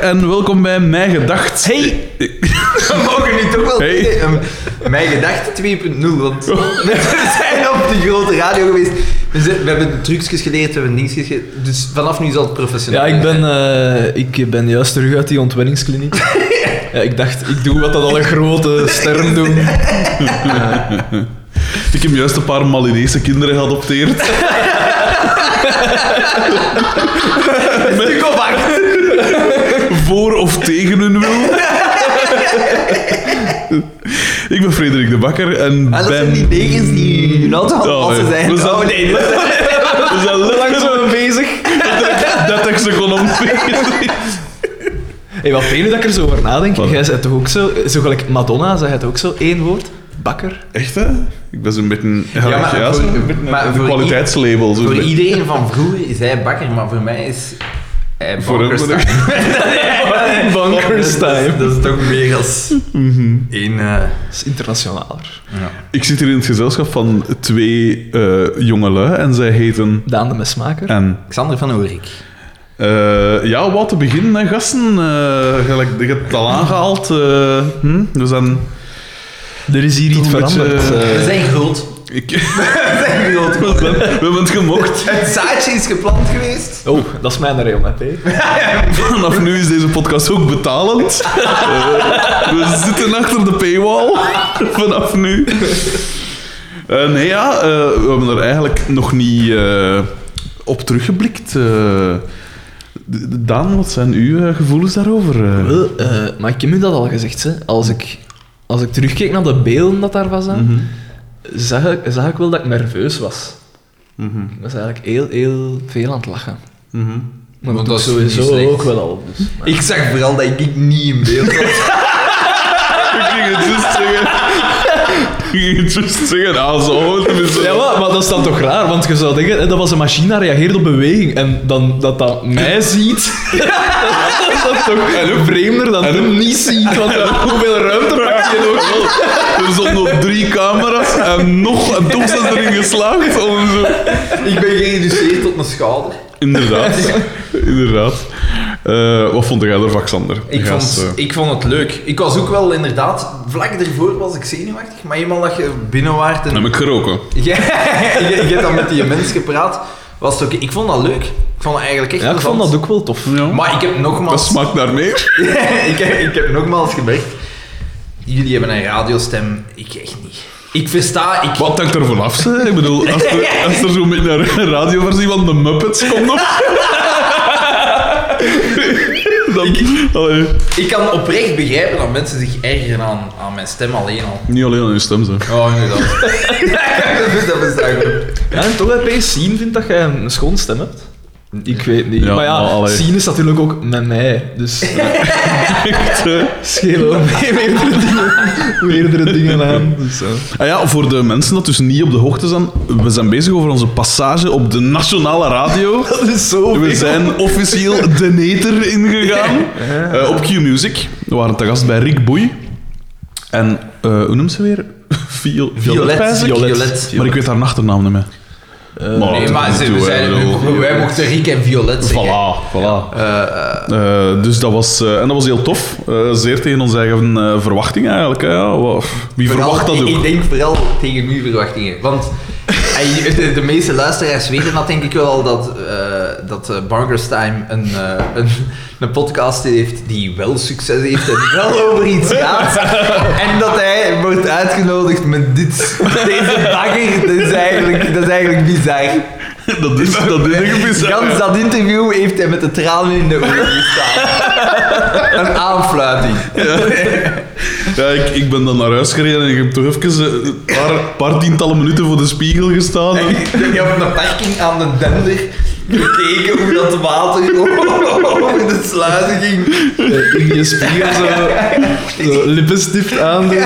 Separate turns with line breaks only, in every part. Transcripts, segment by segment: en welkom bij Mijn Gedacht.
Hey! We mogen nu toch wel
Hey.
zeggen, ehm, mijn gedachte 2.0, want we zijn op de grote radio geweest. We, zijn- we hebben trucjes geleerd, we hebben dingetjes geleerd. Dus vanaf nu zal het professioneel
Ja, ik
zijn.
ben, eh, ik ben juist terug uit die ontwenningskliniek. ja, ik dacht, ik doe wat dat alle grote sterren doen.
Ik heb juist een paar Malinese kinderen geadopteerd.
Stuk op acht.
voor of tegen hun wil. ik ben Frederik de Bakker en
Ah, dat
ben...
zijn die negens die hun auto aan het
Oh,
passen
ja.
zijn.
We zijn-
Oh, nee, dat zijn-
We zijn
Lang
letterlijk
zo mee bezig.
30 seconden om bezig.
Hey, wat fijn dat ik er zo over nadenk.
Wat?
Jij zei toch ook zo, zo gelijk Madonna, zei het ook zo één woord. Bakker.
Echt, hè? Ik ben zo'n beetje... Ja,
maar
ja,
voor-
zo'n beetje
maar
een
voor i-
kwaliteitslabel. zo'n
Voor
beetje.
iedereen van vroeger is hij bakker, maar voor mij is hij
Voor hem-
Bankerstein.
Bankers time.
Dat is toch meer als één... eh,
Dat is internationaler.
Ik zit hier in het gezelschap van twee eh jongelui en zij heten...
Daan de Mesmaker.
En
Xander van Oerik.
Eh, ja, wat te beginnen, hè, gasten. Eh, gelijk, je hebt het al aangehaald. eh, hm? We zijn...
Er is hier iets
Toch een beetje-
veranderd. eh.
We zijn groot.
Ik,
We zijn groot.
we, zijn- we hebben het gemocht.
Het zaadje is geplant geweest.
Oh, dat is mijn rayon, hè, P.
Vanaf nu is deze podcast ook betalend. Eh, we zitten achter de paywall. Vanaf nu. Eh, nee, ja, eh, we hebben er eigenlijk nog niet eh, op teruggeblikt. Eh, D- Daan, wat zijn uw eh, gevoelens daarover? Eh,
Wel, eh, maar ik heb u dat al gezegd, hè. Als ik, als ik terugkeek naar de beelden dat daar was aan,
mhm,
zag, ik, zag ik wel dat ik nerveus was.
mhm,
Ik was eigenlijk heel, heel veel aan het lachen.
mhm.
Maar
Want
dat doe ik
dat is niet
sowieso
slecht.
ook wel al. Dus.
Ik zag vooral dat ik niet in beeld was.
Ik ging het juist zeggen. Ik ging het juist zeggen. Ah, zo. tenminste.
Ja, maar, maar dat is dan toch raar, want je zou denken, hè, dat was een machine dat reageert op beweging. En dan, dat dat mij ziet, dat is dat toch vreemder dan
en ook-
hem niet ziet. Want dan hoeveel ruimte pakt je nog?
Er stonden op drie camera's en nog... En toch zijn ze erin geslaagd om zo...
Ik ben gereduceerd tot mijn schouder.
Inderdaad. Inderdaad. Eh, wat vond jij ervan, Xander?
Ik
Gast,
vond,
eh,
ik vond het leuk. Ik was ook wel inderdaad, vlak ervoor was ik zenuwachtig, maar eenmaal dat je binnen waart en
Dan heb ik geroken.
Jij jij hebt dan met die mens gepraat. Was het oké. Ik vond dat leuk. Ik vond dat eigenlijk echt
Ja, ik vond
plezant.
dat ook wel tof.
Maar ik heb
Dat
nogmaals...
smaakt naar meer.
ik, heb, ik heb nogmaals gemerkt... Jullie hebben een radiostem. Ik echt niet. Ik versta... Ik,
Wat hangt er vanaf, hè? Ik bedoel, als er, als er zo'n beetje een radioversie van de Muppets komt op... Dan, allee,
ik kan oprecht begrijpen dat mensen zich ergeren aan, aan mijn stem alleen al.
niet alleen aan je stem, zeg.
Oh, inderdaad. dat bestaat goed.
Ja, en toch heb je zien vindt dat jij een schoon stem hebt. Ik weet niet.
Ja,
maar
maar
ja,
allee.
zien is natuurlijk ook met mij. Dus eh,
Echt, hè?
schelen we meerdere dingen, meerdere dingen aan. Dus, eh.
Ah ja, voor de mensen dat dus niet op de hoogte zijn, we zijn bezig over onze passage op de nationale radio.
Dat is zo
We zijn officieel de neter ingegaan Eh, op Q-Music. We waren te gast bij Rick Boei. En eh, hoe noemt ze weer? Viol Violet,
Violet.
Vijzig?
Violet. Eh,
Maar ik weet haar achternaam niet meer. Maar
Nee,
dat
maar
doet
ze,
niet
we
toe,
zijn,
hè, ik bedoel.
wij mochten Rick en Violet zeggen.
Voilà, voilà.
Eh, eh,
Eh, dus dat was, eh, en dat was heel tof. Eh, zeer tegen onze eigen eh, verwachting eigenlijk. hè, ja. Wa- Wie
Vooral-
verwacht dat
ik- Ik
ook?
denk vooral tegen uw verwachtingen. Want eh, de, de meeste luisteraars weten dat denk ik wel al dat, eh dat eh, Barker's Time een, eh, een, een podcast heeft die wel succes heeft en wel over iets gaat. En dat hij wordt uitgenodigd met dit. Deze bagger, dat is eigenlijk, dat is eigenlijk bizar.
Dat is, dat is echt bizar.
Gans dat interview heeft hij met de tranen in de ogen gestaan. Een aanfluiting.
Ja, ik, ik ben dan naar huis gereden en ik heb toch even eh, een paar, paar tientallen minuten voor de spiegel gestaan. En
Ik heb op de parking aan de dender gekeken hoe dat water over de sluizen ging.
in je spiegel zo, zo lippenstift aandoen.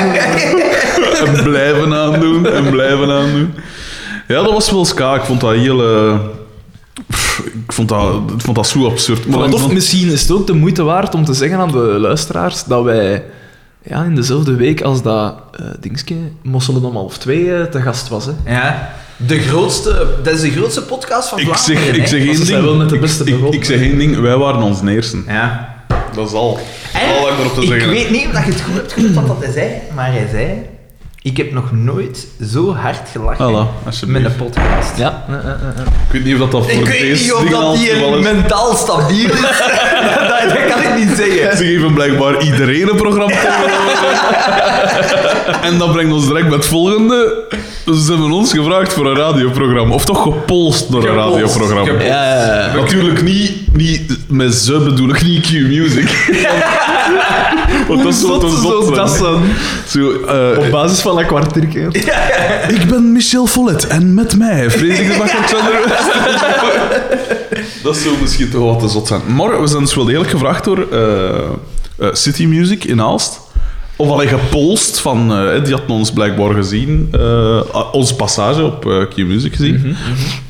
en blijven aandoen, en blijven aandoen. Ja, dat was wel ska. Ik vond dat heel... eh, pff, ik, vond dat, ik vond dat zo absurd. Maar ik
Of
vond-
misschien is het ook de moeite waard om te zeggen aan de luisteraars dat wij ja, in dezelfde week als dat eh dingetje Mosselen om half twee eh, te gast was. Hè.
Ja. De grootste, dat is de grootste podcast van
ik
Vlaanderen.
zeg, ik
hè?
zeg één
ze
ding.
zijn wel met de beste
ik, ik,
bijvoorbeeld.
ik zeg één ding. Wij waren ons neersen.
Ja.
dat zal. Dat
En
zal wat ik erop te
ik
zeggen. heb.
weet niet of dat je het goed hebt gehoord wat dat hij zei, maar hij zei... Ik heb nog nooit zo hard gelachen
Voilà, alsjeblieft.
met een podcast.
Ja. eh, eh, eh, eh.
Ik weet niet of dat, dat voor
Ik
deze
weet niet of
dingen al
dat
het
die
geval
een
is.
mentaal stabiel is. dat, dat kan ik niet zeggen.
Ze geven blijkbaar iedereen een programma. en dat brengt ons direct met het volgende. Dus Ze hebben ons gevraagd voor een radioprogramma. Of toch gepolst door een
Gepolst,
radioprogramma.
gepolst.
Ja, ja, ja.
Natuurlijk niet, niet met ze bedoel ik niet Q Music. Want- Want dat is wat een zot zijn. Zo, eh,
Op basis van een kwartiertje.
ik ben Michel Follet en met mij vrees ik dat mag Alexander West. dat zou misschien toch wat te zot zijn. Maar we zijn dus wel degelijk gevraagd door eh, eh, City Music in Aalst. Of alleen gepolst van, eh, die hadden ons blijkbaar gezien, eh, ah, onze passage op eh, Q Music gezien.
Mhm,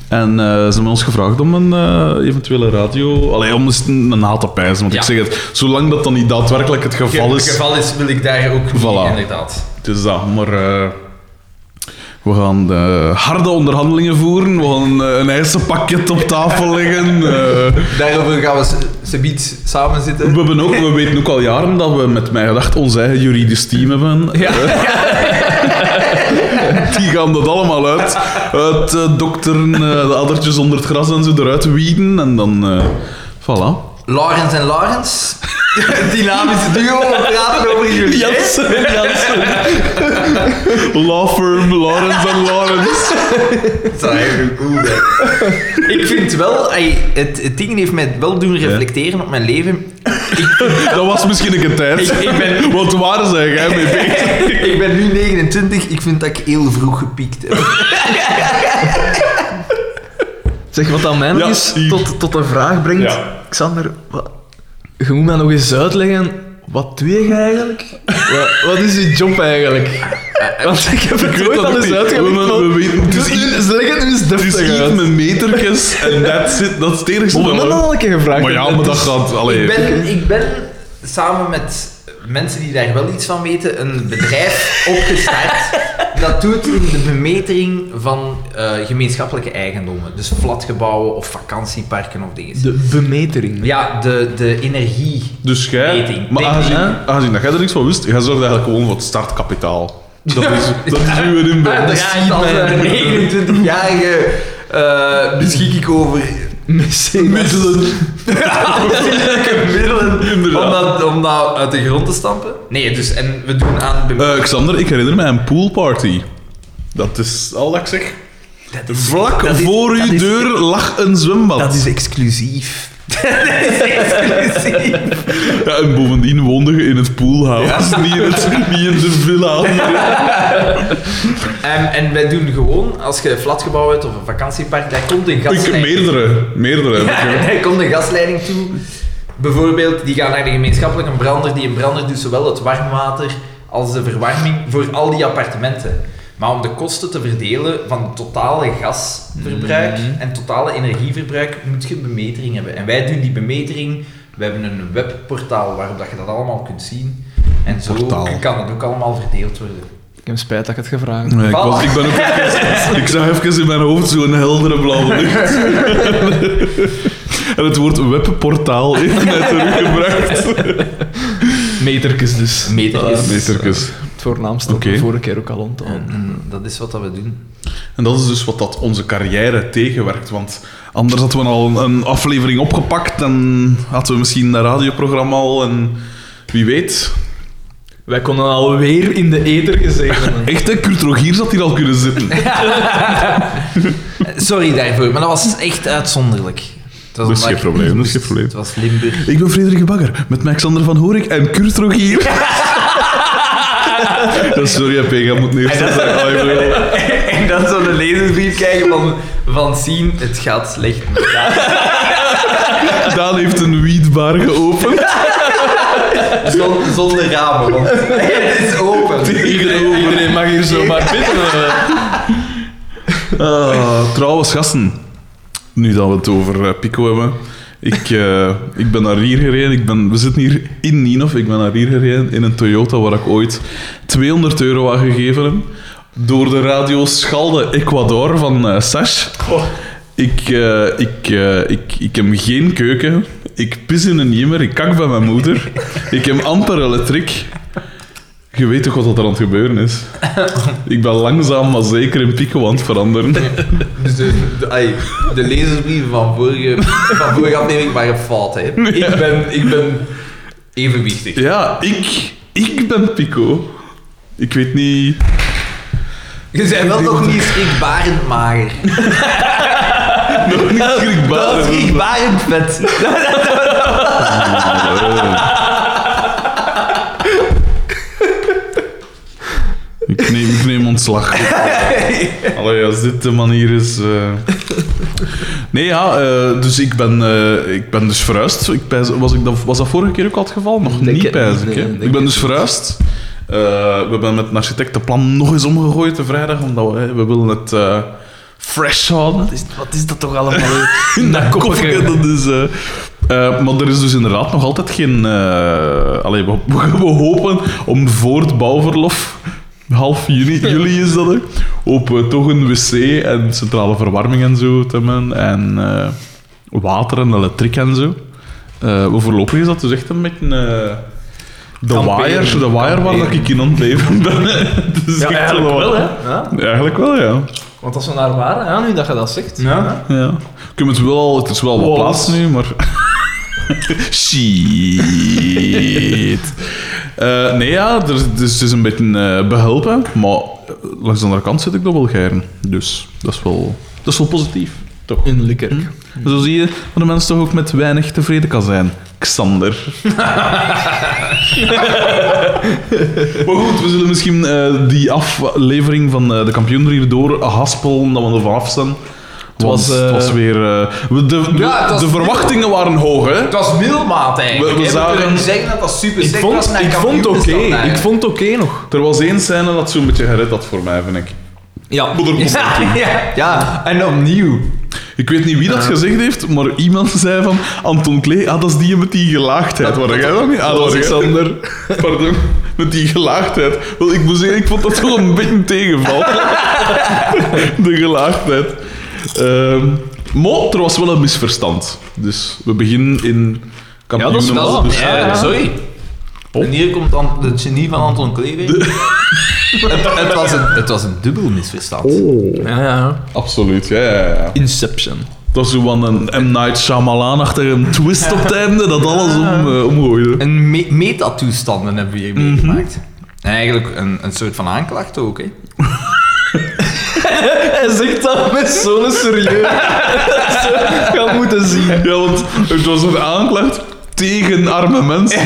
En eh, ze hebben ons gevraagd om een eh, eventuele radio, alleen om eens een, een haat te pijzen. Want
Ja.
ik zeg het, zolang dat dan niet daadwerkelijk het geval
Het
is.
geval is, wil ik daar ook niet,
Voilà.
inderdaad.
Dus dat, maar eh, we gaan eh, harde onderhandelingen voeren. We gaan eh, een eisenpakket op tafel leggen. eh.
Daarover gaan we s- subiet samen zitten.
we, hebben ook, we weten ook al jaren dat we met mij gedacht ons eigen juridisch team hebben. Eh, Die gaan dat allemaal uit. Uit eh, dokteren, eh, de addertjes onder het gras en zo eruit wieden. En dan, eh, voilà.
Laurens en Laurens. Dynamische duo, we praten over jullie.
Law firm, Lawrence en Lawrence.
Dat zou eigenlijk cool zijn. Ik vind wel, ey, het, het ding heeft mij wel doen reflecteren op mijn leven.
Dat was misschien een keer tijd.
Ik- ik ben-
Want waar zijn jij mee bezig?
ik ben nu 29, ik vind dat ik heel vroeg gepiekt heb.
Zeg, wat aan mij nog
Ja,
eens
hier.
tot, tot de vraag brengt...
Ja.
Xander, wat, je moet mij nog eens uitleggen... Wat doe je eigenlijk? wat, wat is je job eigenlijk? Want ik heb
Ik
het
weet
nooit
dat
al
ook
eens
niet.
uitgelegd.
We- we-
maar- Dus
we weten- het is
Doe-
iets-
Leg het nu eens
Het is
deftig Oh,
iets
uit.
met metertjes en that's it. dat is het enige
We
dat
hebben
we-
al een keer gevraagd.
Maar ja,
Het
maar dat
is-
gaat... Allee,
Ik ben, ik ben samen met mensen die daar wel iets van weten, een bedrijf opgestart. Dat doet in de bemetering van eh, gemeenschappelijke eigendommen. Dus flatgebouwen of vakantieparken of dingen.
De bemetering.
Ja, de, de energie.
Dus jij...
Meting.
Maar
Meting,
aangezien,
hè?
aangezien dat jij er niks van wist, jij zorgt eigenlijk gewoon voor het startkapitaal. Dat is, dat is uw inbreng.
dat
ziet
als
men.
een 29-jarige eh, beschik ik over
Middelen.
afzienlijke middelen om
Inderdaad.
dat, om dat uit de grond te stampen. Nee, dus en we doen aan de
Eh, Xander, ik herinner mij een poolparty. Dat is al dat ik zeg. Vlak
dat is-
voor
dat
uw
is-
deur lag een zwembad.
exclusief.
Ja, en bovendien woonde je in het poolhouse, niet, in het- niet in de villa.
Ehm, en wij doen gewoon, als je een flatgebouw hebt of een vakantiepark, daar komt een
Ik,
gasleiding
meerdere, meerdere. heb ik gehoord.
daar komt een gasleiding toe. Bijvoorbeeld, die gaan naar de gemeenschappelijke brander. Die een brander doet zowel het warm water als de verwarming voor al die appartementen. Maar om de kosten te verdelen van het totale gasverbruik
Mhm.
en totale energieverbruik, moet je bemetering hebben. En wij doen die bemetering. We hebben een webportaal waarop dat je dat allemaal kunt zien. En zo
Portaal.
kan dat ook allemaal verdeeld worden.
Ik heb spijt dat ik het gevraagd heb.
Nee, ik,
Voilà.
was, ik ben ook even, ik zag even in mijn hoofd zo'n heldere blauwe lucht. En het woord webportaal heeft mij teruggebracht.
Metertjes dus.
Metertjes.
Voilà.
Metertjes.
Het voornaamste
Oké.
dat we vorige keer ook al onthouden.
En dat is wat dat we doen.
En dat is dus wat dat onze carrière tegenwerkt. Want anders hadden we al een aflevering opgepakt en hadden we misschien een radioprogramma al. En wie weet.
Wij konden alweer in de eter gezegd hebben.
Echt, hè, Kurt Rogier zat hier al kunnen zitten.
Sorry daarvoor, maar dat was echt uitzonderlijk. Het
Dat is
was omdat
geen
ik
probleem,
niet
dat is geen
wist.
probleem.
Het was Limburg.
Ik ben Frederik Bagger met Maxander van Horik en Kurt Rogier. Sorry, hè, P, je moet niet eerst zeggen. Ah, ik bedoel-
en dan zo'n lezersbrief krijgen van, van zien, het gaat slecht. met jou.
Daan heeft een wietbar geopend.
Zon- zonder ramen, want het is open.
Iedereen,
Iedereen mag hier zomaar binnen.
Eh, trouwens, gasten. Nu dat we het over eh, Pico hebben. Ik, eh, ik ben naar hier gereden. Ik ben, we zitten hier in Nienhof. Ik ben naar hier gereden in een Toyota waar ik ooit 200 euro aan gegeven heb. Door de radio Schalde Ecuador van eh Sash. Ik, eh, ik, eh, ik, ik heb geen keuken. Ik pis in een jimmer, ik kak bij mijn moeder. Ik heb amper elektriek. Je weet toch wat er aan het gebeuren is? Ik ben langzaam maar zeker in pico aan het veranderen.
Dus de, de, ai, de lezersbrieven van vorige, van vorige aflevering waren fout. Hè. Ik, ben, ik ben evenwichtig.
Ja, ik, ik ben pico. Ik weet niet...
Je bent wel nog niet schrikbarend mager.
Nog niet
Dat is
schrikbarend.
schrikbarend vet.
Ik neem, ik neem ontslag. Allee, als dit de manier is. eh. Nee, ja, eh, dus ik ben, eh, ik ben dus verhuisd. Ik pijs- was, ik dat, was dat vorige keer ook al het geval? Nog
Denk
niet,
het
pijs ik.
niet, nee,
hè.
denk
ik ben
het
dus verhuisd. Eh, we hebben met een architect het plan nog eens omgegooid de vrijdag, omdat we, hè, we willen het eh, fresh houden.
Wat is, wat is dat toch allemaal?
In dat koppige, dat is... eh, eh, maar er is dus inderdaad nog altijd geen... eh allee, we, we hopen om voor het bouwverlof, half juni, juli is dat, hè, op eh, toch een wc en centrale verwarming en zo te hebben. En eh, water en elektriek en zo. Eh, maar voorlopig is dat dus echt een beetje... eh, de
Kamperen.
wire, de wire waar dat
Kamperen.
ik in aan het leven ben. hè. Dus
Ja,
echt
eigenlijk
wel-
wel, hè? Ja.
Eigenlijk wel, ja.
Want als we naar waren, ja, nu dat je dat zegt.
Ja?
Ja. Ik heb het wel al, het is wel wat
Wow.
plaats nu, maar. Shit. Eh, nee, ja, er, dus het is een beetje eh, behelpen, maar langs de andere kant zit ik nog wel geiren. Dus dat is wel, dat is wel positief. Toch?
In Likkerk.
Mm. Zo zie je dat de mens toch ook met weinig tevreden kan zijn. Xander. maar goed, we zullen misschien eh, die aflevering van eh, de kampioen er hier door haspelen, dat we er vanaf zijn. Het was,
was, eh,
het was weer... eh, we- de, de,
Ja, het was-
de verwachtingen waren hoog, hè?
Het was middelmaat eigenlijk.
We- we
hè.
zagen-
kunnen niet zeggen dat dat super
Ik
sick was.
vond,
naar
ik vond
kampioen
oké.
te staan
Ik
eigenlijk.
vond oké nog.
Er was één scène dat zo'n beetje gered had voor mij, vind ik.
Ja.
Maar er komt er toe.
Ja, ja. ja, en opnieuw.
Ik weet niet wie dat gezegd heeft, maar iemand zei van Anton Klee, ah, dat is die met die gelaagdheid. Waar jij dan niet? Ah, dat was Xander. Pardon, met die gelaagdheid. Wel, ik moet zeggen, ik vond dat toch een beetje een tegenval. De gelaagdheid. Ehm maar er was wel een misverstand. Dus we beginnen in kampioen.
dat is wel
dus,
Ja,
ja.
Sorry.
Op.
En hier komt dan het genie van Anton Klever. het, het, was een, het was een dubbel misverstand.
Oh. Ja, ja.
Absoluut, ja, ja, ja.
Inception.
Dat is zo van een M. Night Shyamalan-achtige twist op het einde, dat alles om, eh, omgooide.
Een me metatoestanden hebben we hier meegemaakt. En eigenlijk een, een soort van aanklacht ook, hè?
Hij zegt dat met zo'n serieus. Ga moeten zien.
Ja, want het was een aanklacht tegen arme mensen.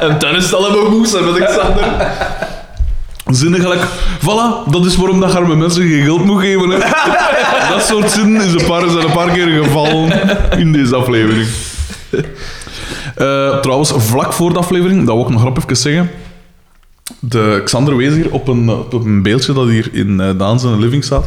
En dan is het allemaal goed, zijn met Xander.
Zinniglijk, voilà, dat is waarom dat arme mensen geen geld moet geven. Hè. Dat soort zinnen is een paar, zijn een paar keer gevallen in deze aflevering. Eh, trouwens, vlak voor de aflevering, dat wil ik nog grap even zeggen. De Xander wees hier op een, op een beeldje dat hier in eh Daan zijn living staat.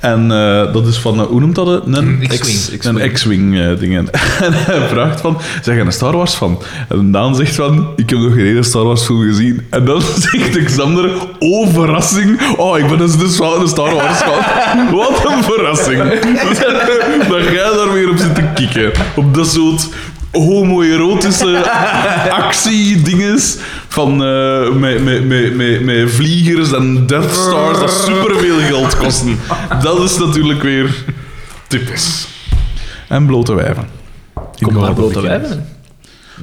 En eh, dat is van, eh, hoe noemt dat? eh, Een
Een X-wing.
X- Een X-Wing eh, ding. En hij vraagt van, zeg je een Star Wars van? En Daan zegt van, ik heb nog geen ene Star Wars film gezien. En dan zegt de Xander, oh verrassing, oh ik ben dus, dus wel een Star Wars fan. Wat een verrassing. Dan ga je daar weer op zitten kikken. Op dat soort homoerotische actiedinges van eh, met, met, met, met, met vliegers en Death Stars dat superveel geld kosten. Dat is natuurlijk weer typisch. En blote wijven.
Kom maar,
Ingevallen
blote
bekend.
wijven.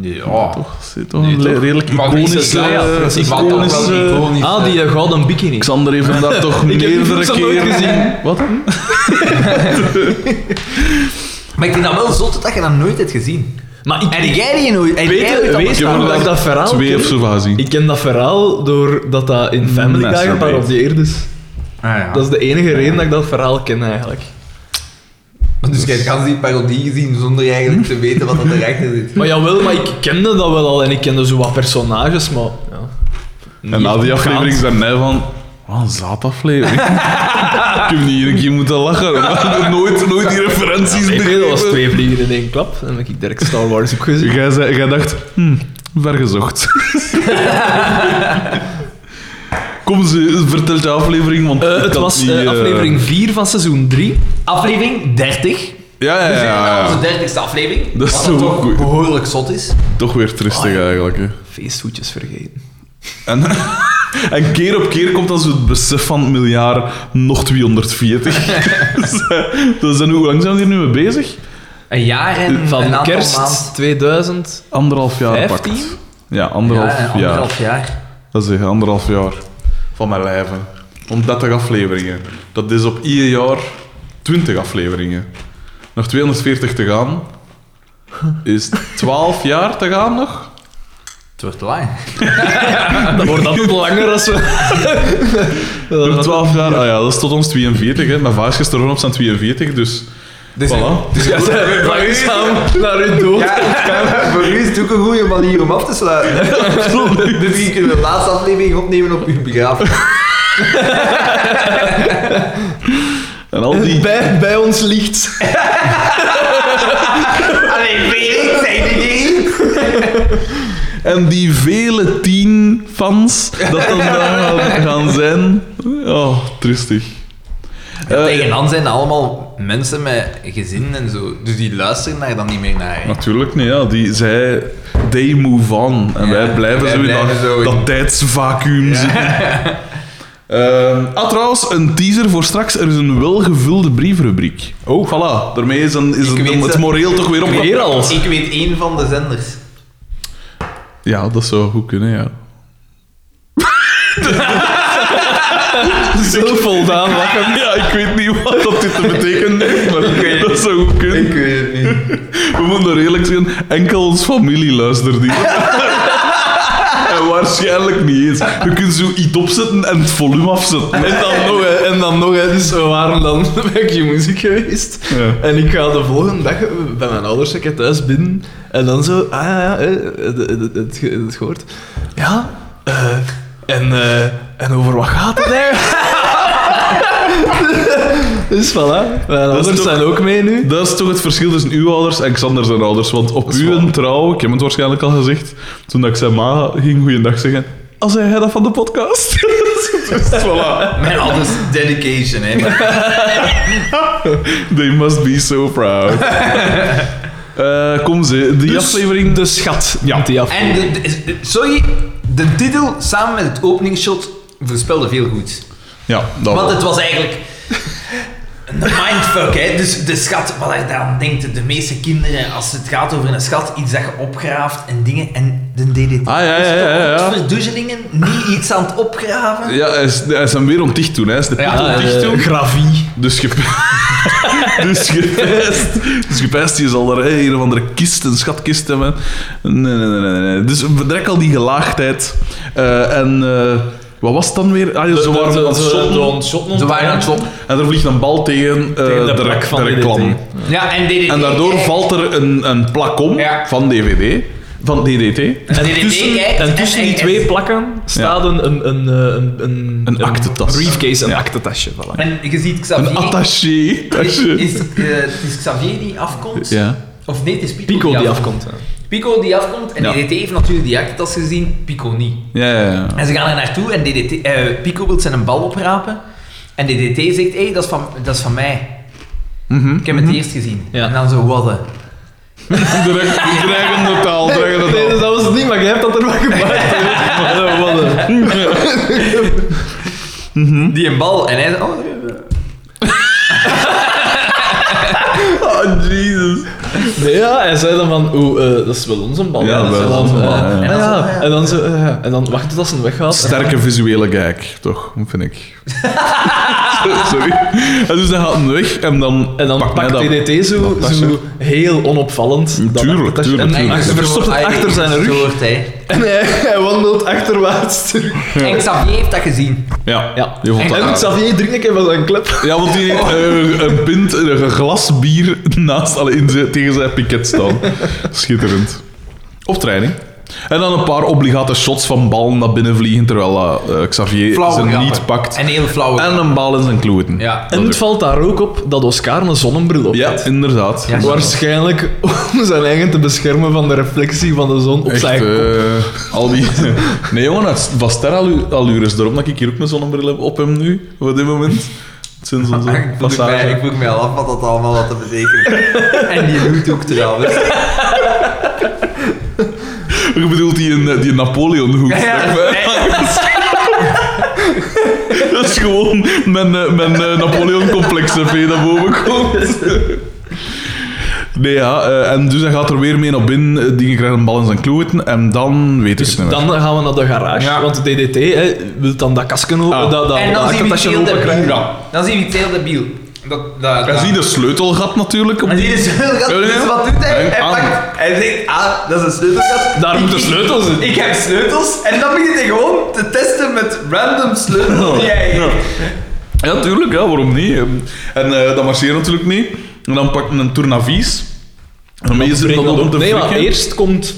Ja.
Toch, Oh, zit toch
Nee,
een le-
toch?
redelijk
Maar wie is
iconische...
dat? Ja,
eh,
dat is wel
iconische-
wel iconisch.
Ah, die eh, gouden bikini.
Xander heeft hem daar toch
die
meerdere
films nog nooit
keren...
gezien.
Wat dan?
Maar ik vind dat wel zot dat je dat nooit hebt gezien.
Maar ik,
En jij die nooit. En jij weet
Peter,
dat
wees
bestaan.
nou
maar
dat ik dat verhaal
Twee
ken.
of zo van gezien.
Ik ken dat verhaal doordat dat in Family Guy
Masturbate.
geparodieerd is.
Ah, ja.
Dat is de enige reden dat ik dat verhaal ken eigenlijk.
Dus jij kan die parodie gezien zonder eigenlijk te weten wat er achter zit.
Maar jawel, maar ik kende dat wel al en ik kende zo wat personages, maar... Ja.
En na die aflevering zei hij van... Wat een zaadaflevering. ik heb niet hier een keer moeten lachen. maar Nooit, nooit die referenties
Ik weet,
begrepen.
dat was twee vliegen in één klap. En dan heb ik direct Star Wars ook gezien.
Jij, zei, jij dacht, hm, vergezocht. Kom, ze, vertel de aflevering, want
Eh,
ik
het
had
was
niet,
eh,
eh,
aflevering 4 van seizoen 3.
Aflevering 30.
Ja, ja,
We zijn
Ah, ja.
aan
ja,
onze dertigste aflevering.
Dat is
wat dan
toch
toch
goed.
behoorlijk zot is.
Toch weer tristig eigenlijk. Hè.
Feestvoetjes vergeten.
En, en keer op keer komt dan zo het besef van het miljard nog 240. dus, eh, dus dan, hoe lang zijn we hier nu mee bezig?
Een jaar en
Van
een aantal
kerst
maanden.
2000.
Anderhalf jaar pakt.
15?
Ja, anderhalf,
ja, een
jaar.
anderhalf jaar.
Dat is echt anderhalf jaar van mijn leven. Om 30 afleveringen. Dat is op ieder jaar 20 afleveringen. Nog 240 te gaan. Is 12 jaar te gaan nog?
Het wordt te lang.
Dat wordt altijd langer als we...
Nog 12 jaar? Ah ja, dat is tot ons 42. Hè. Mijn vader is gestorven op zijn 42, dus...
Dus
Voilà.
dus
Ja, zijn langzaam naar hun dood.
Ja, voor u is het ook een goede manier om af te sluiten. Dus hier kunnen we de laatste aflevering opnemen op uw begrafenis.
En al die...
Bij, bij ons ligt.
Allee, Felix, zijn jullie niet?
En die vele tien fans dat dan daar gaan- gaan zijn. Oh, tristig. Eh,
Tegen dan zijn dat allemaal mensen met gezinnen en zo. Dus die luisteren daar dan niet meer naar. hè.
Natuurlijk niet, ja. Die, zij, they move on. En
Ja,
wij blijven
wij
zo in
blijven
dat,
zo in-
dat tijdsvacuüm zitten. Ehm, ah, trouwens, een teaser voor straks. Er is een welgevulde briefrubriek. Oh. Voilà, daarmee is, een, is
Ik
een-
weet
het
ze.
moreel toch weer op.
Ik weet- Ik weet één van de zenders.
Ja, dat zou goed kunnen, ja.
Zo voldaan lachen.
Ja, ik weet niet wat dat dit te betekenen heeft, maar dat zou goed kunnen.
weet het niet.
We moeten eerlijk zijn, enkel ons familie luistert die. en waarschijnlijk niet eens. Je kunt zo iets opzetten en het volume afzetten.
En dan nog, hè. en dan nog, hè. dus we waren dan bij je muziek geweest.
Ja.
En ik ga de volgende dag bij mijn ouders, ik thuis binnen. En dan zo, ah ja, ja, hè, het, het, het, het, het gehoord. Ja, eh, en, eh, en over wat gaat het eigenlijk? dus voilà, mijn ouders
toch-
zijn ook mee nu.
Dat is toch het verschil tussen uw ouders en Xander zijn ouders. Want op
is
uw
waar.
trouw, ik heb het waarschijnlijk al gezegd, toen dat ik zijn ma ging goeiedag zeggen, als zei hij dat van de podcast. dus voilà.
Mijn ouders, dus dedication, hè.
They must be so proud. Eh, kom ze, die
Dus
aflevering...
de schat.
Ja.
die af.
En, de, de- de- sorry, de titel samen met het openingsshot voorspelde veel goed.
Ja, dat
Want
wel.
het was eigenlijk een mindfuck, hè. Dus de schat, wat er dan denkt de meeste kinderen als het gaat over een schat, iets dat je opgraaft en dingen. En de DDT
Ah, ja, ja, ja, ja, ja.
is toch verdoezelingen, niet iets aan het opgraven.
Ja, hij is, hij is hem weer onticht toen. Hij is de put
Ja,
onticht
eh,
toen.
gravie.
Dus je... dus gepijst. Dus gepijst, je zal daar hè, een of andere kist, een schatkist hebben. Nee, nee, nee, nee. nee. Dus direct al die gelaagdheid. Eh, en eh, wat was het dan weer? Ah, ja, ze waren aan het shotten.
Ze waren aan het shotten.
En er vliegt een bal tegen, eh,
Tegen de
de,
plak
rek-
van
de
DDT.
reclam.
Ja, en DDT.
En daardoor valt er een, een plak om
Ja.
van DVD. Van DDT.
En DDT
Tussen,
kijkt
en tussen
en-
die
en-
twee plakken staat een, een, een, eh, een, een,
Een aktentas.
briefcase, een
Ja.
aktentasje. Voilà.
En je ziet
Een
Xavier...
attaché.
Is,
tasje.
is, eh, het is Xavier die afkomt?
Ja.
Of nee, het is Pico,
Pico die
afkomt.
afkomt.
Pico die afkomt en
Ja.
DDT heeft natuurlijk die actetas gezien, Pico niet.
Ja, ja, ja.
En ze gaan er naartoe en DDT, eh, Pico wil zijn een bal oprapen. En DDT zegt, hé, hey, dat, is van- dat is van mij.
Mhm.
Ik heb het eerst gezien.
Ja.
En dan zo, wat hè.
Direct- Dreigende taal, dreigende
Nee,
taal.
dus dat was het niet, maar jij hebt dat er wel gemaakt. Maar, eh, wat een-
Die een bal. En hij zegt, oh, eh, eh.
Oh, Jesus.
Nee, ja, hij zei dan van, oeh, eh, dat is wel onze bal.
Ja,
hè.
dat
zei
is
dan,
onze
eh,
bal, ja.
ah,
En dan zo,
ja.
ja.
En dan zo, eh, ja. En dan wacht tot als ze weggaat.
Sterke visuele kijk, toch? Vind ik. Sorry. En dus hij gaat hem weg en dan,
En dan
pakt hij
pakt DDT zo,
tasje.
zo heel onopvallend. dat
Tuurlijk,
aktentasje.
tuurlijk,
En
tuurlijk.
hij verstopt het
Ah,
achter zijn rug.
gestoord, hè.
En hij, hij wandelt achterwaarts terug.
En Xavier heeft dat gezien.
Ja.
Ja.
Je vond dat
En
raar.
Xavier drinkt een keer van zijn klep.
Ja, want die heeft eh, een pint, eh, een glas bier naast, allee, in zijn- tegen zijn piket staan. Schitterend. Op training. En dan een paar obligate shots van ballen naar binnen vliegen, terwijl eh, Xavier
Flauwe
ze
grappen.
niet pakt.
En heel flauwe
En een bal in zijn kloeten.
Ja.
Dat
En het
ook.
valt daar ook op dat Oscar een zonnebril op
ja,
had.
inderdaad.
Ja,
Waarschijnlijk om zijn eigen te beschermen van de reflectie van de zon op
Echt,
zijn kop.
eh, al die... Nee, jongen, het was ter allures. Daarom dat ik hier ook mijn zonnebril heb op hem nu, op dit moment. Sinds onze
Ik vroeg, mij, ik
passage.
vroeg mij al af wat dat allemaal had te betekenen. en die loot ook trouwens.
Je bedoelt die, in, eh, die Napoleon-hoek. Dat is gewoon mijn, eh, mijn eh, Napoleon-complex hè, dat boven komt. Nee, ja, eh, en dus hij gaat er weer mee naar binnen. eh, Dingen krijgen een bal in zijn kloeten en dan weet ik
Dus
het niet meer.
dan gaan we naar de garage,
Ja.
want de DDT hè, wil dan dat kasken open,
Ah.
dat, dat,
en dan
dat
zien we
kartasje
het heel
open
debiel.
krijgen.
Dan zien we het heel debiel. Dat, dat,
Hij
dat.
ziet een sleutelgat natuurlijk. Op
En zie je de sleutelgat?
Ja, ja.
Dus wat doet hij?
Hang
Hij,
aan.
pakt, hij zegt, ah, dat is een sleutelgat.
Daar
Ik-
moet de
ik-
sleutel zitten.
Ik heb sleutels. En dan begint hij gewoon te testen met random sleutels die hij
Ja.
heeft.
Ja, tuurlijk, ja, waarom niet? En eh, dat marcheert natuurlijk niet. En dan pakt hij een tournavies. En dan is er
Brengt
nog op
dat op.
te
Nee, maar
flikken.
eerst komt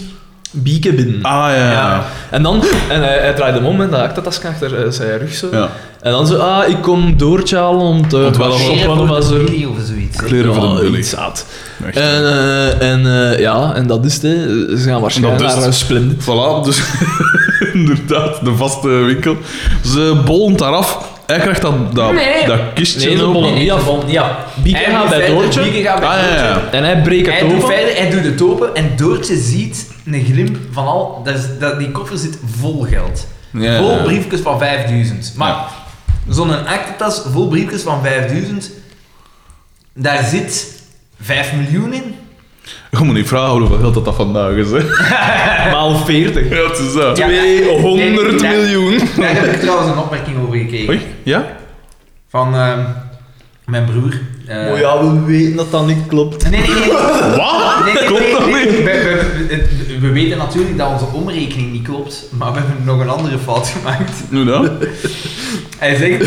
Bieke binnen.
Ah ja.
Ja. En dan, en hij, hij draait hem om en dat actatasje achter eh, zijn rug zo.
Ja.
En dan zo, ah, ik kom doortje halen om te
Want wel
gaan
een
shoppen,
Sheriff
maar
of
zo.
de Billy of zoiets. hè.
Kleren voor
Ja,
de bully.
iets zaad.
Echt.
En, eh, en eh, ja, en dat is het. hè. Ze gaan waarschijnlijk
Dat is
naar
het.
een Splendid.
Voilà, dus inderdaad, de vaste winkel. Ze bollent daar af. Hij krijgt dat, dat,
Nee.
dat kistje
Nee, ze
open.
bollen
Nee,
niet af.
van- ja.
Bieke
Hij
gaat
doet
bij
verder,
Doortje.
Bieke gaat bij
Ah, ja, ja.
Doortje.
En hij breekt
Hij
het
doet,
open.
verder, hij doet het open en Doortje ziet een glimp van al... Dat is- dat, die koffer zit vol geld.
Ja.
Vol briefjes van 5000. Maar
Ja.
zo'n actetas vol briefjes van 5000, daar zit 5 miljoen in.
Je moet niet vragen hoeveel geld dat, dat vandaag is. Hè.
Maal 40.
Ja, het is dat.
Ja.
200
Ja.
miljoen.
Daar heb ik trouwens een opmerking over gekregen.
Oei, ja?
Van ehm, mijn broer. eh,
Maar ja, we weten dat dat niet klopt.
Nee, nee, nee.
Wat?
Nee, nee,
Klopt
nee,
dat
nee.
niet?
We, we- we- we weten natuurlijk dat onze omrekening niet klopt, maar we hebben nog een andere fout gemaakt.
Nu dan?
Hij zegt...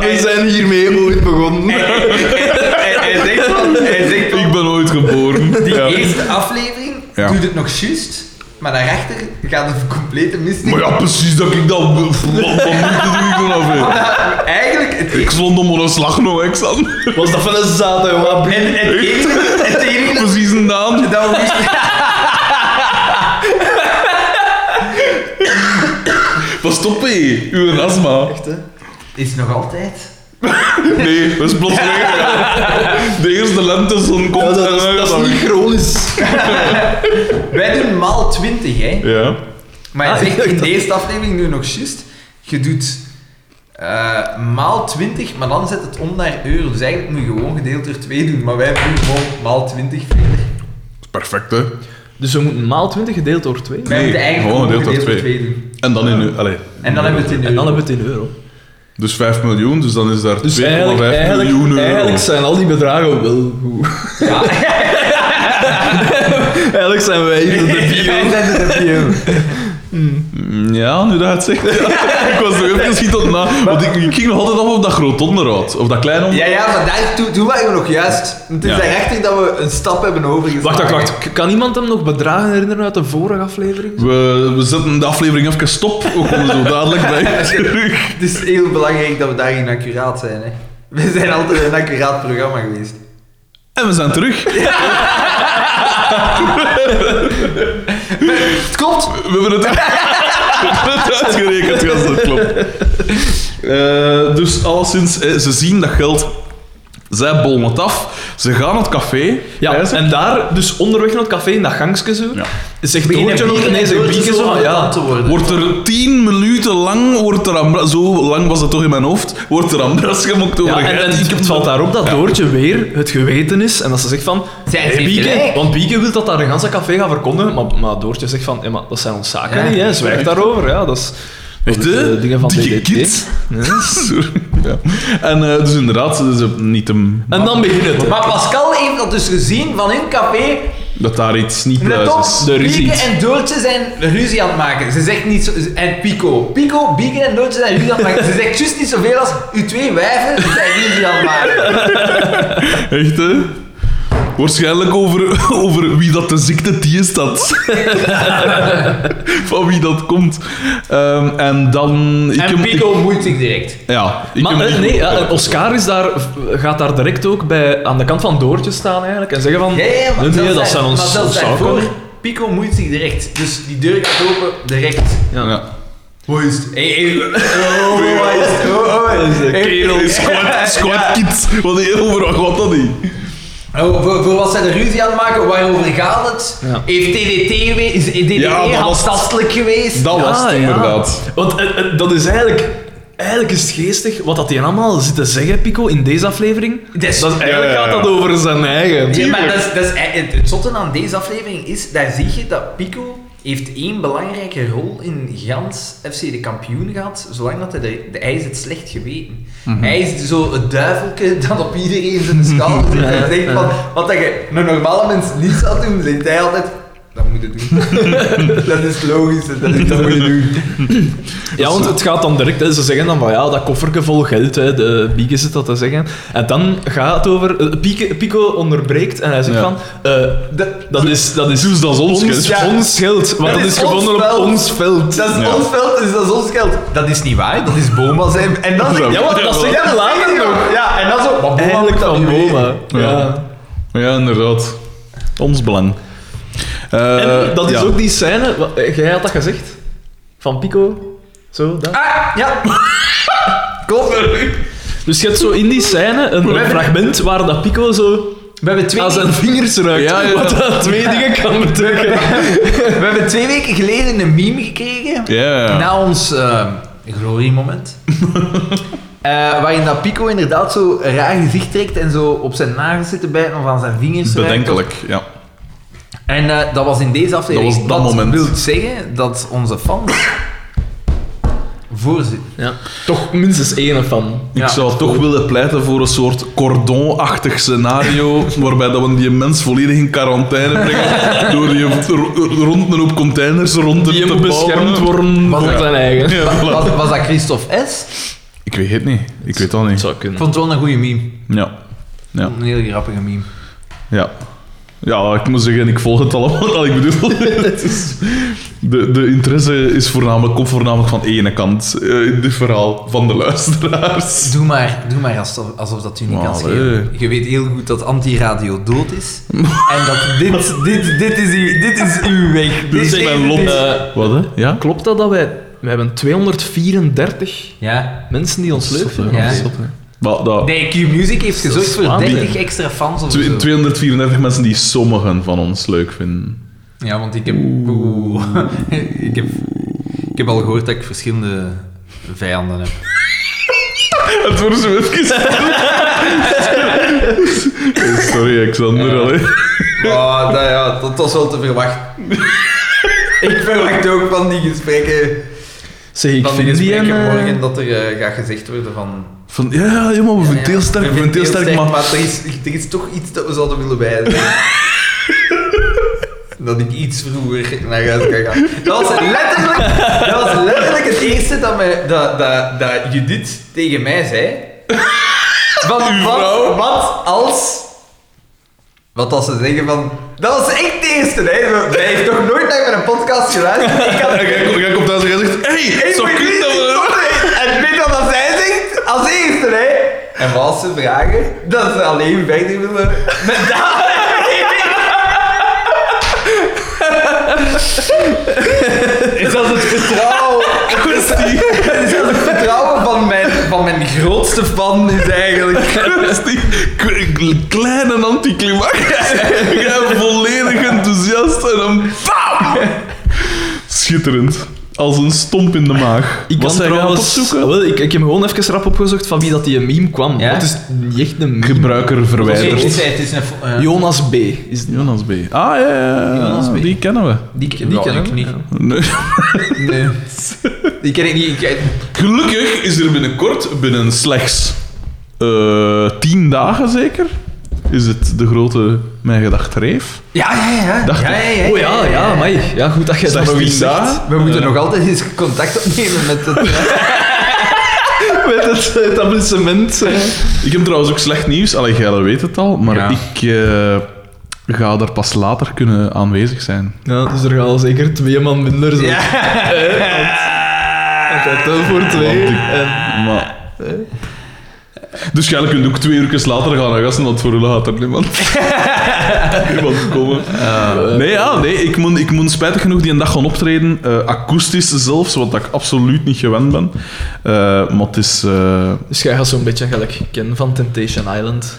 We zijn hiermee ooit begonnen.
hij, hij- hij zegt van... Hij zegt van
Ik ben ooit geboren.
Die
Ja.
eerste aflevering
Ja.
doet het nog juist, maar daarachter gaat het complete mist in.
Maar ja, precies dat ik dat... Wat wat moet ik doen af?
Eigenlijk, het,
Ik stond om een slag nog, ik zat...
Was dat van een zaad, jongen?
en, het, enige, het enige
Precies een naam.
dat we wisten...
Wat stop hé? Uw astma.
Is nog altijd...
Nee, dat is plots weggegaan. De eerste lentezon komt en
dat, is, dat is niet chronisch.
Wij doen maal 20, hè.
Ja.
Maar hij
Ah, ik
zegt,
dacht
in
dat-
de eerste aflevering doe je nog juist. Je doet eh, maal 20, maar dan zet het om naar euro. Dus eigenlijk moet je gewoon gedeeld door 2 doen. Maar wij doen gewoon maal 20 verder.
Perfect, hè?
Dus we moeten maal 20 gedeeld door 2.
Wij
Nee,
moeten eigenlijk
gewoon
gewoon
gedeeld
gedeeld
door
door
twee.
2 doen.
En dan in... u- Allee.
En dan hebben we het in
En dan
euro.
hebben we het in euro.
Dus 5 miljoen, dus dan is daar 2,5
Dus eigenlijk, eigenlijk,
miljoen euro.
eigenlijk zijn al die bedragen wel goed.
Ja.
eigenlijk zijn wij hier de debielen.
Mm, Ja, nu dat je het zegt. Ja. ik was er even geschieten na. Want ik, ik ging nog altijd af op dat groot onderhoud. Of dat klein onderhoud.
Ja, ja, maar daar, toen, toen waren we nog juist. Het is
Ja.
daarachter dat we een stap hebben overgeslagen.
Wacht, wacht, wacht. K- Kan iemand hem nog bedragen herinneren uit de vorige aflevering?
We, we zetten de aflevering even stop. We komen zo dadelijk bij terug.
Dus Het is heel belangrijk dat we daarin accuraat zijn. Hè. We zijn altijd een accuraat programma geweest.
En we zijn terug.
Het klopt!
We hebben het, we hebben het uitgerekend, ja, dat klopt. Eh, dus alleszins, eh, ze zien dat geld. Zij bollen het af. Ze gaan naar het café.
Ja,
Hè, ze-
en daar, dus onderweg naar het café, in dat gangstje zo,
Ja.
zegt
Beginnen
Doortje nog,
bieren
nee,
en
zegt
Doortje
Bieke
zo
zo van,
aan
ja,
het te worden.
Wordt er tien minuten lang, wordt er aan bra- zo lang was dat toch in mijn hoofd, wordt er aan bras gemokt over
Ja,
geld.
en, en het valt daarop dat Doortje weer het geweten is en dat ze zegt van...
Zij
"Hey,
heeft
Bieke,
gelijk.
want Bieke wil dat daar een ganse café gaat verkondigen, maar, maar Doortje zegt van, "Ja, maar dat zijn ons zaken
Ja.
niet, hè, zwijg daarover. Ja, dat is... dat
Echt,
is,
hè?
eh, dingen van
Dikke
DDT.
kids. Sorry. Ja. En eh, dus inderdaad, ze ze- niet hem,
En dan begint het.
Maar Pascal heeft dat dus gezien van in het café.
dat daar iets niet
Let op,
pluis is.
er is
Bieke
iets.
en Doortje zijn ruzie aan het maken. Ze zegt niet zo... En Pico. Pico, Bieke en Doortje zijn ruzie aan het maken. Ze zegt juist niet zoveel als... Uw twee wijven zijn ruzie aan het maken.
Echt, hè? Waarschijnlijk over, over wie dat de ziekte die is dat. Van wie dat komt. Ehm, en dan... Ik
En
hem-
Pico moeit zich direct.
ik- ja. Ik
Maar
hem
eh,
niet
nee,
goed-
ja, eh, Oscar is daar, gaat daar direct ook bij, aan de kant van Doortje staan eigenlijk en zeggen van...
Ja, ja, maar
nee, nee,
zelfs
dat
daar-
zijn
maar
ons,
zelfs
ons
daarvoor,
zaken.
Pico moeit zich direct. Dus die deur gaat open, direct.
Ja.
Wat is het? Hey, hey. Oh, wat is het? Oh, oh, wat is het? Hey,
Eh, Kerel,
hey.
squad, squad kid. Wat die over wat gaat dat niet?
Oh, voor, voor wat zijn de ruzie aan het maken? Waarover gaat het?
Ja.
Heeft TDT geweest? Is DDT
Ja, dat was-
handtastelijk geweest?
Dat was het
Ah, ja.
inderdaad.
Want eh, eh, dat is eigenlijk... Eigenlijk is het geestig wat dat hij allemaal zit te zeggen, Pico, in deze aflevering.
Dat is-
dat eigenlijk
Ja, ja, ja.
gaat dat over zijn eigen.
Ja, maar dat is, dat is, eh, het het zotte aan deze aflevering is, daar zie je dat Pico heeft één belangrijke rol in gans FC de kampioen gehad, zolang dat hij, de, de- hij is het slecht geweten. Hij is zo het duivelke dat op iedereen zijn schouder zit en denkt van, wat dat je een normale mens niet zou doen, zegt hij altijd, dat moet je doen. dat is logisch, dat, is, dat moet je doen.
Ja, want het gaat dan direct, hè, ze zeggen dan van ja, dat kofferke vol geld, hè, de Bieke zit dat te zeggen. En dan gaat het over, eh, Pieke- Pico onderbreekt en hij zegt
Ja.
van, eh, dat- dat is, dat is,
Dus dat is ons
ons,
geld.
ons geld, want
Dat
dat
is
is gevonden
ons
op
veld.
ons veld.
Dat is
Ja.
ons veld, dus dat is ons geld. Dat is niet waar, dat is Boma zijn. En dan
Ja, want dat
zegt hij later nog.
Ja, en dan zo, maar Boma
Eigenlijk
moet dat
van
niet weten.
Boma. Ja.
Ja. Ja, inderdaad. Ons belang.
En
Eh,
dat is
ja.
ook die scène, wat- eh, jij had dat gezegd, van Pico, zo, dat.
Ah, ja. Klopt.
Dus je hebt zo in die scène een, een fragment waar dat Pico zo
We hebben, twee
aan zijn vingers ruikt,
Ja, ja.
wat dat twee dingen kan betekenen.
we hebben twee weken geleden een meme gekregen.
Ja.
Na ons eh, gloriemoment. Eh, waarin dat Pico inderdaad zo een raar gezicht trekt en zo op zijn nagels zit te bijten of aan zijn vingers ruikt.
Bedenkelijk, ja.
En eh, dat was in deze aflevering.
Dat was dat moment.
wil zeggen dat onze fans voorzitten.
Ja. Toch minstens één van.
Ik
Ja.
zou toch willen pleiten voor een soort cordon-achtig scenario waarbij dat we die mens volledig in quarantaine brengen door die r- rond een hoop containers rond te
Die
te
moet beschermd
bouwen.
worden
Wat
van
ja.
zijn eigen.
Ja, voilà.
Was, was dat Christophe S?
Ik weet het niet. Ik weet dat niet.
zou
Ik
kunnen.
vond het wel een goede meme.
Ja. Ja.
Een hele grappige meme.
Ja. Ja, ik moet zeggen, ik volg het allemaal. Ik bedoel, het is- de, de interesse is voornamelijk, komt voornamelijk van ene kant eh, in dit verhaal van de luisteraars.
Doe maar, doe maar alsof, alsof dat u niet kan
Allee.
schelen. Je weet heel goed dat anti-radio dood is. en dat dit, dit, dit is uw, dit is uw weg.
Dit is mijn lot.
eh,
Wat, hè? Ja?
Klopt dat dat wij... We hebben 234
Ja.
mensen die ons leuk vinden.
ja.
Maar, dat,
Nee, Q-Music heeft gezorgd voor
Vlaanderen.
30 extra fans of
tw-
zo.
234 mensen die sommigen van ons leuk vinden.
Ja, want ik heb... Oeh. ik, heb, ik heb al gehoord dat ik verschillende vijanden heb.
Het wordt zo even- Sorry, Alexander. allee.
Oh, dat, ja, dat was wel te verwachten. ik verwacht ook van die gesprekken...
Zeg, ik
van die
vind die
gesprekken
een, eh,
morgen dat er eh, gaat gezegd worden van...
Van, ja, ja, ja, maar we vinden het heel sterk, we vinden het heel sterk, maar...
er, is, er is toch iets dat we zouden willen wijzigen. dat ik iets vroeger naar huis kan gaan. Dat was letterlijk, dat was letterlijk het eerste dat, mij, dat, dat, dat Judith tegen mij zei. Wat, wat, wat als... Wat als ze zeggen van... Dat was echt het eerste, hè. Hij heeft nog nooit naar mijn podcast geluisterd. Ik had
En jij- jij komt thuis en jij zegt, hey,
Hey,
zo
moet je
kun
niet
dat
doen,
we...
hè. En weet dan dat zij zingt? Als eerste, hè? En wat ze vragen? Dat ze alleen verder willen met dat. Is dat het vertrouwen? Is dat het vertrouwen van mijn, van mijn grootste fan is eigenlijk.
Dat is die k- k- kleine anticlimax. Jij bent volledig enthousiast en dan bam! Schitterend. Als een stomp in de maag.
Ik kan
Was hij gaan
trouwens...
opzoeken?
Wel, ik, ik heb gewoon even rap opgezocht van wie dat die meme kwam.
Ja?
Dat is niet echt een meme.
Gebruiker verwijderd.
het is een... eh,
Jonas B. Is die
Jonas B. Ah, ja, ja,
Jonas
ja.
B.
Die kennen we.
die
Ja,
kennen
ik
we.
niet.
Ja.
Nee.
nee. Die ken ik niet. Ik-
Gelukkig is er binnenkort, binnen slechts eh, tien dagen zeker, is het de grote Mijn Gedacht Reef.
Ja, ja, ja.
Dacht
ja,
ik.
ja, ja,
Oh ja, ja, amai. Ja, goed dat jij dat
Slechts
nog eens
tien
zegt.
dagen.
We moeten nog altijd eens contact opnemen met het...
Met het etablissement.
Ik heb trouwens ook slecht nieuws. Allee, jij weet het al, maar
Ja.
ik eh, ga er pas later kunnen aanwezig zijn.
Ja, dus er gaan al zeker twee man minder zijn.
Ja.
Dat voor twee.
Want ik- Maar Dus jij kunt ook twee uurtjes later gaan naar gasten, want voor jullie gaat er niemand, niemand komen. nee, ja, nee, ik moet, ik moet spijtig genoeg die een dag gaan optreden, eh, akoestisch zelfs, wat ik absoluut niet gewend ben. Eh, maar het is... eh,
Dus jij gaat zo'n beetje gelijk kennen van Temptation Island.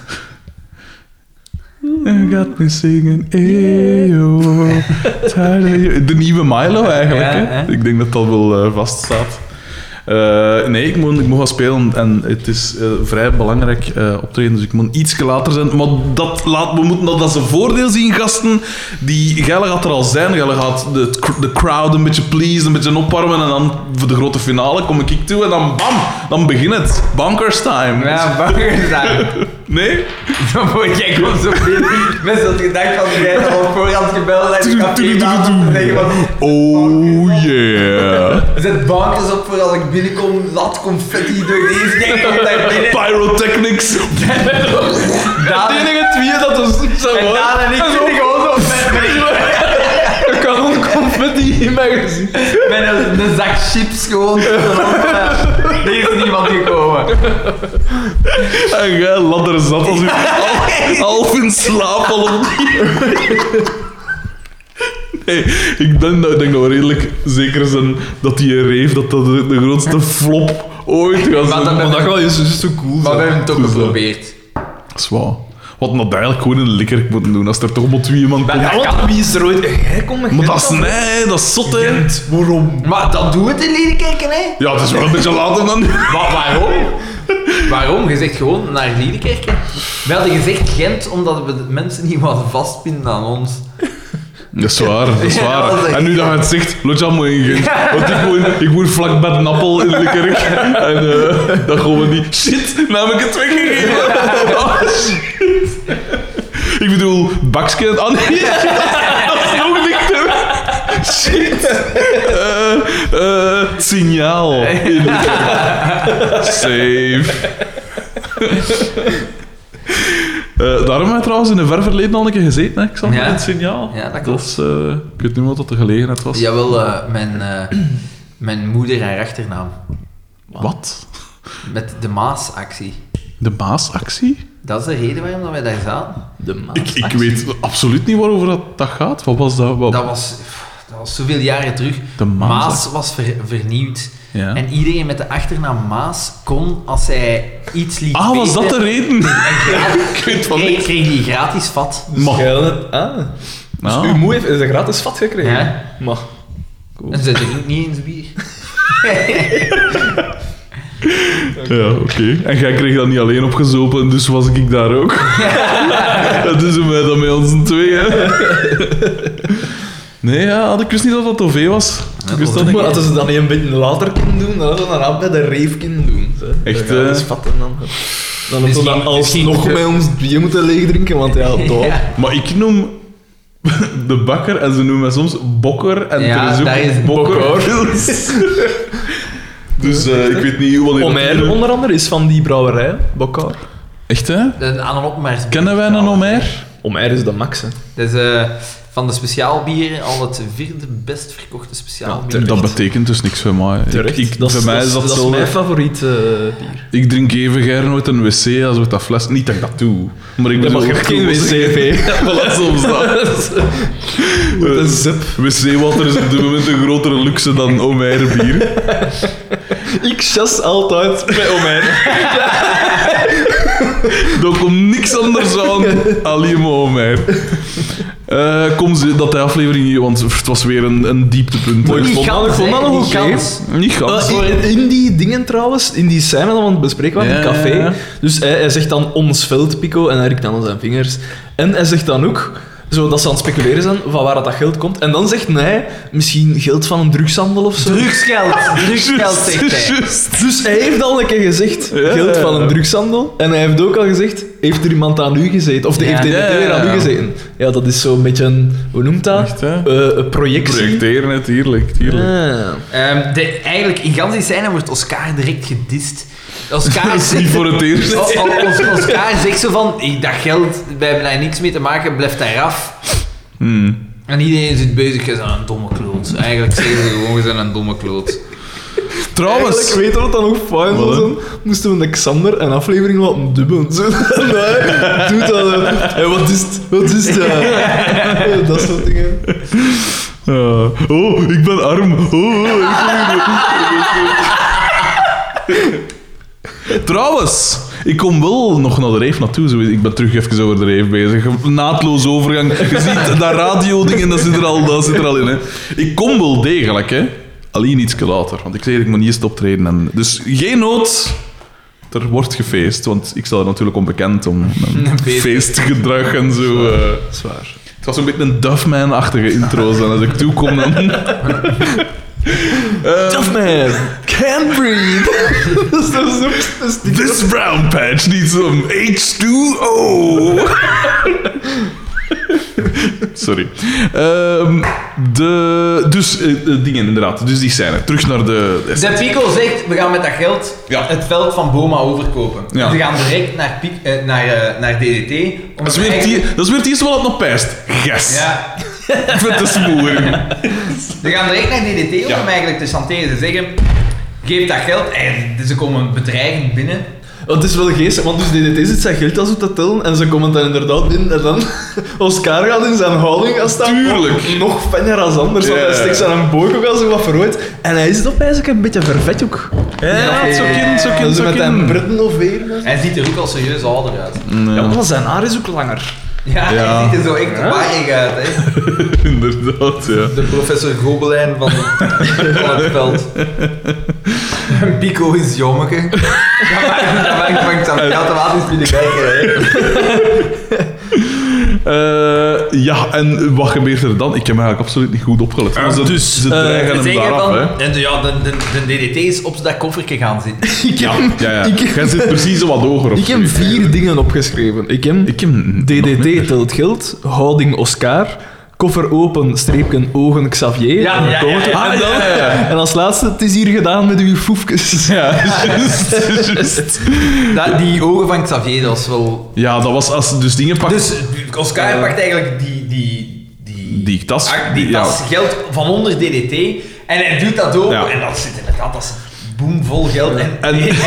En gaat me zingen, eeuw. De nieuwe Milo eigenlijk,
Ja,
hè?
hè?
Ik denk dat dat wel eh, vaststaat. Eh, nee, ik moet, ik moet gaan spelen en het is eh, vrij belangrijk eh, optreden, dus ik moet iets later zijn. Maar dat laat me moeten, dat, dat is een voordeel zien, gasten. Die Gelle gaat er al zijn, Gelle gaat de, de crowd een beetje please, een beetje opwarmen en dan voor de grote finale kom ik toe en dan bam, dan begint het. Bonkers time.
Ja, bangers daar.
Nee?
Dan word jij komt zo binnen met zo'n gedachte van jij hebt al op voorhand gebeld en ik ga prima en zeggen van...
Oh yeah.
Er zet bankjes op voor als ik binnenkom, laat confetti door deze ding, komt daar binnen.
Pyrotechnics.
Daan
Het
en
enige twee dat ons zou
Ah. en Daan en ik zitten gewoon zo met, met,
Een kanon confetti in mijn gezicht.
met een, een zak chips gewoon. zo van, eh, Er is niemand gekomen.
En jij ladder zat als u half, half in slaap al op die- Nee, ik denk, dat- ik denk dat we redelijk zeker zijn dat die reef dat dat de, de grootste flop ooit gaat
Maar
zijn.
dat-
Maar dat wel is dus zo cool.
Maar we
zijn.
hebben het ook
Dus, eh,
geprobeerd.
Zwaar. Wat nou eigenlijk gewoon een likkerk moeten doen, als er toch maar twee man komt.
Ja, want wie is er ooit... Jij komt met
Maar
Gent
dat is
af.
nee, dat is zot, hè. Waarom?
Maar dat doen we het in Liedekerken, hè?
Ja, het is wel een beetje later dan nu.
Wa- waarom? Waarom? Je zegt gewoon naar Liedekerken. We hadden gezegd Gent omdat we de mensen niet wilden vastbinden aan ons.
Dat is waar, dat is
Ja,
waar.
dat is echt-
en nu dat je het zegt, laat je allemaal in Gent. Want ik woon, ik woon vlak bij een appel in de kerk. En eh, dat gewoon niet. Shit, nou heb ik het weggegeven. Oh, shit. Ik bedoel, bakske. Ah nee, dat is nog dichter. Shit. Eh, eh, het signaal. in de kerk. Safe. Eh, daarom hebben we trouwens in een ver verleden al een keer gezeten, hè, Xander,
Ja.
in het signaal.
Ja, dat klopt.
is, eh, ik weet niet wat dat de gelegenheid was.
Jawel, eh mijn, eh, mijn moeder haar achternaam.
Wat?
Met de Maasactie.
De Maasactie?
Dat is de reden waarom dat wij daar zaten.
De
Ik,
maat.
ik weet absoluut niet waarover dat, dat gaat. Wat was dat? Wat-
Dat was, pff, dat was zoveel jaren terug.
De Maas-
Maas, was ver- vernieuwd.
Ja.
En iedereen met de achternaam Maas kon, als zij iets liet
Ah, was dat de
weten,
reden?
gratis-
Ik weet van
kreeg,
niks.
kreeg die gratis vat.
Maar-
Jij had het- Ah. Dus
Ah.
uw moe heeft is een gratis vat gekregen.
Ja.
Maar...
En zij drinkt niet eens bier.
Ja, oké. En jij kreeg dat niet alleen opgezopen, dus was ik daar ook. Het is mij dan met ons tweeën. Nee, ja, had ik wist niet dat dat OV was. Ik wist dat
dat
niet.
Maar hadden ze dat niet een beetje later kunnen doen, dan hadden ze daarna bij de rave kunnen doen. Zo.
Echt,
Dan gaan we
eh?
eens vatten dan. Dan hebben we
Misschien-
dan alsnog
misschien-
bij ons bier moeten leegdrinken, want ja, toch.
Ja.
Maar ik noem de bakker en ze noemen mij soms bokker en
Ja,
er is ook
daar is
bokker. eh,
bokker.
dus eh, ik weet niet hoe wanneer...
Omer onder andere is van die brouwerij, Bokkaar.
Echt, hè?
Een aan een opmerking.
Kennen wij een Omer?
Omer is de max, hè.
Dat is eh, van de speciaalbieren al het vierde best verkochte speciaalbier.
Dat betekent dus niks voor mij. Ik, ik,
dat,
voor
is-
mij is
dat,
dat,
is- dat
zo.
is mijn favoriet eh, bier.
Ik drink even gaar nooit een wc als met dat fles. Niet dat ik dat doe. Maar ik
Dat
bedoel-
mag ook geen wc-p.
Ja, voilà, soms dat. Eh,
Wat een zip.
Wc-water is op dit moment een grotere luxe dan Omer bier.
Ik chas altijd bij Omer.
Daar komt niks anders aan. Alleen maar Omer. Eh, kom, ze- dat die aflevering hier, want het was weer een, een dieptepunt.
Mooi.
hè.
Ik vond dat- ik vond dat nog oké.
Niet gans.
Eh, in, in die dingen trouwens, in die scène dat we aan het bespreken waren, in
Ja,
het café.
ja, ja.
Dus hij, hij zegt dan ons veld, Pico, en hij rikt dan aan zijn vingers. En hij zegt dan ook, zo, dat ze aan het speculeren zijn van waar dat geld komt. En dan zegt hij, misschien geld van een drugshandel of zo.
Drugsgeld, drugsgeld zegt hij.
Juist.
Dus hij heeft al een keer gezegd,
Ja.
geld van een drugshandel. En hij heeft ook al gezegd, heeft er iemand aan u gezeten? Of de
Ja.
heeft
Ja,
DDT
ja,
weer aan
ja.
u gezeten? Ja, dat is zo'n beetje een, hoe noemt dat?
Echt, hè?
Eh, een projectie.
Projecteren, hè, tuurlijk, tuurlijk.
Ah.
Ehm, de, eigenlijk, in gans die scène wordt Oscar direct gedist. Oscar
Dat is niet
zegt...
voor het eerst.
O- o- o- Oscar oh, Ah, zegt zo van, "Ik- dat geld, wij hebben daar niks mee te maken, blijf daar af.
Hmm.
En iedereen zit bezig, je bent een domme kloot. Eigenlijk zeggen ze gewoon, je bent een domme kloot.
Trouwens,
Eigenlijk, weet je wat dan ook fijn zou
Wat, hè?
zijn? Moesten we de Xander een aflevering laten dubben. Zo, nee, doet dat. hè. Hé, wat is het? Wat is het? Ja, Eh, dat soort dingen.
Ja. oh, ik ben arm. Oh, Oh, ik ben- Trouwens, ik kom wel nog naar de reef naartoe. Zo, Ik ben terug even over de reef bezig. Naadloze overgang. Je ziet dat radio-ding en dat zit er al, dat zit er al in. Hè. Ik kom wel degelijk, hè. Alleen iets later. Want ik zei, ik moet niet eerst optreden. En... Dus geen nood. Er wordt gefeest. Want ik sta er natuurlijk onbekend om. mijn
Beter.
Feestgedrag en zo. eh.
Zwaar.
Het was een beetje een Duffman-achtige intro. En als ik toekom, dan... Eh,
Duffman, can breathe. dat is dat is ook een sticker.
this brown patch needs some H2O. Sorry. Ehm, de, dus eh, eh, dingen, inderdaad. Dus die scène. Terug naar de...
De Pico zegt, we gaan met dat geld
Ja.
het veld van Boma overkopen.
Ja.
We gaan direct naar, Piek, eh, naar, eh, naar DDT. om
dat, is
het
weer het,
eigen-
hier- dat is weer het eerste wat het nog pijst. Yes.
Ja,
Ik vind het smoren.
we gaan direct naar DDT om
Ja.
hem eigenlijk te chanteren. Ze zeggen, geef dat geld. En ze komen bedreigend binnen.
Want het is wel geestig, want dus DDT zit zijn geld als op te tellen en ze komen dan inderdaad binnen en dan Oscar gaat in zijn houding als dat
Tuurlijk.
nog fijner als anders, want hij
Ja.
steekt zijn boog ook als hij wat verrooid en hij zit op eigenlijk een beetje vervet ook.
Ja, zo kind, zo
En
kind,
ze
zo
met zijn
kind.
britten of weer.
Hij ziet er ook al serieus ouder uit.
Ja,
Ja,
maar zijn haar is ook langer.
Ja,
Mm. Ja.
hij ziet er zo echt waarig uit. Hè.
inderdaad, ja.
De professor Gobelijn van, van het veld. Pico is jommeke. Dat maakt- Dat maakt- maakt dat automatisch binnen kijken. Hè.
Eh, ja, en wat gebeurt er dan? Ik heb me eigenlijk absoluut niet goed opgelet. Maar ze,
dus,
ze
eh,
dreigen hem
Zeggen
daaraf, hè.
van, en de- ja, de, de, de DDT is op dat koffertje gaan zitten.
Ik heb,
Ja, ja.
Ik,
Jij
heb,
zit precies wat hoger op.
ik heb vier dingen opgeschreven. Ik heb,
Ik heb
DDT telt geld, houding Oscar, koffer open, streepken ogen Xavier.
Ja, ja, ja, ja.
En, dan,
Ah, ja, ja, ja.
en als laatste, het is hier gedaan met uw foefkes.
Ja, juist, juist.
Dat, die ogen van Xavier, dat was wel...
Ja, dat was als ze dus dingen pakten.
Dus Oscar pakt eigenlijk die... die die,
Die tas.
Ah, die tas
Ja.
geld van onder DDT. En hij doet dat open.
Ja.
En dat zit inderdaad, dat is boomvol geld. En, en,
En-
Dus-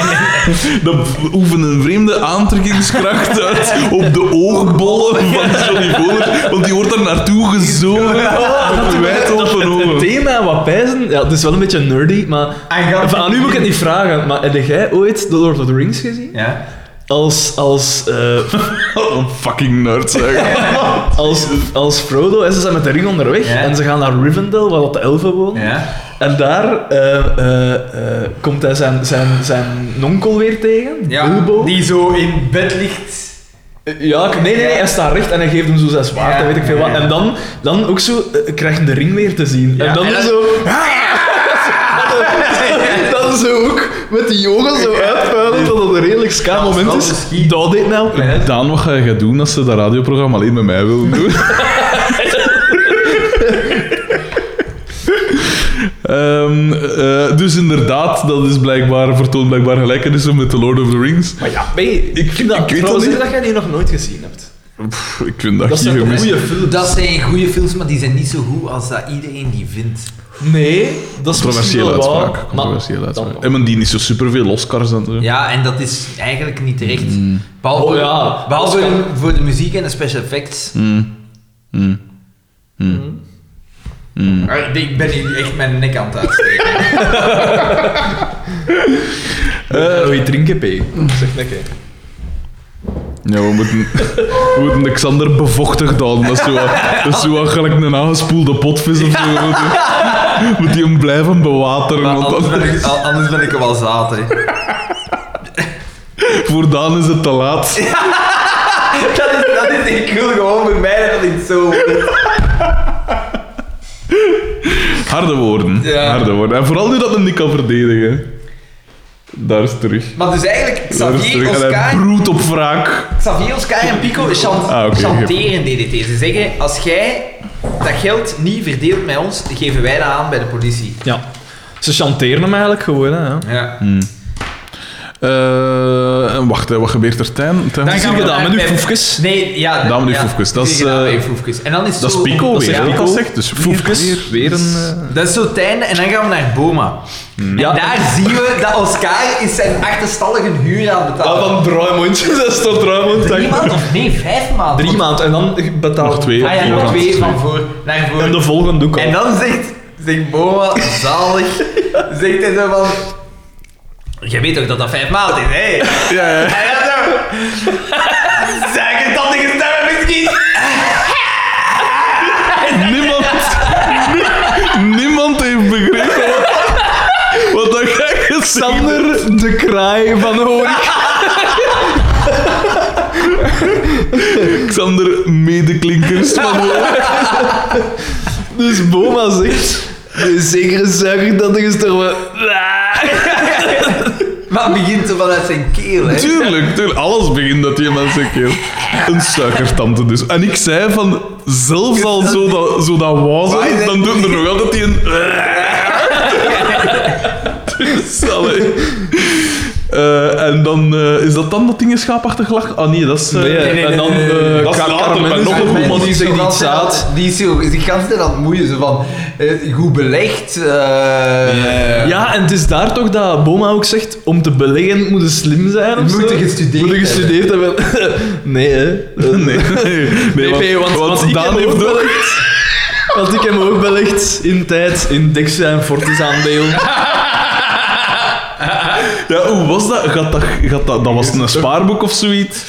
Dan oefen een vreemde aantrekkingskracht uit op de oogbollen van Johnny Voller, want die wordt er naartoe gezogen met wijdopen
Het
ogen.
thema wat pijzen, ja, het is wel een beetje nerdy, maar...
En gaat-
Enfin, aan u moet ik het niet vragen, maar heb jij ooit The Lord of the Rings gezien?
ja.
Als, als, eh,
Wat een fucking nerd, zeg.
als, als Frodo, en ze zijn met de ring onderweg,
Ja.
en ze gaan naar Rivendell, waar dat de elfen wonen.
ja.
En daar eh, eh, eh, komt hij zijn, zijn, zijn nonkel weer tegen,
Ja,
Bilbo.
die zo in bed ligt.
Eh, Ja, ik- nee, nee, nee, hij staat recht en hij geeft hem zo zijn zwaard
Ja.
en weet ik veel wat.
Ja.
En dan, dan ook zo, eh, krijg je de ring weer te zien.
Ja,
En dan
en dat-
zo... dan zo ook met die jongen zo uitvuilen dat het een redelijk ska moment
dat
is.
is schiet.
Dat deed nou.
Daan, wat ga je doen als ze dat radioprogramma alleen met mij willen doen? Ehm, eh, dus inderdaad, dat is blijkbaar, vertoont blijkbaar gelijkenissen met The Lord of the Rings.
Maar ja, nee, ik vind dat,
ik weet
vooral
dat niet.
zeker dat jij die nog nooit gezien hebt.
Pff, ik vind dat,
Dat
hier
zijn toch
gemist.
goede films?
Dus Dat zijn goede films, maar die zijn niet zo goed als dat iedereen die vindt.
Nee, dat is misschien
Controversiële
wel waar,
uitspraak.
maar
Controversiële
dan
uitspraak.
nog.
En men die niet zo superveel Oscars en zo.
Ja, en dat is eigenlijk niet terecht. Behalve,
Oh ja.
behalve voor, de, voor de muziek en de special effects. Mm. Maar Ah, Ik ben hier echt mijn nek aan het uitsteken.
Eh, Wil je drinken, P? Zeg lekker.
Ja, we moeten, we moeten de Xander bevochtigd houden. Dat is zo, dat is zo wat gelijk een aangespoelde potvis of zo. Moet je hem blijven bewateren.
Maar
want
anders,
dan-
ben ik, al- anders ben ik er wel zaad, hè.
Voor Daan is het te laat.
Dat is, dat is, ik wil gewoon bij mij dat niet zo...
Harde woorden.
Ja.
Harde woorden. En vooral nu dat hem niet kan verdedigen. Daar is terug.
Maar dus eigenlijk,
Daar is
Xavier,
terug. En hij
Oscar,
broedt op wraak.
Xavier, Oscar en Pico chan-
Ah, oké,
chanteren DDT. Ze zeggen, als jij dat geld niet verdeelt met ons, geven wij dat aan bij de politie.
Oh,
Hmm.
Ja. Ze chanteren hem eigenlijk gewoon, hè. ja.
Ja.
Eh, en wacht, hè, wat gebeurt er ten? ten-
gaan we- gedaan met uw foefkes?
Nee, ja.
Dan met uw
ja,
foefkes. Dat is,
gedaan
eh,
met uw foefkes. En dan is het
Dat is
zo-
Pico
dat
weer,
is
hè,
Pico.
dat zegt. Dus
Foefkes.
weer-
Weer een... eh,
Dat is zo het einde en dan gaan we naar Boma.
Hmm.
Ja.
En daar zien we dat Oscar is zijn achterstallige huur aan het
Ah,
betalen.
van Druimond. dat is toch Druimond?
Drie maanden of nee, vijf maanden.
Drie maanden. En dan betaal
Nog twee.
Ah ja, nog
Voorhand.
twee van voor naar voren.
En de volgende doek al.
En dan zegt, zegt Boma, zalig, zegt hij zo van... Je weet ook dat dat vijf maanden is, hè?
Ja, ja.
En dan zo... Zeg het dat ik het daar misschien?
Niemand, niemand heeft begrepen wat- wat dat gek gezegd
Sander de Kraai van Horik.
Xander medeklinkers van
Dus Boma zegt... De zekere zuiger dat er is er wel...
Maar het begint zo vanuit zijn keel, hè?
Tuurlijk, tuurlijk. Alles begint dat je mensen keel. Een suikertante dus. En ik zei van, zelfs al zo dat, zo dat wazen, dan doet er nog altijd die een... Dus, allee. Eh, en dan eh, is dat dan dat ding schaapachtig lach? Ah nee, dat is. eh,
Nee,
nee, nee,
en dan
nee, nee, nee.
eh,
Dat is
Car-
later,
Carmen
maar
is
nog een
een
roman
man
die
die
is
zich
nog
niet
altijd aan-
zaad.
Die is zo, die is de hele tijd aan het moeien, zo van... eh, goed belegd, eh
Eh.
Ja, en het is daar toch dat Boma ook zegt, om te beleggen moet je slim zijn of
Moet
zo.
je gestudeerd
Moet je gestudeerd hebben. nee, hè.
Nee, nee,
Nee, nee, want, want, ik
Daan
heb
heeft
ook
ook.
belegd. Want ik heb ook belegd in tijd in Dexia en Fortis aandeel.
Ja, hoe was dat? Gaat dat, gaat dat, dat was een spaarboek of zoiets?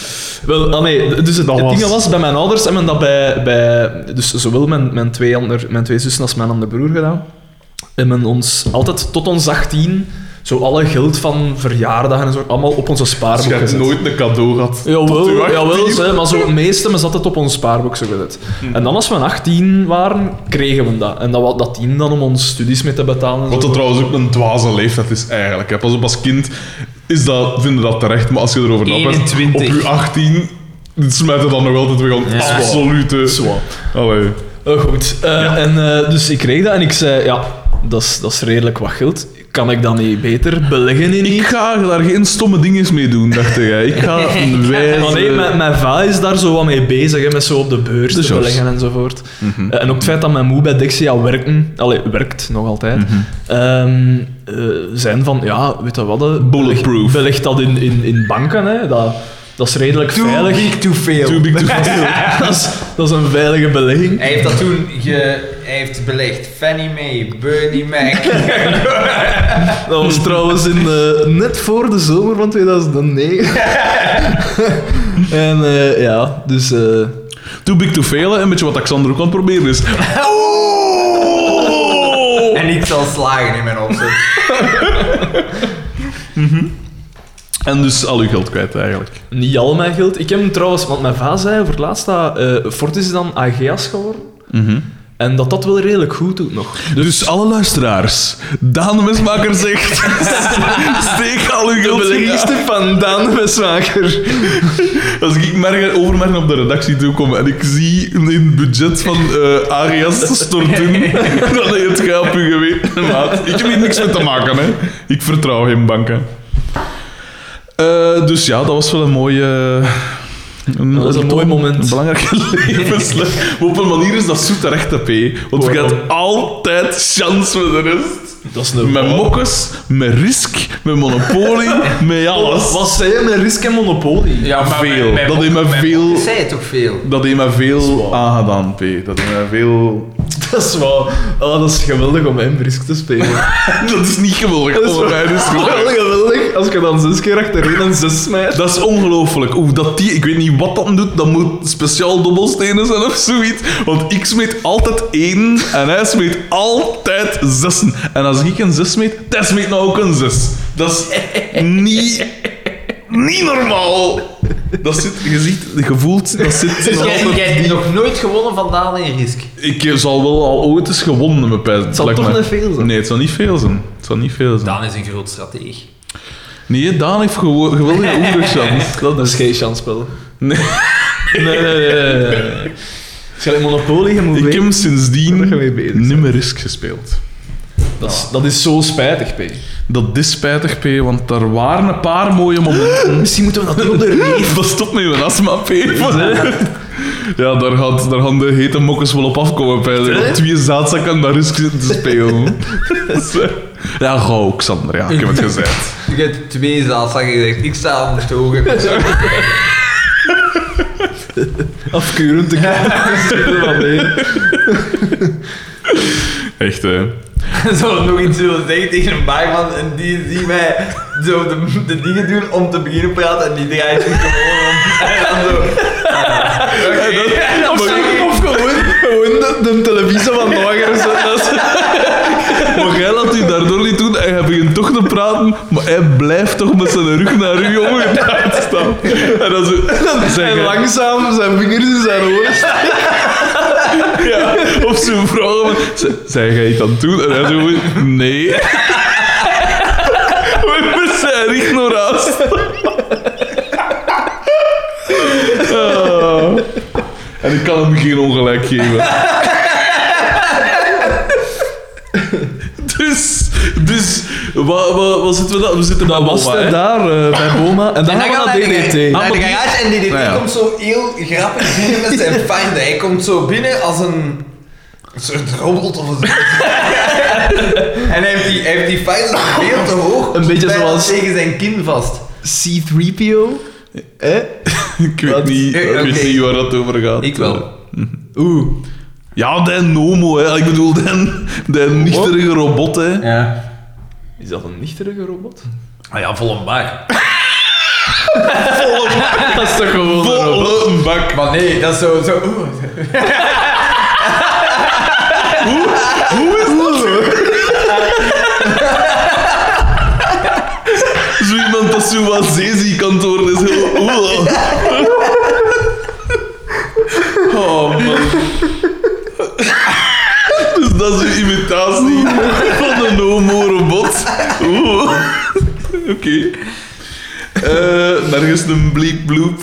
Wel, ah nee, dus het,
Dat
het ding
was-
was, bij mijn ouders hebben dat bij, bij dus zowel mijn, mijn, twee ander, mijn twee zussen als mijn andere broer gedaan. En men ons altijd tot ons 18 zo alle geld van verjaardagen en zo allemaal op onze
Dus
spaarboek
je hebt
gezet.
nooit een cadeau gehad. Tot uw
Jawel,
18e.
jawel ze, maar zo, het meeste men zat het op ons spaarboek zo gezet. En dan als we 18 waren, kregen we dat. En dat was dat 10 dan om ons studies mee te betalen. en
Wat
zo.
dat trouwens ook een dwaze leeftijd is eigenlijk. Hè. Pas op, als kind is dat, vinden dat terecht, maar als je erover nadenkt, op
21.
je 18 smijt het dan nog altijd weer aan
Ja.
absolute...
Zwaar.
Allee.
Eh, goed, eh, en, eh, dus ik kreeg dat en ik zei, ja, dat is- dat is redelijk wat geld. Kan ik dat niet beter beleggen in
Ik
iets?
ga daar geen stomme dinges mee doen, dacht jij. Ik ga een
Maar
wijze...
nee, mijn, mijn va is daar zo wat mee bezig, hè, met zo op de beurs
De
te
George.
beleggen enzovoort. Eh, en ook het feit dat mijn moe bij Dexia werken, allee, werkt nog altijd, ehm, eh, zijn van, ja, weet je wat, eh,
Bulletproof.
beleg, beleg dat in, in, in banken, hè, dat, dat is redelijk
Too
veilig.
big to fail.
Too big to fail.
dat, is, dat is een veilige belegging.
Hij heeft dat toen ge... Hij heeft belegd Fanny Mae, Bernie Mac.
Dat was trouwens in, eh, net voor de zomer van 2009. en eh, ja, dus... eh,
Too big to fail, hè. een beetje wat Alexander ook aan het proberen is.
en ik zal slagen in mijn opzet.
En dus al uw geld kwijt eigenlijk.
niet al mijn geld. Ik heb hem trouwens, want mijn va zei voor het laatst dat eh, Fortis is dan AGA's geworden. En dat dat wel redelijk goed doet nog.
Dus, alle luisteraars, Daan de Mesmaker zegt: steek al uw
De
geld
beleggingste van Daan Westmaker.
Als ik merk, overmerken op de redactie toe kom en ik zie in het budget van eh Arias storten, dan heb je het gaap u geweten, maat. Ik heb hier niks mee te maken, hè. Ik vertrouw geen banken. Eh, dus ja, dat was wel een mooie... Een,
Dat was een mooi moment.
Een belangrijke levensles. Maar op een manier is dat zoet rechte P. Want je hebt altijd chance met de rest.
Dat is een
Met mokkes, met risk, met monopolie, met alles.
Wat zei je met risk en monopolie?
Ja,
Veel. Dat heeft me veel...
Ik zei het toch veel.
Dat heeft mij veel
Zwaar.
aangedaan, P. Dat heeft mij veel...
Dat is wel... Oh, dat is geweldig om hem risk te spelen.
Dat is niet geweldig.
Dat is wel-
Allebei, dat is
Wel
geweldig.
geweldig als je dan zes keer achterin en zes smijt.
Dat is ongelooflijk. Oeh, dat die, ik weet niet wat dat doet. Dat moet speciaal dobbelstenen zijn of zoiets. Want ik smeet altijd één en hij smeet altijd zessen. En als ik een zes smeet, hij smeet nou ook een zes. Dat is niet, niet normaal. Dat zit, je ziet, je voelt, dat zit.
Dus
nog
jij,
altijd-
jij hebt nog nooit gewonnen van Daan in Risk.
Ik eh, zal wel al ooit eens gewonnen met pijs. Het
zal
lijkt
toch
mij.
niet veel zijn.
Nee, het zal niet veel zijn. Het zal niet veel zijn.
Daan is een groot strateeg.
Nee, Daan heeft gewo- geweldige oerchans.
Dat is geen chansspel.
Nee.
Nee, nee, nee. nee. Monopolie, je moet
Ik
weten.
heb sindsdien
Dat je mee bezig bent.
nimmer risk gespeeld.
Dat is, dat is zo spijtig, P.
Dat is spijtig, P, want er waren een paar mooie momenten.
Misschien moeten we dat doen op de
Dat stopt met uw astma, P. Ja, daar, gaat, daar gaan de hete mokkers wel op afkomen, P. Er gaan twee zaadzakken daar rustig zitten te spelen. Dus, eh, Ja, ga ook, Xander. Ja, ik heb het gezegd.
Je hebt twee zaalzakken gezegd. Ik sta aan de ogen.
Afkeurend te kijken.
Echt, hè.
Zo nog iets willen zeggen tegen een barman en die ziet mij zo de, de dingen doen om te beginnen praten en die draait zich gewoon om. En dan zo...
Of, zo- of gewoon, gewoon de, de televisie van morgen. zo, dat is-
Maar jij laat u daardoor niet doen en hij begint toch te praten, maar hij blijft toch met zijn rug naar u omgedraaid staan. En dan, zo, dan zeg
En
je-
langzaam zijn vingers in zijn oren.
ja, op zijn vrouw, zijn jij iets aan het doen? En hij zo, gewoon, nee. We met zijn rug naar huis. Ah. En ik kan hem geen ongelijk geven. Dus, dus, wat, wat, wat zitten we dan? We zitten bij
Was
Boma, hè?
hij daar eh, bij Boma? En
En
dan
dan
gaan
gaat
we naar DDT.
Ah,
Naar de
maar die-
garage en die, die
Nou ja.
komt zo heel grappig binnen met zijn find. Hij komt zo binnen als een... Een soort robot of een... en hij heeft die, hij heeft die find veel te hoog.
Een beetje
bijna
zoals-
Tegen zijn kin vast.
C3PO? Eh?
Ik weet,
Wat?
niet, ik
Eh,
weet
oké.
niet waar dat over gaat.
Ik wel.
Oeh.
Ja, den homo, hè. Ik bedoel, den, den nichterige robot, hè.
Ja.
Is dat een nichterige robot?
Ah ja, vol een bak.
Dat is toch gewoon een robot?
Volle een bak.
Maar nee, dat is zo... zo oeh.
Zo iemand dat zo wat zezi kan worden, is heel... Oeh. Oh, man. Dus dat is een imitatie van een homo-robot. Oeh. Oké. Eh, nergens een bleep bloep.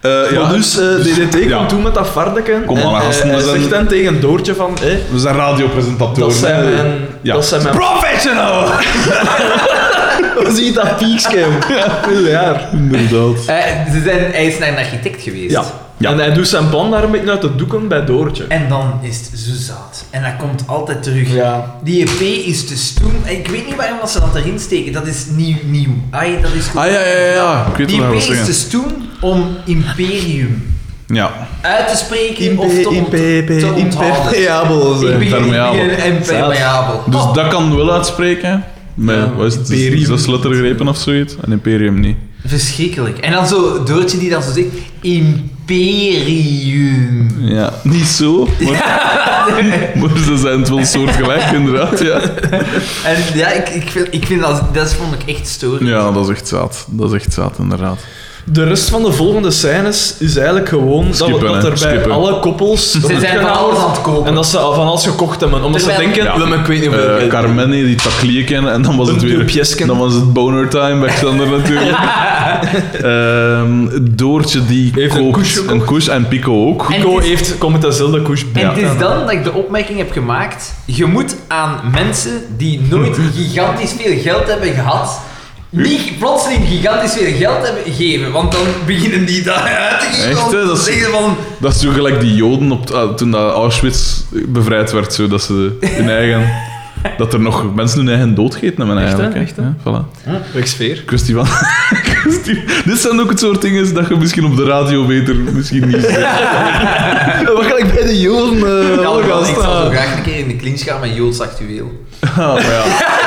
Eh,
Ja, dus eh, DDT
ja.
komt toen met dat vardenken.
Kom maar,
en, eh,
gasten, we
hij
zijn-
zegt dan tegen Doortje van... eh,
We zijn radiopresentatoren.
dat zijn
hè.
mijn...
Ja.
Dat zijn mijn...
Professional!
Zie je dat piekscam? Miljaar.
Inderdaad.
Eh, ze zijn, hij is naar een architect geweest.
Ja.
Ja.
En hij doet zijn plan daar een beetje uit de doeken bij Doortje.
En dan is het zo zaad. En dat komt altijd terug.
Ja.
Die EP is te stoem. Ik weet niet waarom dat ze dat erin steken. Dat is nieuw, nieuw. Ai, dat is goed.
Ah ja, ja, ja, ja. Ik weet
Die
wat
EP
hij wil
is te
zeggen.
stoem om imperium
Ja.
uit te spreken of te,
Impe-
ont-
impe-
te onthouden.
Impermeabel zijn.
Impe-
Impermeabel.
impe- Impermeabel.
Dus
Oh,
dat kan wel uitspreken. Maar
Ja,
wat is het? dus
imperium.
Zes lettergrepen of zoiets. En imperium niet.
Verschrikkelijk. En dan zo Doortje die dan zo zegt... Imperium.
Ja. Niet zo, maar, maar ze zijn het wel soortgelijk, inderdaad. Ja,
En ja, ik, ik, vind, ik vind dat... Dat vond ik echt storend.
ja dat is echt zaad. Dat is echt zaad, inderdaad.
De rest van de volgende scènes is eigenlijk gewoon dat,
Skippen,
dat
hè.
er bij
Skippen.
alle koppels...
Ze zijn van alles aan het kopen.
En dat ze van alles gekocht hebben. Omdat ze
Terwijl-
denken...
Ja.
"Wel, maar ik weet niet hoeveel
Eh,
geld."
Carmeni die taklie kennen en dan was
Een
het weer...
duwpjesken.
Dan was het boner time bij Xander natuurlijk. Ehm, Doortje die
Heeft een
koopt
koes gekocht.
een koes en Pico ook.
En
Ko
het is-
heeft... Komt met dezelfde koers
En
bij.
het is dan dat ik de opmerking heb gemaakt. Je moet aan mensen die nooit gigantisch veel geld hebben gehad. Niet plotseling gigantisch veel geld hebben geven, want dan beginnen die daaruit te geven.
Echt,
om
hè?
te
Dat is-
zeggen van.
Dat is zo gelijk die Joden op, ah, toen dat Auschwitz bevrijd werd, zo, dat ze hun eigen... Dat er nog mensen hun eigen dood gegeten hebben
Echt, hè?
eigenlijk. hè.
Echt, hè?
Ja, voilà.
Wegsfeer.
Kwestie van... kwestie- Dit zijn ook het soort dingen dat je misschien op de radio beter misschien niet zegt. Eh,
Wat ga ik bij de Joden uh,
Ja, ik zou zo graag een keer in de clinch gaan met Joods actueel.
Ah, maar ja,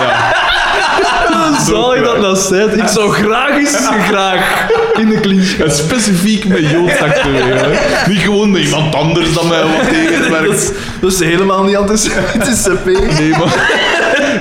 ja. Ah,
Zal ik dat nou zijn? Ik zou graag eens graag in de clinch gaan.
En specifiek met joodactueel. Niet gewoon dat iemand anders dan mij wat
Dat is,
tegenwerkt.
dat is helemaal niet antisemitische P.
Nee, maar...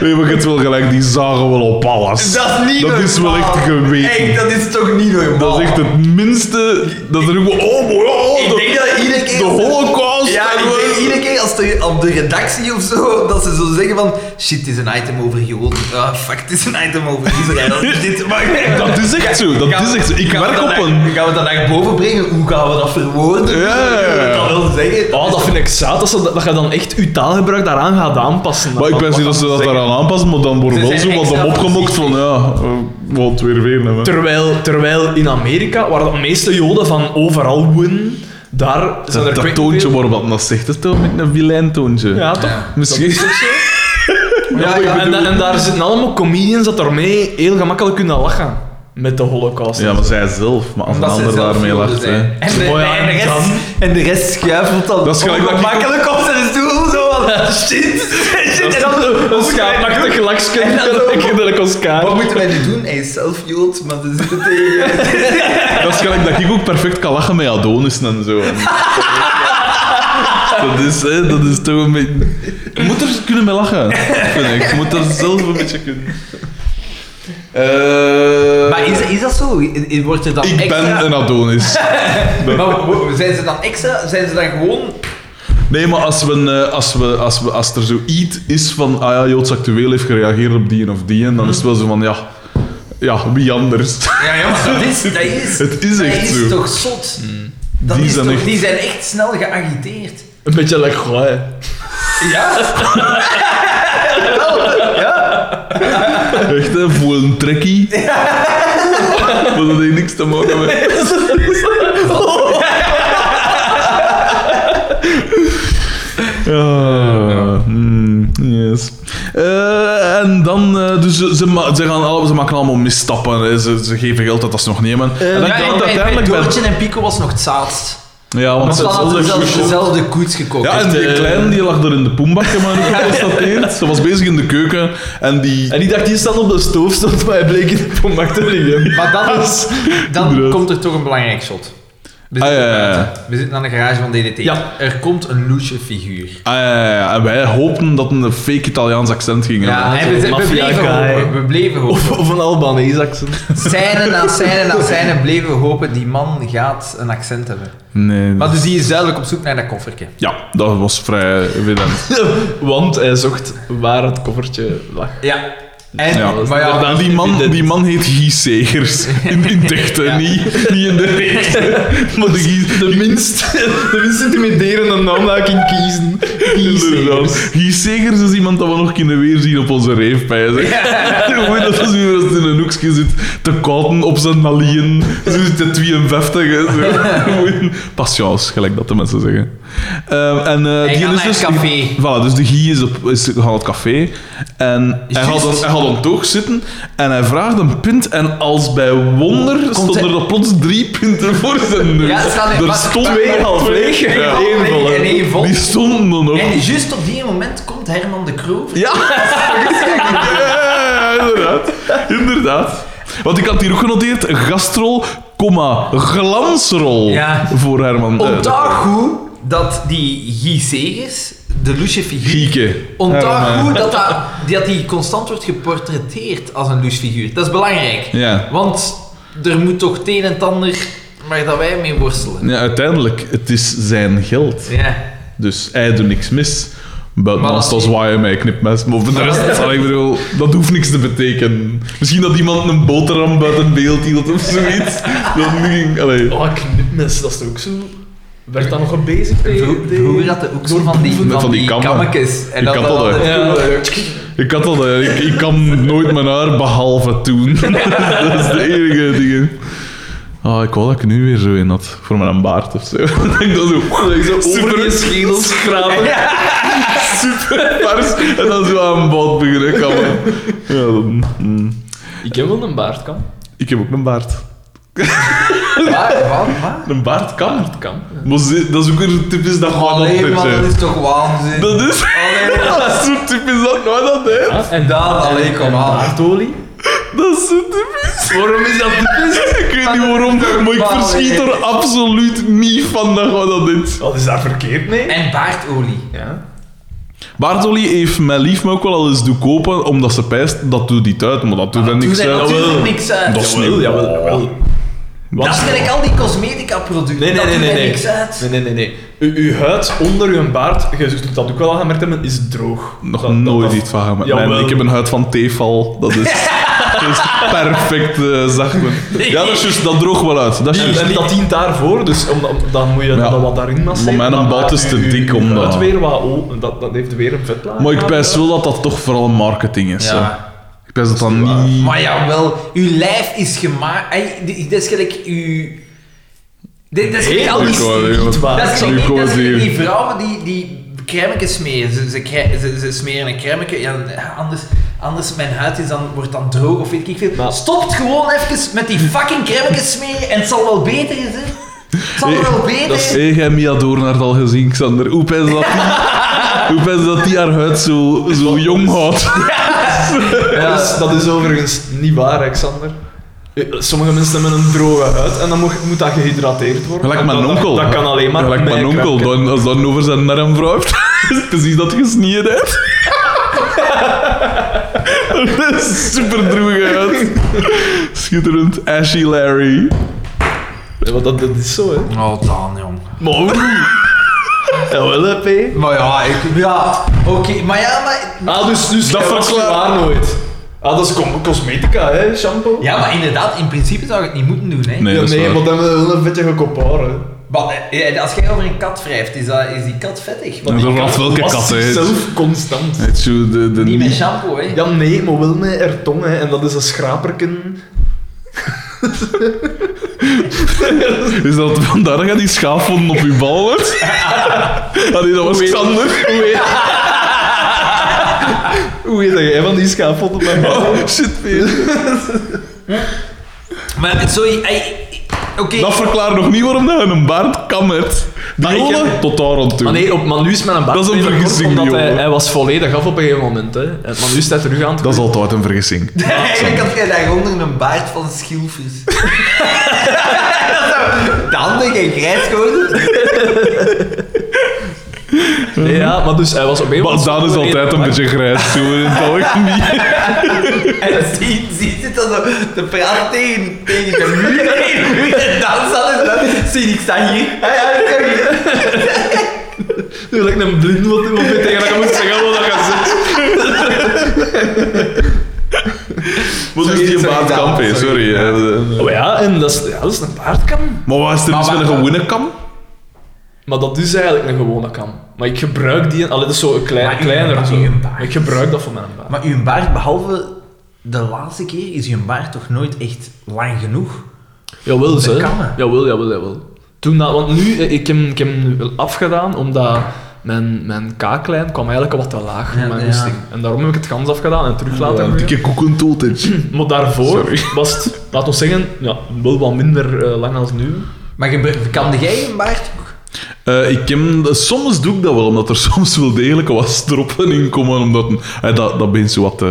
Nee, maar je hebt wel gelijk, die zagen wel op alles.
Dat is niet
Dat is wel echt geweten.
Echt, dat is toch niet normaal.
Dat is echt het minste. Dat er ook. Oh, mooi, oh,
Ik
de-
denk dat iedere keer-
De Holocaust.
Ja, ik
en we-
denk iedere iedere keer als er op de redactie of zo, dat ze zo zeggen van shit, het is een item over Joden. Ah, fuck, het is een item over Israël. Dit mag
Dat is echt zo, dat
Gaan we
is echt zo. Ik
gaan we
werk
dat
op
naar-
een...
Gaan we dat naar boven brengen? Hoe gaan we dat verwoorden?
Ja, ja, ja.
Kunnen we dat wel zeggen?
Oh, dat vind ik zaad, dat, ze- dat je dan echt je taalgebruik daaraan gaat aanpassen.
Maar ik
Wat-
wens niet
wat
dat ze dat
zeggen.
daaraan aanpassen, maar dan worden
Ze
wel zo
zijn
wat
extra
dan opgemokt van ja, eh, we gaan het weer weer hebben.
Terwijl, terwijl in Amerika, waar de meeste Joden van overal wonen, daar zijn er
Dat, dat
kwik-
toontje waarop dat dat zegt, dat is toch met een vilijn toontje.
Ja, toch?
Ja.
Misschien.
Ja,
ik
ja, en,
bedoel-
da- en daar zitten allemaal comedians dat daarmee heel gemakkelijk kunnen lachen met de holocaust.
Ja, maar zij zelf, maar als een
Omdat ze
ander
zelf
daarmee
Joden
lacht.
zijn.
hè.
En de,
Oh ja,
en de
en
rest,
dan?
en de rest schuifelt dan
Dat is gelijk dat ik-
ongemakkelijk op zijn stoel. Zo van, shit, shit. En dan zo, wat moeten wij nu
Een
doen?
schaapachtig laksken,
En dan zo-
kinderlijk Oscar.
Wat moeten wij nu doen? Hij is zelf Jood, maar ze zitten tegen...
Oh, Dat is gelijk dat ik ook perfect kan lachen met Adonis en zo. Dat is, hè, dat is toch een beetje... Je moet er kunnen mee lachen, vind ik. Je moet er zelf een beetje kunnen... Eh,
Maar is, is dat zo? I- Wordt er dan
ik
extra...
ben een Adonis.
Maar wo- zijn ze dan extra? Zijn ze dan gewoon...
Nee, maar als, we, eh, als, we, als, we, als er zoiets is van, ah ja, Joods Actueel heeft gereageerd op die en of die, en dan is het wel zo van, ja, ja wie anders?
Ja, ja, maar Ah, dat is... Dat is
Het is echt
dat
zo.
is toch zot? Dat
Die
is
zijn
toch,
echt-
die zijn echt snel geagiteerd.
Een beetje lekker, hè.
Ja?
Echt, hè, voor een trekkie. Maar dat heeft niks te maken met... Ja, hmm, yes. Eh, en dan, eh, dus ze, ze, ma- ze gaan al, ze maken allemaal misstappen, hè. Ze, ze geven geld dat dat ze nog nemen.
Eh,
en dan
ja,
kan
en
het
bij, bij
uiteindelijk bij-
Doortje en Pico was nog het zaadst.
Ja, want
Ze hadden
ze-
dezelfde, dezelfde koets gekookt.
Ja, en
Echt,
die
eh,
kleine die lag er in de poembak, heb maar ook geconstateerd. Ze was bezig in de keuken en die...
En die dacht, die staat op de stoof, stond, maar hij bleek in de pommak te liggen.
Maar dan, is, dus dan
Inderdaad.
komt er toch een belangrijk shot. We
Ah,
zitten,
ja, ja, ja.
buiten. We zitten aan de garage van DDT.
Ja.
Er komt een loesje figuur.
Ah, ja, ja, ja. En wij hoopten dat een fake Italiaans accent ging hebben.
Ja, en we,
zo'n
we bleven
maffia-guy.
hopen. We bleven hopen.
Of, of een Albanese accent.
Scène na scène na scène bleven we hopen. Die man gaat een accent hebben.
Nee.
Maar dus die is duidelijk op zoek naar dat koffertje.
Ja, dat was vrij evident.
Want hij zocht waar het koffertje lag.
Ja. En,
Ja.
Maar ja,
En die man, die man heet Guy Segers. In, in dichten, niet, niet in de rechten. Maar de Guy...
De minst, de minst intimiderende naam dat ik in kiezen.
Inderdaad.
Kiesegers.
Guy Segers is iemand dat we nog kunnen weerzien op onze reefpijzen. Hoe dat is weer als het in een hoekje zit te kouden op zijn nalien. Ze zit te 52. hè, Zo. Gewoon Patience, gelijk dat de mensen zeggen. Ehm, en, eh, die
gaat
is
naar
dus,
het café.
Voilà, dus de Guy is, op, is gaat naar het café. En hij
Juist.
had, een, hij had een toog zitten en hij vraagt een pint. En als bij wonder stonden
hij-
er plots drie pinten voor zijn neus.
Ja, staan er-
er
maar-
stonden
Twee half leeg en
Ja.
één volle.
En één vol.
Die stonden er nog.
En juist op die moment komt Herman de Krover.
Ja. Ja, inderdaad. Inderdaad. Want ik had hier ook genoteerd, een gastrol, comma, glansrol
Ja.
voor Herman. eh,
Onthoud goed dat die Guy Segers, de loesje figuur...
Gieke.
Onthoud
Herman.
goed dat, dat, dat die constant wordt geportretteerd als een loesje figuur. Dat is belangrijk.
Ja.
Want er moet toch het een en het ander waar dat wij mee worstelen.
ja, uiteindelijk, het is zijn geld.
Ja.
Dus hij doet niks mis.
Maar
Buiten als
dat-
dat zwaaien mij knipmes. Maar voor de rest, allee, ik bedoel, dat hoeft niks te betekenen. Misschien dat iemand een boterham buiten beeld hield of zoiets. Dat ging, allee.
Oh, knipmes, dat is toch ook zo... Werd dat nog een bezig
Vro- Vroeger had hij ook zo van die,
Met van die kammen.
kammetjes.
Die
En dat dat
kappelde.
altijd
Ja.
cool, hè.
Ik had dat, hè. ik, ik kan nooit mijn haar behalve toen. dat is de enige ding. Ah, ik wou dat ik nu weer zo in had, voor mijn baard of zo. dat ik dat zo,
Over je
super,
schedel schrapen.
super pers en dan zo aan bod beginnen kammen. Ja, dan, mm.
Ik heb wel een baardkam.
Ik heb ook een baard.
Waar, waar, waar?
Een baard kan.
Kan.
Maar ze- dat is ook weer typisch dat gewoon
Allee,
dat
man, dat is toch waanzin.
Dat is...
Allee,
Dat is zo typisch dat nooit dat hè.
Ah, en
Daan, allee, kom aan.
Baardolie?
Dat is zo typisch.
Waarom is dat typisch?
Ik weet niet waarom, maar ik verschiet er absoluut niet van dat gewoon dat dit.
Wat is daar verkeerd mee?
En baardolie.
Ja.
Bartoli heeft mijn lief me ook wel al eens doen kopen, omdat ze pijst, dat doet niet uit, maar dat doet er niks
Doe
uit.
natuurlijk niks uit.
Dat is niet-
Jawel, jawel, jawel. Want-
Dat is gelijk al die cosmetica-producten.
Nee, nee,
dat
nee,
doet
nee.
mij
Nee,
niks uit.
nee, nee. nee, nee. U- uw huid onder uw baard, je zult dat ook wel al gemerkt hebben, is droog.
Nog
Dat- dat-
nooit
dat-
iets van gemaakt.
Jawel.
Mijn- ik heb een huid van tefal. Dat is, dat is perfect eh, zacht. Ja, dat is juist, dat droog wel uit. Dat is
En,
juist.
en dat dient daarvoor, dus om, om- dan moet je
Ja.
dat wat daarin masseren.
Maar mijn
dan
bad
maakt
is te
uw- uw-
dik
uw
om
huid
dat-
weer wat open, dat, dat heeft weer een vetlaag.
Maar ik pijs wel dat dat toch vooral marketing is. hè.
Ja.
Ik pijs dat dat niet...
Maar jawel, uw lijf is gemaakt. Ey, dit- Dat is gelijk uw. Dit dat is gelijk al die.
Heel goed.
Dat is
Nu
gelijk
komen
dat is
ze
gelijk
hier.
die vrouwen die, die crèmekes smeren. Ze, ze, krij- ze, ze smeren een crèmeke. Ja, anders, anders mijn huid is dan, wordt dan droog of weet ik veel.
Maar-
Stopt gewoon even met die fucking crèmekes smeren en het zal wel beter zijn. Het zal
Hey,
wel beter
Eh, Dat is...
zijn.
Hey, jij Mia Doornaert al gezien, Xander. Hoe pijs dat die... Hoe pijs dat die haar huid zo, zo jong houdt?
Dat, is, dat is overigens niet waar, Alexander. Sommige mensen hebben een droge huid en dan moet, moet dat gehydrateerd worden.
Gelijk
En
mijn
dat-
onkel.
Dat, dat kan alleen maar
Gelijk
met
mijn
een
onkel.
krapje.
Dan, als dan over zijn arm wrijft, precies dat gesneden heeft. Dat is super droeg uit. Schitterend. Ashy Larry.
Ja, want dat, dat is zo, hè.
Oh, dan jong.
Maar Jawel, hè, P.
Maar ja, ik, ja, oké, maar ja, maar
Ah, dus, dus
Dat
dat
verklaart-
verklaart waar nooit. Ah, dat is com- cosmetica, hè, shampoo.
Ja, maar inderdaad, in principe zou je het niet moeten doen, hè.
Nee,
Ja,
dat is
nee,
waar.
want dan hebben we wel een vetje gekopparen.
Maar eh, eh, als jij over een kat wrijft, is, dat, is die kat vettig.
En zo raadt welke kat, hè. Het
zelf constant.
is zo de... de
Niet met shampoo, hè.
Ja, nee, maar wel met haar tong, hè. En dat is een schraperken.
Is dat vandaar dat je die schaafvonden op je bal hebt? Allee, dat was
Hoe heet-
Xander.
Hoe heet... Hoe heet dat jij van die schaafvond op mijn bal?
Oh, shit, Peter.
Maar sorry, eh, oké.
Dat verklaart nog niet waarom dat je een baard kam hebt. Die
Maar ik heb-
jongen, tot daar aan toe.
Maar nee, op, maar nu is met een baard
Dat is een
minder kort,
vergissing,
Omdat
jongen.
hij, hij was volledig af op een gegeven moment, hè. En- Maar nu staat hij terug aan het
Dat is altijd een vergissing.
Eigenlijk had jij daaronder een baard van schilfers. Dan denk ik grijs geworden.
Nee, Ja, maar dus hij was op een gegeven
Maar Daan is altijd een beetje grijs, zo in het algemeen.
En zie, zie zit dan zo te praten tegen, tegen de muur. En dan zat het dan. Zie, ik sta hier. Ja, ja, ik sta hier.
Nu lijkt een blind wat op je tegen dat je moet zeggen wat je zegt.
Wat is
Sorry,
die
sorry,
baardkamp, hè?
Daan,
sorry.
sorry.
hè.
Oh ja, en dat is, ja, dat is een baardkam.
Maar wat is er
Maar
iets met een
wacht,
gewone kam?
Maar dat is eigenlijk een gewone kam. Maar ik gebruik die... Allee, dat is zo een klein,
Maar je
kleiner.
gebruikt
Zo.
je een baard.
Ik gebruik dat voor mijn baard.
Maar uw baard, behalve de laatste keer, is uw baard toch nooit echt lang genoeg?
Jawel, ze.
kammen.
Jawel, jawel, jawel. Toen dat, want nu, eh, ik heb, ik heb hem wel afgedaan, omdat mijn, mijn kaaklijn kwam eigenlijk wat te laag
Ja,
voor mijn
ja.
goesting. En daarom heb ik het gans afgedaan en terug laten
Een
groeien.
dikke koekentotertje.
Maar daarvoor
Sorry.
was het, laten we zeggen, ja, wel wat minder eh, lang als nu.
Maar gebru- kamde jij een baard ook?
Eh, ik heb, soms doe ik dat wel, omdat er soms wel degelijk wat stroppen in komen. Omdat, eh, dat, dat begint zo wat te...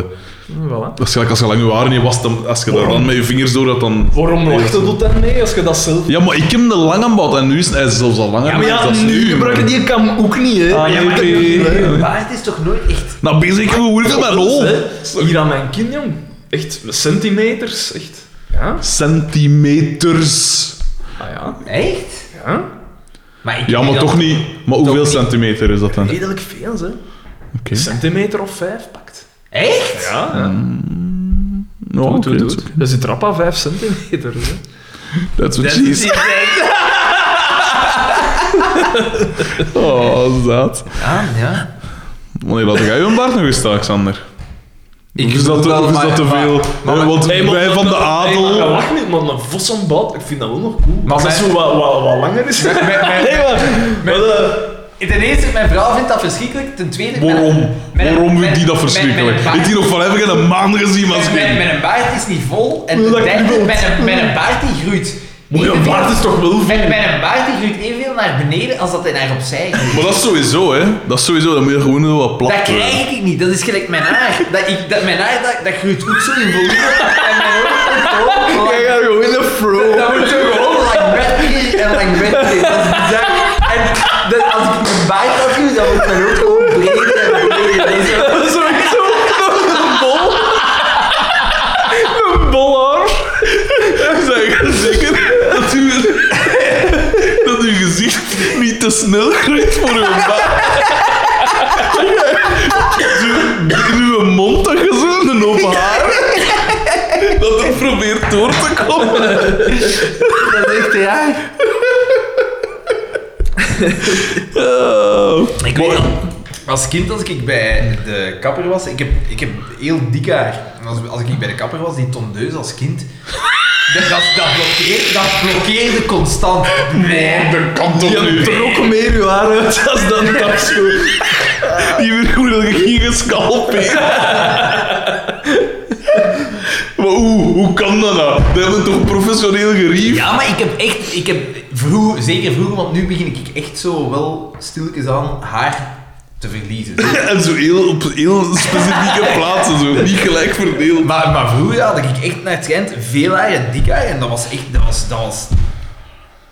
Hm, Voilà.
Dat is gelijk als je lang je haren niet wast, dan- als je daar dan met je vingers door gaat, dan...
Waarom lachte dat dan mee als je dat zelf...
Ja, maar ik heb de lange bouw en nu is hij is zelfs al langer.
Ja, maar ja,
dan dat is
nu gebruik je die kam ook niet, hè.
Ah, ja, maar ik-
Uw baard is toch nooit echt
Nou, bezig hoe is mijn rol?
Ah, Hè? Hier aan mijn
Oh.
kin, jong. Echt ah, centimeters, echt. Ja?
Centimeters.
Ah ja,
Echt?
ja.
Maar ik
Ja, maar
dat-
toch niet... Maar hoeveel
niet.
centimeter is dat dan?
Redelijk veel, hè.
Oké.
Centimeter of vijf pakt.
Echt?
Ja, ja.
Nou,
Doe, doe,
oké,
doe. Dat zit rap aan vijf centimeter, hè.
That's what
Dat
she
is
is.
niet echt.
Oh, dat.
Ja, Ah, ja.
Wanneer laat jij je baard nog eens staan, Xander?
Ik
Of is
doe
dat, te-
wel,
of is
maar-
dat te
maar-
veel?
maar-
Eh, Want
Hey, maar-
wij van de adel...
Hey, maar, lach niet, maar een vos aan bad, ik vind dat wel nog cool. Maar
Maar
dat is
mijn-
zo wat, wat, wat langer is.
Mijn- mijn- mijn-
Nee, maar- wel, eh,
Ten eerste, mijn vrouw vindt dat verschrikkelijk. Ten tweede... mijn-
Waarom?
mijn-
Waarom
mijn-
vindt die dat
mijn-
verschrikkelijk?
mijn baard-
Heeft die nog van even een maan gezien, maar
Mijn, mijn,
schrik.
mijn baard is niet vol en
Wil
ten
dat ik
derde,
niet
mijn,
wil?
mijn baard die groeit.
Maar je
evenveel-
baard is toch wel vol?
Mijn, mijn baard die groeit evenveel naar beneden als dat hij naar opzij groeit.
Maar dat is sowieso, hè. Dat is sowieso, dan moet je gewoon zo wat plat...
Dat
worden.
krijg ik niet, dat is gelijk mijn haar. Dat ik, dat, mijn haar dat, dat groeit ook zo in volume. En mijn hoofd is ook lang.
Jij gaat gewoon in de fro.
Dat moet je gewoon lang weggeven en lang weggeven. Dat is bizar. En dat- als ik mijn baard afdoe, dan wordt mijn hoofd gewoon breder en breder. Dat is zo-
Dat is sowieso een bol. Een bol haar.
Zeg, zeker. te snel groeit voor uw maag. Zo, in uw mond dat je zo een hoop haar. Dat het probeert door te komen.
Dat is echt ja.
Oh.
Ik weet nog, als kind, als ik bij de kapper was, ik heb, ik heb heel dik haar. En als, als ik bij de kapper was, die tondeus als kind, dat, dat, dat, blokkeerde, dat blokkeerde constant. Nee.
Dat kan toch
Je
niet?
trok meer uw haar uit als dan eh, dat zo.
Die weer hoe dat ik hier gescalpeerd. Maar hoe, hoe kan dat nou? Dat hebben we toch professioneel gerief?
Ja, maar ik heb echt, ik heb vroeg, zeker vroeger, want nu begin ik echt zo wel stilletjes aan haar te verliezen.
En zo heel, op heel specifieke plaatsen, zo niet gelijk verdeeld.
Maar, maar vroeger had ik echt naar het schijnt veel haar en dik haar en dat was echt, dat was, dat was,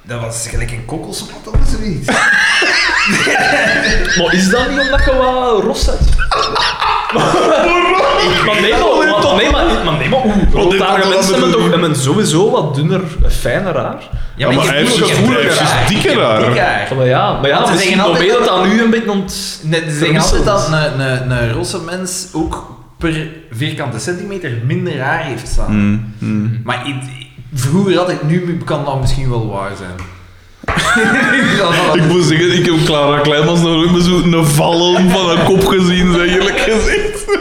dat was gelijk een kokkelspot of zoiets.
Maar is dat niet omdat je wat ros hebt? Maar nee, maar, maar, maar nee, maar, maar, nee, maar hoe? Rotarige mensen hebben toch hebben sowieso wat dunner, eh, fijner haar?
Ja, maar hij heeft
ik heb
gevoelig,
dikker
hij heeft dus dikker
Ik heb
haar.
dik haar.
Maar ja, maar
Want
ja
ze
misschien
zeggen altijd
probeer dat
dat-
aan u een beetje ont...
Nee, ze zeggen altijd dat een, een, een rosse mens ook per vierkante centimeter minder haar heeft staan.
Mm,
Hmm, hmm.
Maar ik, vroeger had ik, nu kan dat misschien wel waar zijn.
Ik moet zeggen, ik heb Clara Kleinmans nog nooit met zo'n vallen van haar kop gezien, zeg eerlijk gezegd.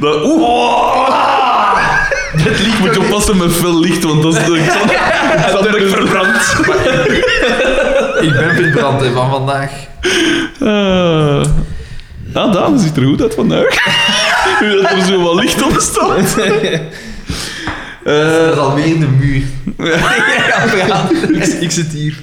Dat, oeh,
het liep
moet je oppassen met fel licht, want dat is de
Sterk verbrand.
Ik ben verbrand hè, van vandaag.
Eh ah, Daan ziet er goed uit vandaag. Hoe dat er zo wat licht op staat. Eh,
Dat is alweer in de muur.
ik, ik zit hier.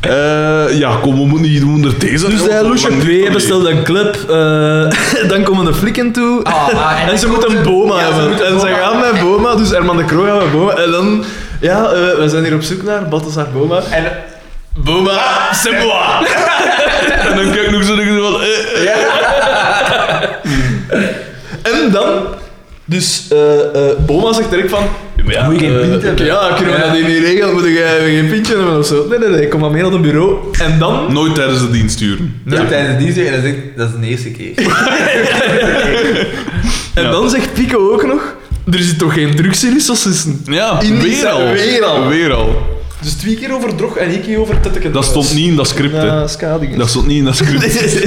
eh, ja, kom, we moeten niet onder deze.
Dus hij Lusje 2 bestelde een club, eh, dan komen de flikken toe.
Ah, ah,
en,
en
ze
de
moeten een
koken.
boma
Ja, ze
hebben.
moeten
en ze
boma
gaan met boma, dus Herman de Croo gaat met boma. En dan, ja, eh, we zijn hier op zoek naar Balthasar Boma.
En
Boma, c'est moi!
En dan kijk ik nog zo en van. eh, eh.
En dan, dus eh, eh, Boma zegt direct van... "Ja, maar Ja,
Moet je geen
eh,
pint hebben?"
Ja, kunnen we
Ja.
dat hier niet regelen? Moet ik geen pintje hebben of zo? Nee, nee, nee, kom maar mee naar het bureau. En dan...
Nooit tijdens de dienst sturen.
ja. tijdens de DJ, en dat is, echt- dat is de eerste keer.
En
Ja.
dan zegt Pico ook nog... Er zit toch geen drugs in die saucissen?
Ja,
In die
weer
zaal,
al.
weer al.
Weer al.
Dus twee keer over drog en één keer over tetteken.
Dat stond niet in dat script, hè.
Ja, skadingen.
Dat stond niet in dat script.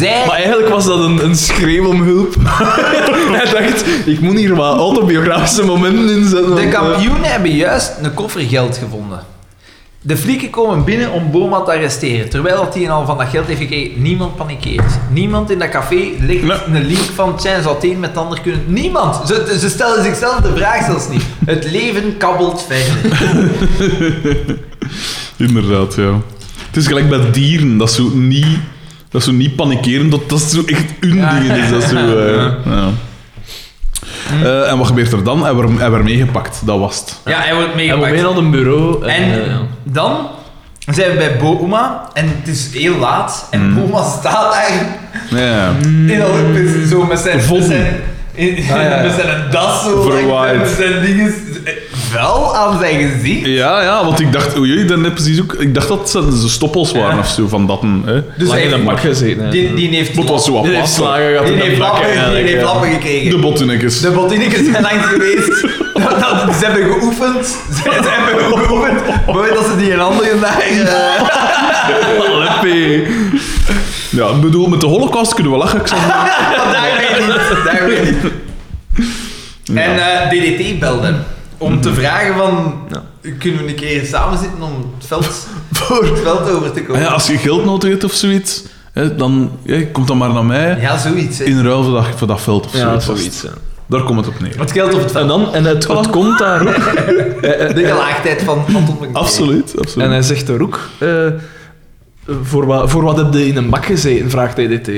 Zij...
Maar eigenlijk was dat een, een schreeuw om hulp. Hij dacht, ik moet hier wat autobiografische momenten in zetten.
De
want, eh,
kampioenen hebben juist een koffer geld gevonden. De flieken komen binnen om Boma te arresteren, terwijl dat hij al van dat geld heeft gekregen. Niemand panikeert. Niemand in dat café legt
Nee.
een link van Tjijn zou het een met het ander kunnen. Niemand! Ze, ze stellen zichzelf de vraag zelfs niet. Het leven kabbelt verder.
Inderdaad, ja. Het is gelijk bij dieren, dat ze niet, dat ze niet panikeren, dat dat zo echt hun
Ja.
dingen is. Dat zo, eh, ja. Eh, en wat gebeurt er dan? Hij werd, hij werd meegepakt, dat was het.
Ja, hij wordt
Hij moet
meegepakt.
mee naar een bureau. En,
En
eh, ja.
dan zijn we bij Boma en het is heel laat en Boma staat eigenlijk
Ja.
in al zo met zijn, met
Vodden.
zijn, in-
Ah, ja.
met zijn das zo
Verwaaid.
met zijn dingen wel aan zijn gezicht.
ja, ja, want ik dacht, oei, oei, dan heb precies ook... Ik dacht dat ze ze stoppels waren
Ja.
of zo, van dat een... Hè.
Dus
Lang
hij
in een
heeft-
bak gezeten. hè.
Die, die heeft
Bot was zo wat
Die heeft
plat,
slagen gehad
die
in de
heeft
bak,
lappen, die
eigenlijk,
heeft
ja.
lappen
De
gekregen.
bottenekjes.
De botinnetjes zijn langs geweest. Dat, dat- ze hebben geoefend. Ze, ze hebben geoefend. Mooi dat ze die een andere dag... eh,
Leppie. Ja, ik bedoel, met de holocaust kunnen we lachen, Xander.
Daar weet ik niet. Daar weet ik niet. En eh, DDT belde hem om te vragen van... Kunnen we een keer samen zitten om het veld, voor het veld over te komen?
Ja, als je geld nodig hebt of zoiets, hè, dan ja, komt dan maar naar mij.
Ja, zoiets. Hè.
In ruil voor dat, voor dat veld of
Ja,
zoiets.
zoiets. ja.
Daar komt het op neer.
Het geldt op het veld.
En dan, en het, het komt daar ook. Eh, eh,
De gelaagdheid van Anton McKay.
Absoluut, absoluut.
En hij zegt er ook, eh, voor, wat, voor wat heb je in een bak gezeten, vraagt DDT.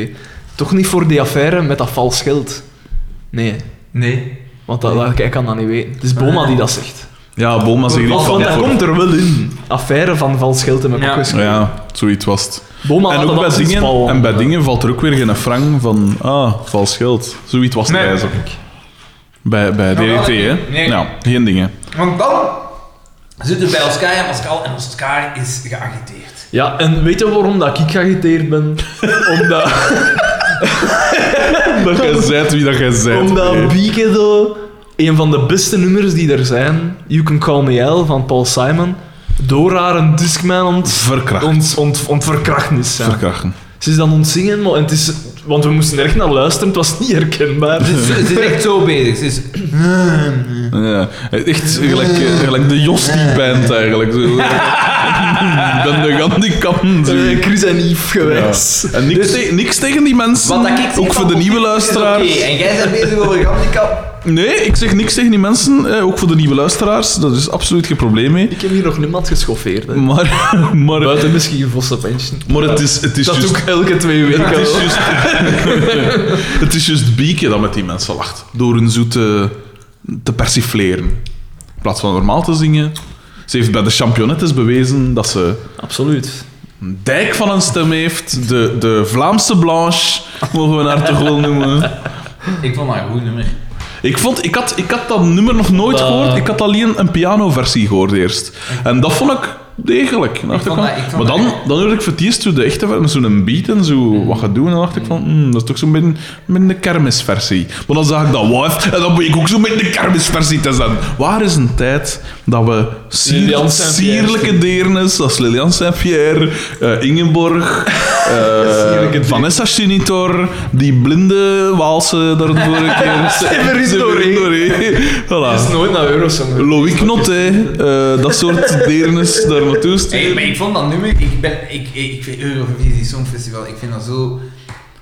Toch niet voor die affaire met dat vals geld. Nee,
Nee.
want dat, dat- ik kan dat niet weten. Het is Boma die dat zegt.
ja, Boma zegt niet
Want,
van...
want dat
voor-
komt er wel in. Affaire van vals geld in mijn
Ja.
bak geschoten.
Ja, zoiets was het.
Boma
En
had
ook
dat
bij
als een spal.
dingen, en bij dingen valt er ook weer geen frank van... Ah, vals geld. Zoiets was het
Nee.
eigenlijk. Bij, bij DDT, hè?
nee.
Ja, geen dingen.
Want dan zitten bij Oscar en Pascal en Oscar is geagiteerd.
Ja, en weet je waarom dat ik geagiteerd ben? Omdat,
Dat jij zijt wie dat jij zijt.
omdat
nee.
Bieke zo... Een van de beste nummers die er zijn, You Can Call Me L van Paul Simon, door haar een discman ont,
Verkracht.
ont, ont, ontverkracht is. ja.
Verkrachten.
Ze is dan ontzingen, maar en het is, want we moesten erg naar luisteren, het was niet herkenbaar.
Ze ze is echt zo bezig. Ze is...
Ja, echt gelijk, eh, gelijk de Jostie-band eigenlijk. Zo- Ik ben de Gandhi-kant.
Eh, Chris en Yves geweest.
En niks, te- niks tegen die mensen.
Dus- Wat dat ik zeg
ook voor
van
de nieuwe
politiek is
luisteraars.
Oké, en jij bent bezig over handicap.
Nee, ik zeg niks tegen die mensen. eh, ook voor de nieuwe luisteraars. Dat is absoluut geen probleem mee.
Ik heb hier nog niemand geschoffeerd. hè.
Maar, maar,
Buiten misschien een vossenpensje.
maar het is, het is
Dat doe
juist...
ik elke twee
Het
weken.
is
wel.
juist, het is juist Bieke dat met die mensen lacht. Door hun zoete te persifleren. In plaats van normaal te zingen. Ze heeft bij de championettes bewezen dat ze
Absoluut.
een dijk van een stem heeft. De, de Vlaamse Blanche, mogen we haar toch wel noemen.
Ik vond dat een goed nummer.
Ik, vond, ik, had, ik had dat nummer nog nooit
Dat-
gehoord. Ik had alleen een pianoversie gehoord eerst. En dat vond ik degelijk. Dan dacht ik
vond
van-
dat- ik vond
maar dan,
dat- Mm.
dan hoorde ik voor het eerst zo de echte ver- met zo'n beat en zo wat gedoe. En dan dacht ik van, hmm, dat is toch zo'n beetje, beetje de kermisversie. Maar dan zag ik dat wife en dan ben ik ook zo'n beetje de kermisversie te zijn. Waar is een tijd dat we sier-
Lilian Saint-Pierre.
sierlijke deernis als Lilian Saint-Pierre, eh, Ingeborg, eh,
Sierlijke
Vanessa Chinitor, die blinde Waalse daar de vorige keer...
Severin Doré.
Doré. Voilà.
Dat is nooit naar Eurosong.
Louis Knotte, eh, dat soort deernis daar naartoe sturen.
Hey, maar ik vond dat nummer... Ik, ben, ik, ik, ik vind Eurovisie Songfestival, ik vind dat zo...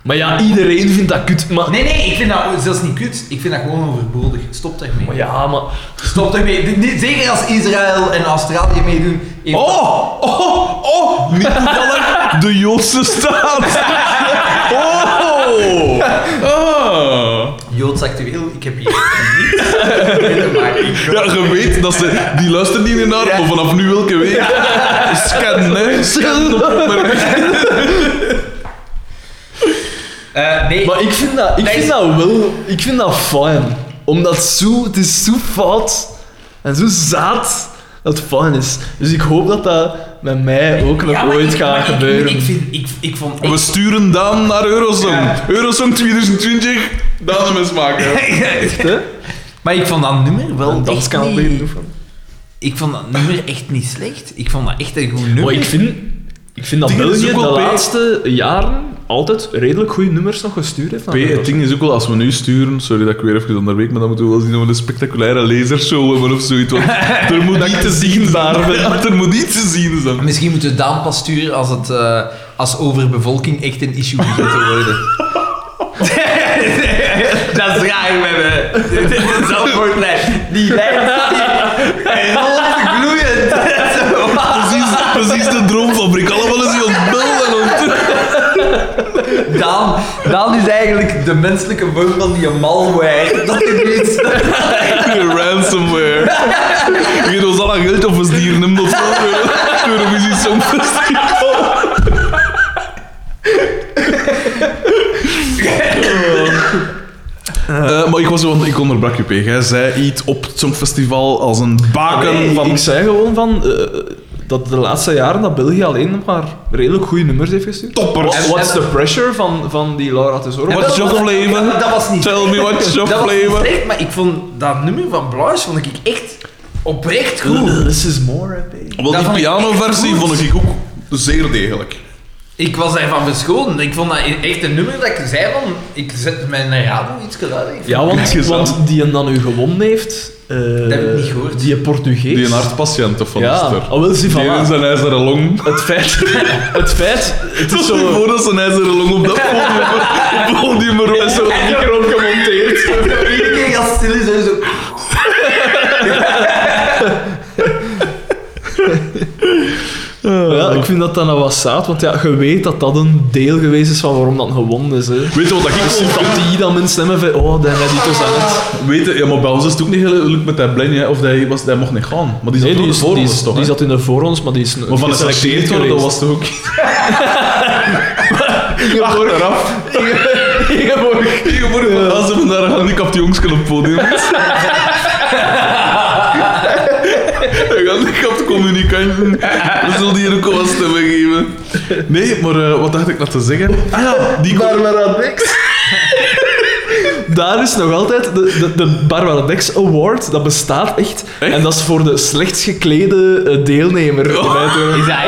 Maar ja, iedereen vindt dat kut. Maar,
Nee, nee, ik vind dat zelfs niet kut. Ik vind dat gewoon overbodig. Stop daarmee.
maar ja, maar...
Stop daarmee. Dit- dit- Zeker als Israël en Australië meedoen. heeft dat-
Oh, oh, oh, niet toevallig de Joodse staat. Oh, ah.
Joods actueel, ik heb hier niets mee te maken.
Ja, je weet dat ze, die luisteren niet naar, maar vanaf nu welke week. Scan, hè. Scan.
Eh, nee,
Maar ik vind dat, ik
Nee.
vind dat wel, ik vind dat fijn. Omdat zo, het is zo fout en zo zaad dat het fijn is. Dus ik hoop dat dat met mij ook nog
Ja, maar
ooit
ik- maar
gaat
ik-
gebeuren.
Ik, vind, ik, ik vond...
We sturen Daan naar Eurozone.
Ja.
Eurozone 2020, Daan de mens maken.
Echt, hè?
maar ik vond dat nummer wel
Een
echt
danskanaal
niet-
beginnen oefenen.
Ik vond dat nummer echt niet slecht. Ik vond dat echt een goed nummer.
Maar ik vind, ik vind dat
Dingen is
België de
ook wel pe-
laatste jaren altijd redelijk goede nummers nog gestuurd heeft.
P, het ding is ook wel, als we nu sturen, sorry dat ik weer even onderweg, maar dan moeten we wel zien of we een spectaculaire lasershow hebben of zoiets. Want er moet iets te zien zijn. Ja, er moet iets te zien zijn.
Misschien moeten we Daan pas sturen als, het, eh, als overbevolking echt een issue begint te worden. dat is raar met me. Dit is een zelfmoordlijn. Die lijn die rolt gloeiend. Zo.
Precies, precies de droomfabriek. Allemaal is die ontbellen.
Daan, Daan is eigenlijk de menselijke vorm van die malware. Dat is iets.
Ransomware. Je geeft ons al aan geld of we die hier nemen of zo. Eurovisie Songfestival. Eh, maar ik, was, want ik onderbrak je, P. Jij zei iets op het Songfestival als een baken
Nee,
van...
Ik zei gewoon van eh, dat de laatste jaren dat België alleen nog maar redelijk goede nummers heeft gestuurd.
Toppers.
What- What's the pressure van, van die Laura Tesoro?
What's your flavor?
Dat was niet
Tell me what's your
Dat was niet
flavor.
slecht, maar ik vond dat nummer van Blanche vond ik echt oprecht goed.
This is more, hè, baby.
Want
Dat
die
vond ik echt
pianoversie
goed.
vond ik ook zeer degelijk.
Ik was daarvan verscholen. Ik vond dat echt een nummer dat ik zei van... Ik zet mijn radio iets luider. Ik
Ja, want,
Kutgezel.
want die hem dan nu gewonnen heeft... eh,
heb ik niet gehoord.
Die Portugees.
Die een hartpatiënt of van
Ja,
Oster.
ah,
al wil ze van...
Die in zijn ijzeren long.
Het feit... Het feit... Het is
Stel je
zo...
voor dat zijn ijzeren long op dat podium, op het podium rolt. Zo
micro gemonteerd.
Iedere keer als het stil is, dan zo...
Ja, ik vind dat dat nou wat zaad, want ja, je weet dat dat een deel geweest is van waarom dat gewonnen is. Hè.
Weet je wat dat ik
Sympathie dat mensen hebben van, oh, daar heb ik dus aan het.
Weet je, ja, maar bij ons is het ook niet heel leuk met dat blendje, of hij, was, hij mocht niet gaan. Maar die zat
Nee,
ook
die,
in de
is, die, is-
voorrondes toch?
die
hè?
zat in de voorrondes, maar die is
maar van geselecteerd worden, dat was toch ook... Achteraf.
Ingeborg.
Tegenwoordig, als ze vandaag een gehandicapt jongske op het podium is. Hij gaat niet op de communicanten. We zullen die een kost hebben geven. Nee, maar eh, wat dacht ik nog te zeggen? Ah ja, die
Barbara Dex. Daar is nog altijd de, de, de Barbara Dex Award, dat bestaat echt.
Echt?
En dat is voor de slechtst geklede eh, deelnemer.
Is dat echt?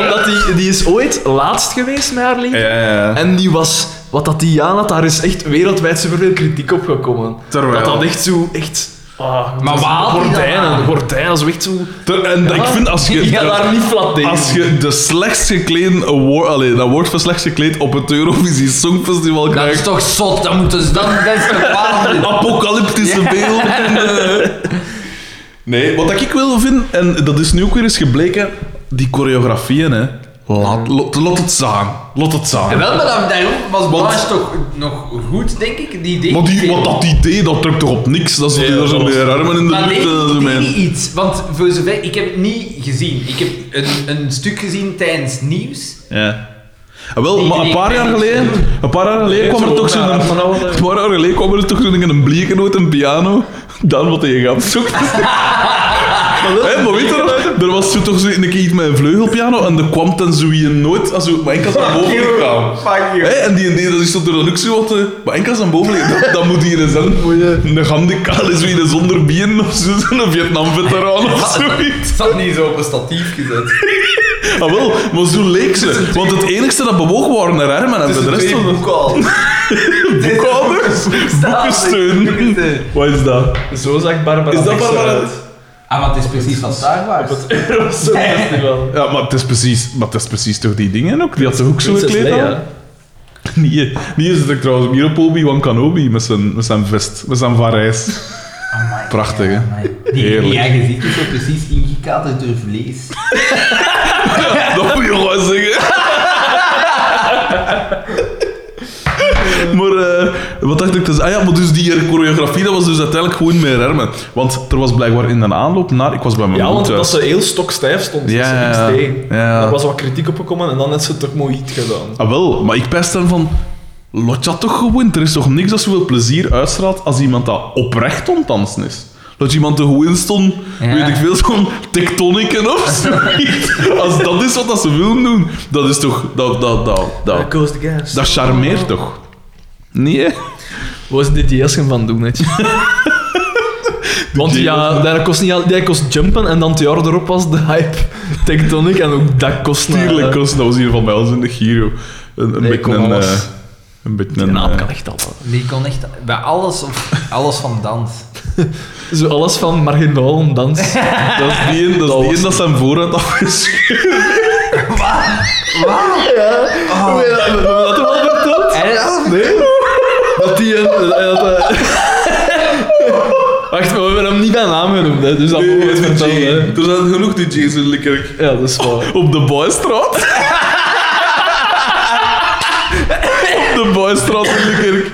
Omdat die, die is ooit laatst geweest met haar lied.
Ja, ja, ja.
En die was, wat dat die aan had, daar is echt wereldwijd superveel kritiek op gekomen.
Terwijl.
Dat dat echt zo, echt... Ah,
Maar
dat is-
waar haalt die dat
Gordijnen,
aan?
gordijnen, zo echt zo...
Ter- En ik vind als je...
Ik ga daar niet flat tegen.
Als je de slechtst geklede award, allee, dat woord voor slechtst gekleed op het Eurovisie Songfestival
Dat
krijgt.
is toch zot, dat moeten ze dan best bepalen.
apocalyptische beelden. eh. Nee, wat ik wil vind, en dat is nu ook weer eens gebleken, die choreografieën, hè. Laat, lot, lot het staan. Lot het
En
staan.
wel, maar dan, daarom was
Want-
Blanche toch nog goed, denk ik. Die deed
Maar die,
veel.
wat dat idee, dat drukt toch op niks? Dat is
Nee,
daar
dat
zijn
was-
weer armen in de
Maar
lucht.
nee,
eh, zo
ik deed
mijn-
niet iets. Want voor zover, ik heb het niet gezien. Ik heb een, een stuk gezien tijdens nieuws.
Ja. Ah, wel,
Die-
maar een
die-
paar jaar
die-
geleden, een paar jaar geleden kwam er toch zo'n...
naar- van alle-
Een paar jaar geleden kwam er toch zo'n een bliekenoot, een piano, dan wat je gaat zoeken. Hé, maar weet je nog, er was zo toch zo een keer iets met een vleugelpiano en er kwam dan zo een nooit, als zo, maar enkel als boven kwam. Hé, en die en die, dat is toch door de luxe wat, eh, maar enkel als aan boven dat, dat moet hier eens aan. Een handikaal is wie een zonder bieren of zo, zo'n Vietnam-veteraan of zoiets.
Het zat niet zo op een statief gezet.
Ah, wel, maar zo leek ze. Want het enigste dat bewoog waren haar armen en de rest was
boek al.
boekhouders. Boekensteun. Wat is dat?
Zo zag Barbara
Is dat
Dex
Barbara
eruit.
Ah, maar het is precies wat daar was. Oh
Eurofestival.
Ja, maar het is precies, maar het is precies toch die dingen ook? Die had toch ook zo'n
Prinses
kleed
Leia.
aan? Nee, nee is het ook trouwens meer op Obi-Wan Kenobi met zijn, met zijn vest, met zijn varijs.
Amai,
Prachtig, hè?
amai. oh Die,
Heerlijk.
die eigen ziet is zo precies ingekaderd door vlees.
Dat moet je gewoon zeggen. Maar eh, wat dacht ik te zeggen? Ah ja, maar dus die hier choreografie, dat was dus uiteindelijk gewoon meer armen. Want er was blijkbaar in de aanloop naar... Ik was bij mijn
Ja,
moeder
want
thuis.
dat ze heel stokstijf stond.
Ja,
dat ze niks
ja, ja.
deed.
Ja.
Daar was wat kritiek op gekomen en dan heeft ze het toch mooi iets gedaan.
Ah, wel, maar ik pest hem van. Lot dat toch gewoon. Er is toch niks dat zoveel plezier uitstraalt als iemand dat oprecht ontdansen is. Dat iemand er gewoon stond,
Ja.
weet ik veel, zo'n tectoniken of zoiets. Als dat is wat dat ze willen doen, dat is toch. Dat, dat, dat, dat,
goes the gas.
Dus dat charmeert toch? Nee? hè?
was dit die Esken van doen, netje? Want ja, daar kost, niet, al- die kost jumpen en dan het jaar erop was de hype Tectonic en ook dat kost nou,
Tierlijk
eh,
kost, dat was hier van bij ons in de Giro. Een, een
Nee,
beetje
kom,
een.
alles.
eh, een beetje
Die
een.
naam
eh,
kan echt alles.
Die kon echt bij alles, op, alles van dans.
Zo alles van marginaal en dans.
dat is die een, dat, is
Dat
die
was
een dat zijn voorraad afgescheurd.
Dat wel verteld?
En dat
Nee. Dat die een... eh, dat, eh, Wacht, maar we hebben hem niet bij naam genoemd, hè, dus dat mogen we het vertellen. hè.
Er zijn genoeg DJ's in Likkerk.
Ja, dat is waar.
Op de Boystraat? Op de Boystraat in de kerk.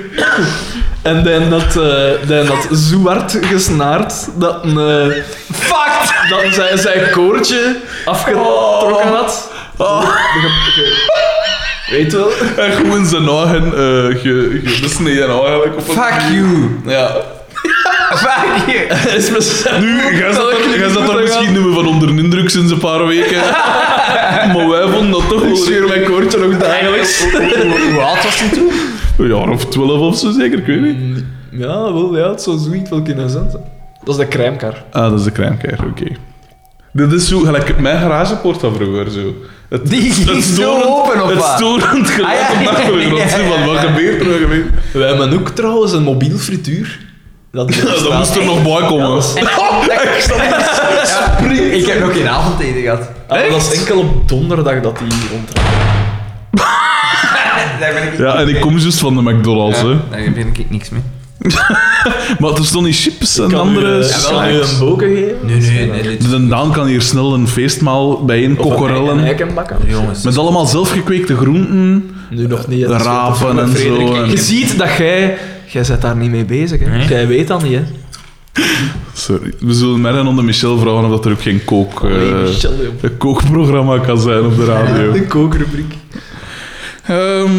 En dan dat, eh dan dat zo hard gesnaard dat een, eh,
Fuck!
dat een zijn, zijn koortje afgetrokken
Oh.
had.
Ah,
Weet wel.
en gewoon zijn ogen eh, ge, ge, besneden eigenlijk. Op een
Fuck
manier.
you!
Ja.
Fuck you!
Is met zijn
Nu, jij zat er, jij zat er misschien niet meer van onder de indruk sinds een paar weken. Maar wij vonden dat toch
Ik
wel...
zweer mijn koortje nog dagelijks.
Hoe oud was hij toen?
Een jaar of twaalf of zo zeker, ik weet niet.
Mm.
Ja, wel, ja, het zou zoiets wel kunnen zijn. Dat is de crèmekar.
Ah, dat is de crèmekeier, oké. Dit is zo, gelijk mijn garagepoort van vroeger, zo. Het,
Die ging zo open, of
Het
wat?
storend geluid
Ah, ja,
op de
ja,
achtergrond.
ja,
zo Van, wat
ja, ja.
gebeurt er, nou wat gebeurt er?
We hebben ook trouwens een mobiel frituur. Dat,
Ja, dat moest er nog bij komen.
ik Ik heb nog geen avondeten gehad.
Ah, dat is enkel op donderdag dat die ronddraait.
Daar ben ik
Ja, en ik kom juist van de McDonald's, hè.
Daar ben ik niks mee.
Maar er stonden chips en
Kan
andere...
u, eh,
snacks.
kan u een boken geven?
Nee, nee, nee. dit-
De Daan kan hier snel een feestmaal bijeen
Of een eigen
kokorellen.
eikenbakken?
Jongens.
Met allemaal zelfgekweekte groenten.
Nu nog niet. hè. Dus Dat is
Rapen
wel te
en
Frederik.
zo, en-
Je ziet dat jij... Jij bent daar niet mee bezig, hè. Jij weet dat niet, hè.
Sorry, we zullen Merren onder Michel vragen of dat er ook geen kook, eh,
Nee, Michel, joh.
een kookprogramma kan zijn op de radio.
De kookrubriek.
Ehm,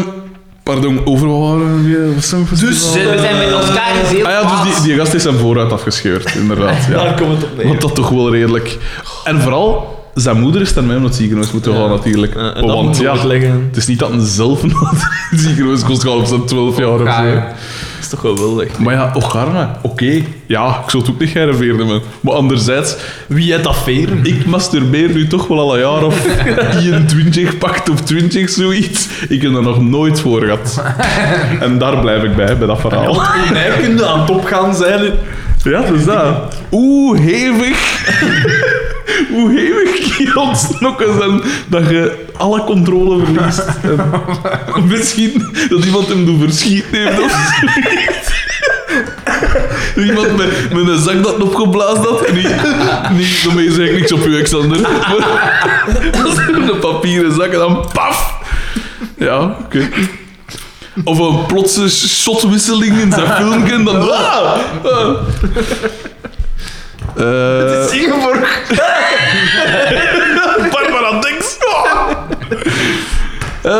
Pardon, over wat waren we? Wat zijn we voor-
Dus-
Ze- we zijn met elkaar in heel
Ah ja, dus die, die gast is zijn vooruit afgescheurd, inderdaad. Ja.
Daar komt het op neer.
Want dat toch wel redelijk. En vooral, zijn moeder is daarmee naar het ziekenhuis moeten gaan, natuurlijk. Oh,
Eh, en dat
Want
moet
ja,
uitleggen.
het is niet dat hij zelf naar het ziekenhuis kost gaan op zijn 12 jaar of
Ja,
zo.
ja.
Dat is toch wel wildig.
Maar ja, ocharme, oké. Ja, ik zou het ook niet gerveerden, man. Maar anderzijds,
Wie het dat veren?
ik masturbeer nu toch wel al een jaar of 21 pakt of 20, zoiets. Ik heb er nog nooit voor gehad. En daar blijf ik bij, bij dat verhaal.
Mij kunnen aan top gaan zijn.
Ja, dat is dat. Hoe hevig... Hoe hevig je ontsnokken zijn dat je alle controle verliest. En misschien dat iemand hem doet verschieten heeft of zoiets. Iemand met, met een zak dat opgeblazen had. Niet, niet daarmee zeg ik niks op u, Alexander. Maar een papieren zak en dan paf. Ja, oké. Of een plotse shotwisseling in zijn filmpje. Dan... Ah! Ah. Eh,
Ingeborg.
Barbara Dix. Eh,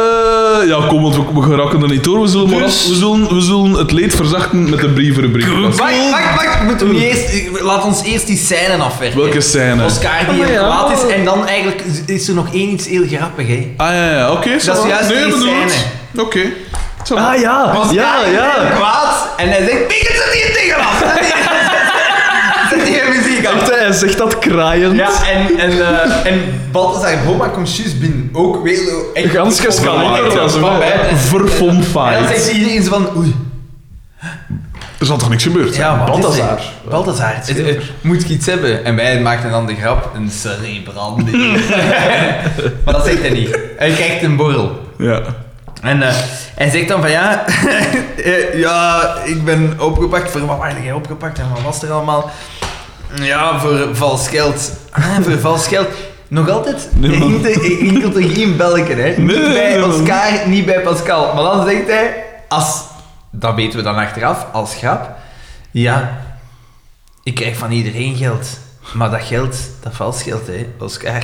ja, kom, want we, we geraken er niet door. We zullen, maar af- we, zullen, we zullen het leed verzachten met de brievenrubriek.
Wacht, wacht, wacht. Moeten we niet eerst, laat ons eerst die scène afwerken.
Welke scène?
Oscar die
Oh, ja.
kwaad is en dan eigenlijk is er nog één iets heel grappig, hè.
Ah ja, ja oké. ça
Dat is
va.
juist
Nee,
die
bedoel
scène.
het. Oké. Ça va.
Ah ja,
Oscar
ja,
is eigenlijk
ja.
kwaad en hij zegt, pik het er niet tegen af. Zet die- Zet die muziek af.
Echt, hij zegt dat kraaiend.
Ja, en, en, eh en Balthazar Boma komt juist binnen. Ook weer zo... echt
Gans gescaleerd,
opgemaakt,
ja, zo,
van
ja.
bij- En dan
Verfomfight.
zegt iedereen zo van, oei.
Er zal toch niks gebeurd zijn?
Ja, maar
Balthazar.
het is- Balthazar. het- het- Moet ik iets hebben? En wij maakten dan de grap, een cerebrande. maar dat zegt hij niet. Hij krijgt een borrel.
Ja.
En eh, hij zegt dan van ja, eh, ja, ik ben opgepakt. Voor wat ben jij opgepakt en wat was er allemaal? Ja, voor vals geld. Ah, voor vals geld. Nog altijd
Nee, man.
hinkelt er- hinkelt er geen belken, hè?
Nee,
niet bij
man.
Oscar, niet bij Pascal. Maar dan zegt hij, als, dat weten we dan achteraf, als grap. Ja, ik krijg van iedereen geld. Maar dat geld, dat vals geld, hè, Oscar,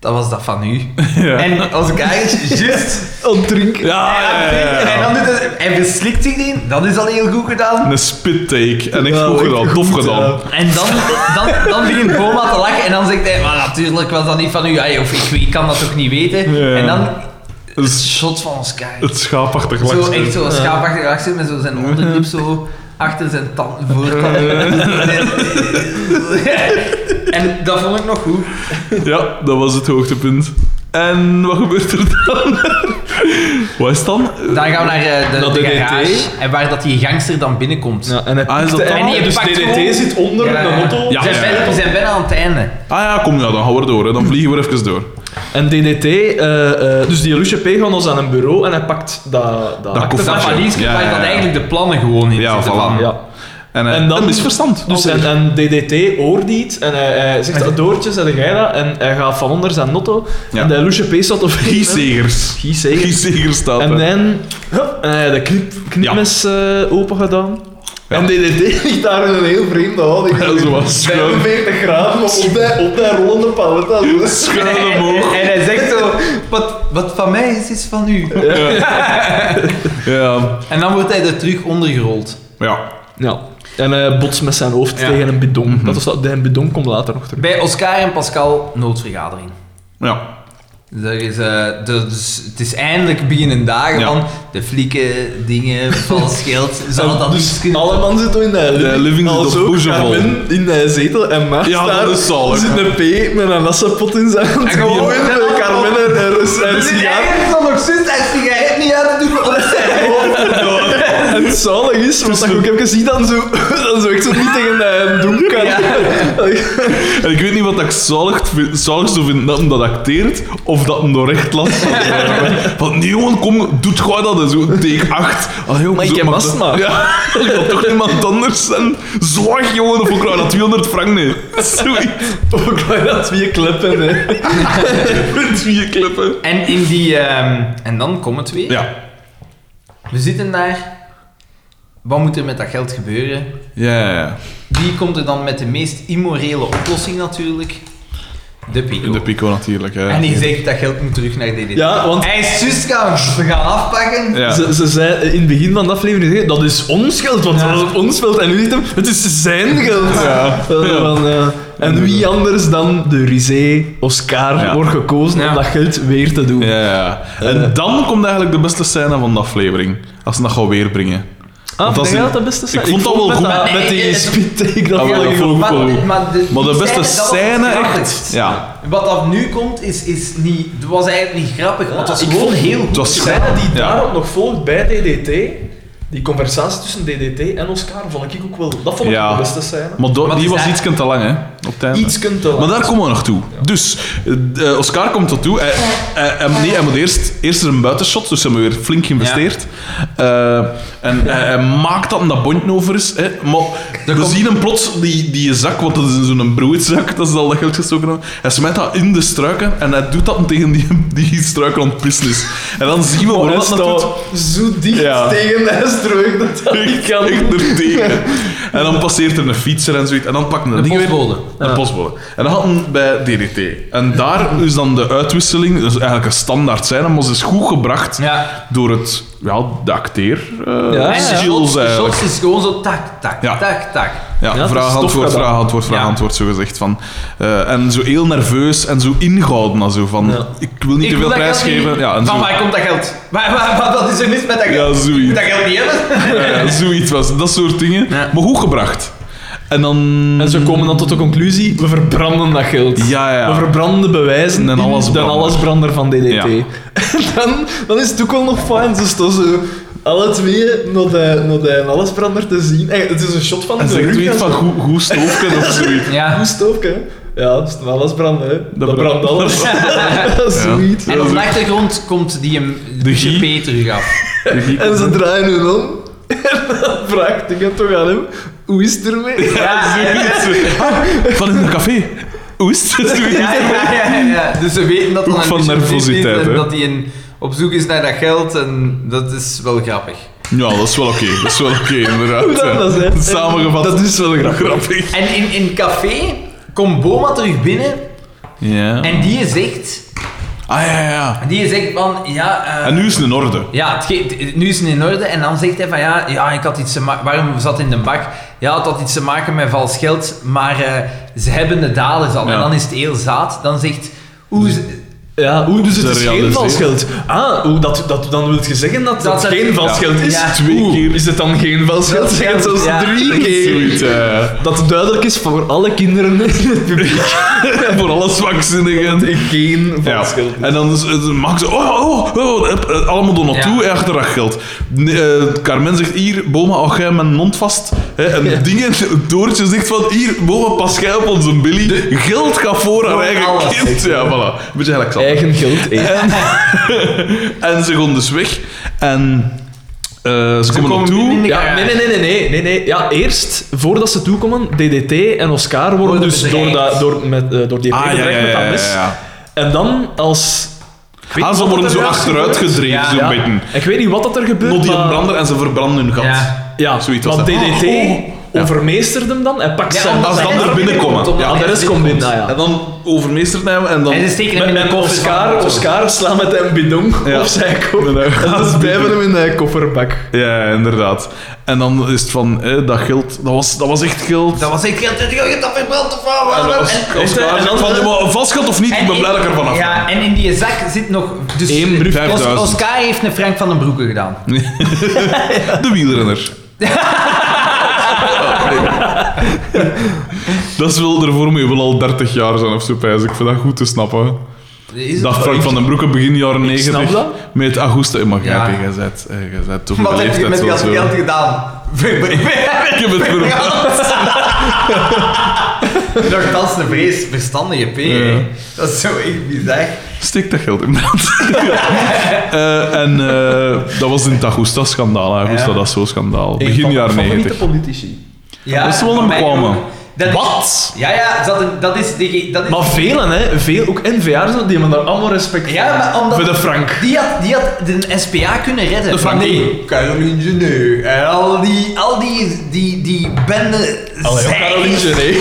dat was dat van u.
Ja.
En Oscar is juist
Ontdrinken.
Ja, Ah, ja, ja, ja.
en dan doet het, en verslikt zich die, dat is al heel goed gedaan.
Een spit take. En ik
Ja,
vroeg
echt
gedaan,
goed,
tof
ja.
gedaan.
En dan, dan, dan begint Boma te lachen en dan zegt hij, maar natuurlijk was dat niet van u, ja, of ik, ik kan dat toch niet weten.
Ja.
En dan
Het,
het
is
shot van Oscar.
het schaapachtig
Zo
lakske.
echt zo schaapachtig achter met zo zijn onderlip zo achter zijn tand, voortand. en dat vond ik nog goed.
Ja, dat was het hoogtepunt. En wat gebeurt er dan? wat is het dan?
Dan gaan we naar eh, de,
Dat
de
DDT.
garage en waar dat die gangster dan binnenkomt.
Ja, en hij
Ah, is dat
pikt-
dat?
en die
En die
dus
pakt gewoon-
DDT zit onder
Ja.
een auto.
Ja.
we, zijn bijna, we zijn bijna aan het einde.
Ah ja, kom, ja, dan gaan we er door. Hè. Dan vliegen we er even door.
En DDT, eh, eh, dus die Lucia P gaat ons aan een bureau en hij pakt dat... Dat,
Dat
Dat
koffertje.
valiesje
Ja,
waar
ja,
dat
ja.
eigenlijk de plannen gewoon in
Ja,
zitten
voilà.
van-
Ja.
En, eh,
En dan-
een misverstand.
Dus en, en DDT oordiet en hij, hij zegt, "Ah, Doortje, zeg jij dat? En hij gaat van onder zijn notto
Ja.
en de Lucia P staat op
Giesegers.
Giesegers.
Giesegers staat
En eh,
er.
dan hup, en hij de knip, knipmes eh, open gedaan.
Ja.
En DDT ligt daar in een heel vreemde houding.
Ja, zo wat schuin.
45 graden op, op, dat- op dat rollende palet. dat is-
Schuin omhoog.
En hij zegt zo, wat, wat van mij is, is van u.
Ja.
En dan wordt hij er terug ondergerold.
ja.
Ja. En hij botst met zijn hoofd
Ja.
tegen een bidon.
Mhm.
Dat was dat, de bidon komt later nog terug.
Bij Oscar en Pascal, noodvergadering.
Ja.
Er is, eh, dus, het is eindelijk beginnen dagen
Ja.
van de flieken, dingen, vals geld. Zal dat
dus
niet kunnen?
alle man zit in de living,
De living zit
Als
op
ook
boezemvol.
Carmen in de zetel en Max
Ja,
daar
dat is zalig.
zit een P met een assenpot in zijn hand.
En gewoon-
eh, Carmen en- en Rus- en
Dus
sigaar.
eigenlijk is dat nog zin en sigaret niet uit te doen op zijn hoofd.
En het zalig is, want dat ik ook heb gezien, dan zo, dan zo echt zo niet tegen eh, de doem kan.
Ja.
En ik weet niet wat ik zalig vind, zalig zou vinden, dat hem dat acteert of dat hem door echt last van Want nee jongen, kom, doet gewoon dat en zo tegen acht. Ah, joh,
Maar ik
doe
heb astma.
Ja, ik had toch niemand anders zijn. Zwaag jongen, of ik krijg dat 200 frank nee. Zoiets.
Of ik wou dat weer kleppen, hè.
Met vier klippen.
En in die... ehm, en dan komen twee.
Ja.
We zitten daar. Wat moet er met dat geld gebeuren?
Ja, ja, ja.
Wie komt er dan met de meest immorele oplossing natuurlijk? De Pico.
In de Pico natuurlijk. Hè.
En die zegt dat geld moet terug naar DDT.
Ja, want-
Hij is zus gaan, we gaan afpakken.
Ja.
Ze, ze zei in het begin van de aflevering, dat is ons geld, want
Ja.
dat is ons geld. En nu zegt hem, het is zijn geld.
Ja.
Wel,
Ja.
van, eh, en wie anders dan de Rizé, Oscar,
Ja.
wordt gekozen
Ja.
om dat geld weer te doen.
Ja, ja. En dan komt eigenlijk de beste scène van de aflevering. Als ze dat gaan weerbrengen. Want
Ah, denk
als
je
die-
dat dat beste
ik
zijn?
vond dat wel
met
goed.
dat- met
Nee,
die
het-
speedtake, dat
Ah,
vond
wel, dat
ik goed.
vond ik ook wel goed.
de,
Maar de
die
beste
dat was
scène echt,
grappig.
ja.
Wat dat nu komt, is, is niet, het was eigenlijk niet grappig. want Het was
Ik
gewoon
vond-
heel goed.
was
De
goed.
scène die
Ja.
daarop nog volgt bij DDT, die conversatie tussen DDT en Oscar, vond ik ook wel... Dat vond ik
Ja.
de beste scène.
Maar do-
Wat
die
is
was
dat?
iets te lang, hè? Op het einde.
Iets kunt te laat.
Maar daar komen we nog toe. Dus, eh, eh, Oscar komt er toe. Hij, hij, hij- nee, hij moet eerst, eerst is er een buitenshot, dus ze hebben weer flink geïnvesteerd. Eh, en hij, hij maakt dat en dat bondje over is. Hè. Maar we
komt-
zien hem plots, die, die zak, want dat is in zo'n broodzak, dat is al dat geld gestoken hebben. Hij smijt dat in de struiken en hij doet dat tegen die, die struiken aan het pissen is. En dan zien we
Maar
waarom
dat
dat doet.
Oh, staat zo dicht
Ja.
tegen de struik dat dat niet kan.
Echt er tegen. En dan passeert er een fietser en zoiets. En dan pakken we dat
De
ding weer-
postbode.
Een postbode. En dat hadden bij DDT. En daar is dan de uitwisseling, dus eigenlijk een standaard scène, maar ze is goed gebracht
Ja.
door het, ja, de acteer eh,
En
Ja,
de
skills
shots, de
eigenlijk.
shots is gewoon zo tak, tak,
Ja.
tak, tak.
Ja,
Ja, dat is
vraag,
tof
antwoord,
gedaan.
vraag, antwoord, vraag,
Ja.
antwoord, zo gezegd. Van, eh, en zo heel nerveus en zo ingehouden. en zo van,
Ja.
ik wil niet
Ik
te veel
wil dat geld
prijs geven.
niet-
Ja, en zo,
Van waar komt dat geld? Waar, waar, waar- wat is er mis met dat geld?
Ja, zoiets.
Ik moet dat geld niet hebben.
eh, zoiets was. Dat soort dingen.
Ja.
Maar goed gebracht. En dan...
En ze komen dan tot de conclusie, we verbranden dat geld.
Ja, ja.
We verbranden de bewijzen
En
en
alles
alles dan
brander.
alles brander van DDT.
Ja.
En dan, dan is het ook wel nog fijn, dus dat zo alle twee naar de, naar de allesbrander te zien. Echt, het is een shot van
En
de
zegt
rug
weet
en
van
zo.
goed, goed stoofken of zoiets.
Ja.
Hoe stook, hè? Ja, dat is een allesbrander, hè. Dat,
brandt-
brandt alles. Sweet.
En op de achtergrond komt die hem
De Guy.
GP terug af.
En ze draaien hun om. En dan vraagt ik toch aan hem, hoe is het ermee?
Ja,
Zoiets. Van in een café. Hoe is het? Zoiets.
Ja, ja, ja, ja. Dus ze weten dat
Ook
dan een
van
beetje
nervositeit,
verdiend is
hè?
en dat hij een- op zoek is naar dat geld en dat is wel grappig.
Ja, dat is wel oké. Dat is wel oké, inderdaad.
Hoe dat was, hè?
Samengevat.
Dat is wel grappig.
En in, in café komt Boma terug binnen
Ja.
en die zegt,
Ah, ja, ja, ja.
die zegt van ja. eh,
En nu is het in orde.
Ja, het ge- het- nu is het in orde. En dan zegt hij van ja, ja ik had iets te ma- waarom zat in de bak? Ja, het had iets te maken met vals geld, maar eh, ze hebben de daders al.
Ja.
En dan is het heel zaad. Dan zegt hoe ze-
Ja, hoe dus het
Ze
is geen
realiseren.
vals geld. Ah, hoe dat, dat, dan wil je zeggen dat, dat,
Dat het-
geen vals
ja.
geld is?
Ja.
Twee
Oeh,
keer.
Is het dan geen vals geld?
Dat
Zeg het
geld,
zelfs
ja.
drie keer.
Zoiets, eh,
Dat duidelijk is voor alle kinderen in het publiek.
voor alle zwakzinnigen.
geen vals
Ja.
geld. is.
En dan is- eh, maken ze, oh, oh, oh, eh, eh, allemaal door naartoe,
Ja.
ja. achter dat geld. Nee, eh, Carmen zegt, hier, Boma, hou jij mijn mond vast. Hè, en dingen, Doortje zegt van, hier, Boma, pas jij op onze Billy. Geld gaat voor haar
Voor
eigen
alles.
kind. Ja, voilà. Beetje Alexander.
Eigen geld eten.
En, en ze gaan dus weg. En eh, ze, komen
komen binnen in
naartoe.
de-
Ja, nee, nee, nee, nee, nee, nee, nee. Ja, eerst, voordat ze toekomen, DDT en Oscar worden
Worden
dus door,
bedreigd.
dat, door, met, eh, door die
Ah, ja,
bedreigd
ja,
met
ja,
dat
ja,
mes.
ja.
En dan als... ik weet
Ah,
niet
ze
wat
worden
er
zo
juist
achteruit
gebeurt.
gedreven,
Ja.
zo'n
Ja,
beetje.
Ik weet niet wat dat er gebeurt,
Not die
maar-
brander en ze verbranden hun gat.
Ja.
Ja,
Zoiets was
maar
dat.
DDT
Oh, oh. Ja.
overmeestert hem dan en pakt
Ja,
zijn...
omdat
Als
ze
dan
hij
er
er
binnenkomen.
binnenkomt,
Ja.
Ah, de rest komt binnen, ah,
En
ja.
dan overmeestert hij hem en dan...
en ze steken hem in de
En
koffer. van de
Oscar,
auto.
Oscar slaat met hem bidon
Ja.
op zijn kop.
Nee, nee.
En ze blijven hem in de kofferbak.
Ja, inderdaad. En dan is het van, eh, dat geld, dat was, dat was echt geld.
Dat was echt geld, dat geld dat verbrand of wat?
En
En-
als- als
en-
en-
Klaas
en
zegt
dan-
van, ja, vast geld of niet,
en
ik ben
in-
blij dat ik ervan af
Ja, en in die zak zit nog... Dus
Eén brief,
Os-
5000.
Oscar heeft een Frank van den Broeke gedaan.
ben. De wielrenner. dat is wel, daarvoor moet je wel al 30 jaar zijn of zo, pijs. Ik vind dat goed te snappen.
Is
Dat Frank van den Broeke begin jaren
ik snap
90
dat.
met Augusta. Maar jij
Ja.
hebt gezet, gezet toch
Wat heb je met dat
wel zo.
geld gedaan?
Ik heb het verbrand.
Nog dat is een vrees verstandige P. hè. Dat is zo echt bizar.
Steek dat geld in brand. Eh, en eh, dat was in het Agusta-schandaal. Agusta,
Ja.
dat is zo'n schandaal. Begin jaren 90.
politici.
Ja,
Dat is wel een
voor mij
bekwame.
ook. Dat is-
Wat?
Ja, ja, dat, dat is... Die, dat is
Maar velen, hè. Veel, ook NVA'ers, die hebben daar allemaal respect voor.
Ja, maar omdat-
Voor de Frank.
Die had, die had de SPA kunnen redden.
De
maar
Franco.
nee, Caroline Geneu en al die, al die, die, die bende...
Allee, ook
zeikers.
Oh, Caroline, nee.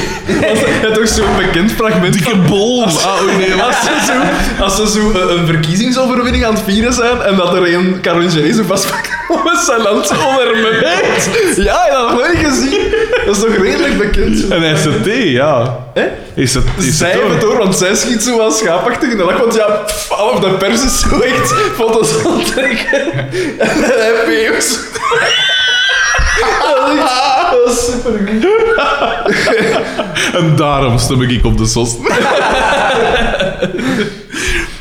Het is toch zo'n bekend fragment.
Dikke bol. Ah, oei, nee,
Als
wat?
ze, zo, als ze zo eh, een- een verkiezingsoverwinning aan het vieren zijn en dat er een Caroline Genet zo vastpakt met zijn land onder me Ja, dat heb ik nooit gezien. Dat is toch redelijk bekend. Zo.
Een SCT, ja.
Hè?
Is het, is
Zij
het
hebben het
door?
door, want zij schiet zo wel schaapachtig in de lach, want ja, pff, al of de pers is zo echt foto's aan het trekken. En dan heb je ook zo... Dat is echt- Dat is super
En daarom stem ik op de SOS.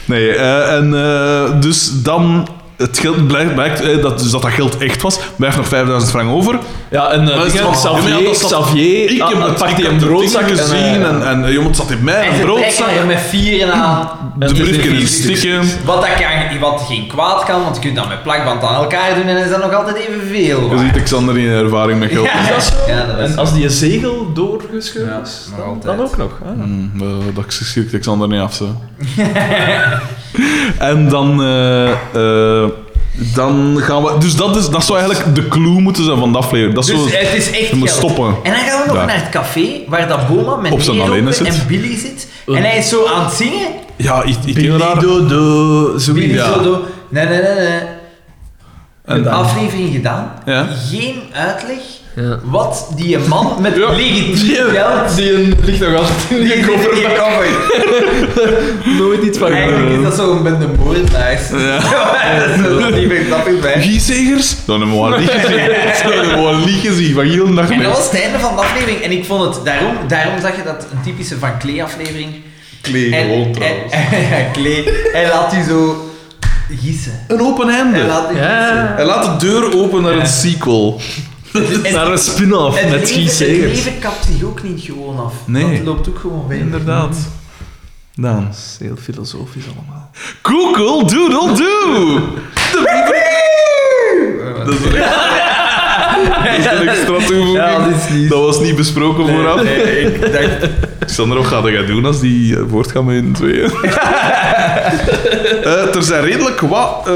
nee, eh, en eh, dus dan... Het geld blijkt, blijkt eh, dat, dus dat dat geld echt was. Blijft nog 5000 frank over.
Ja, en eh,
Maar is
dingen,
het wel-
Xavier,
Ja, dat is-
Xavier,
Ik heb
ah,
het,
pakt
ik
die
heb
een
het
broodzak
ding gezien.
eh,
En, en, eh, jongen, het zat in mij.
En
Een
ze
broodzak.
trekken er met vieren aan.
De
en dus
briefje
een
is stikken.
Wat, dat kan, wat geen kwaad kan, want je kunt dat met plakband aan elkaar doen en is dat nog altijd evenveel.
Je
waard.
ziet Xander in ervaring met geld.
Ja.
Is dat zo?
Ja, dat is
en
zo.
als die zegel doorgescheurd
Ja,
is,
nog
dan,
altijd.
dan ook nog. Ah.
Hmm, eh, dat schrikt Xander niet af, zo. en dan... eh, eh, dan gaan we... Dus dat, is, dat zou eigenlijk de clue moeten zijn van de aflevering. Dat is
Dus
zo-
het is echt
Je moet
geld.
stoppen.
En dan gaan we nog
Daar.
naar het café waar dat Boma met
Op zijn
Nero
alleen zit.
en Billy zit. En hij is zo aan het zingen.
Ja, ik, ik ken haar.
Dodo,
Billy
Ja.
zo do, nee, nee, nee, nee.
En
Een
dan-
aflevering gedaan.
Ja.
Geen uitleg
Ja.
wat die man met
Ja.
legitiem
Die,
geld...
die ligt nog altijd in die
Die- die
koffer.
koffer.
Nooit iets van
Eigenlijk is dat zo'n bende moordenaars.
Ja.
dat is zo niet meer grappig bij.
Giezegers? Dan hebben we haar niet gezien. Dan hebben we haar niet gezien. Van heel de dag
En dat
mee.
was het einde van de aflevering. En ik vond het, daarom, daarom zag je dat een typische Van Klee aflevering.
Klee
En-
gewoon,
en-
trouwens.
ja, Klee. Hij laat u zo gissen.
Een open
Hij
einde.
laat u
Ja.
Hij laat de deur open naar een sequel.
gissen. En-
Naar een spin-off
het
met
leven-
Guy
Het
Segers.
leven kapt zich ook niet gewoon af.
Nee.
Dat loopt ook gewoon bij.
Inderdaad. Dan.
is heel filosofisch allemaal.
Google Doodle Doo!
Eh,
Dat is een extra, dat is een extra toevoeging.
Ja, dat is niet-
Dat was niet besproken vooraf.
nee, ik dacht...
Xander, wat ga jij doen als die eh, woord gaat met in tweeën? Eh, er zijn redelijk wat eh,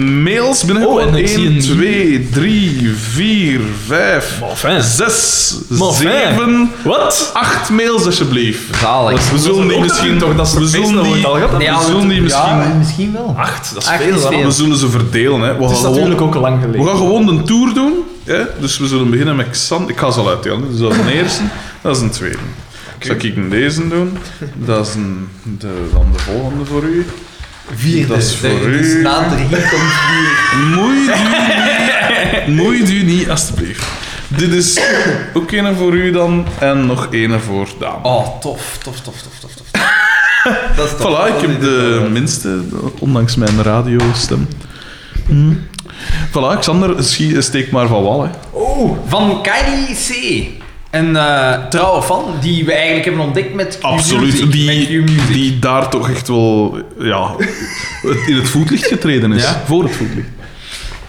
mails binnengekomen.
Oh, en ik zie
1,
een-
2, 3, 4, 5,
Maar fijn.
6,
Maar fijn.
7,
Wat?
8 mails alsjeblieft.
Zalig.
We zullen die
Ook dat
misschien
we toch- dat is
we
het meeste
zullen
dat we
die,
het al gehad hebben.
we zullen die misschien. Ah,
misschien wel.
Acht, dat is
Acht
veel.
is
hè.
veel.
we zullen ze verdelen. Hè. We
Het is
gaan
natuurlijk
gewoon-
ook lang
we
geleden.
gaan gewoon een tour doen. Hè? Dus we zullen beginnen met Xander. Ik ga ze al uitdelen. Dus dat is een eerste, dat is een tweede. Zal ik een deze doen? Dat is een, de, dan de volgende voor u.
Vier,
Dat is
dus.
voor
De-
u.
Dus na drie komt vier.
Moeit u, moeit u niet, alstublieft. Dit is ook een voor u dan en nog een voor Daan.
Oh, tof, tof, tof, tof, tof, tof. Dat is tof.
Voilà, ik heb de minste, ondanks mijn radiostem. Hm. Voilà, Xander, schie- steek maar van wal. Hè.
Oh, van KDC. Een eh, trouwe fan die we eigenlijk hebben ontdekt met
Absoluut, die, die daar toch echt wel ja, het- in het voetlicht getreden is.
Ja.
Voor het voetlicht.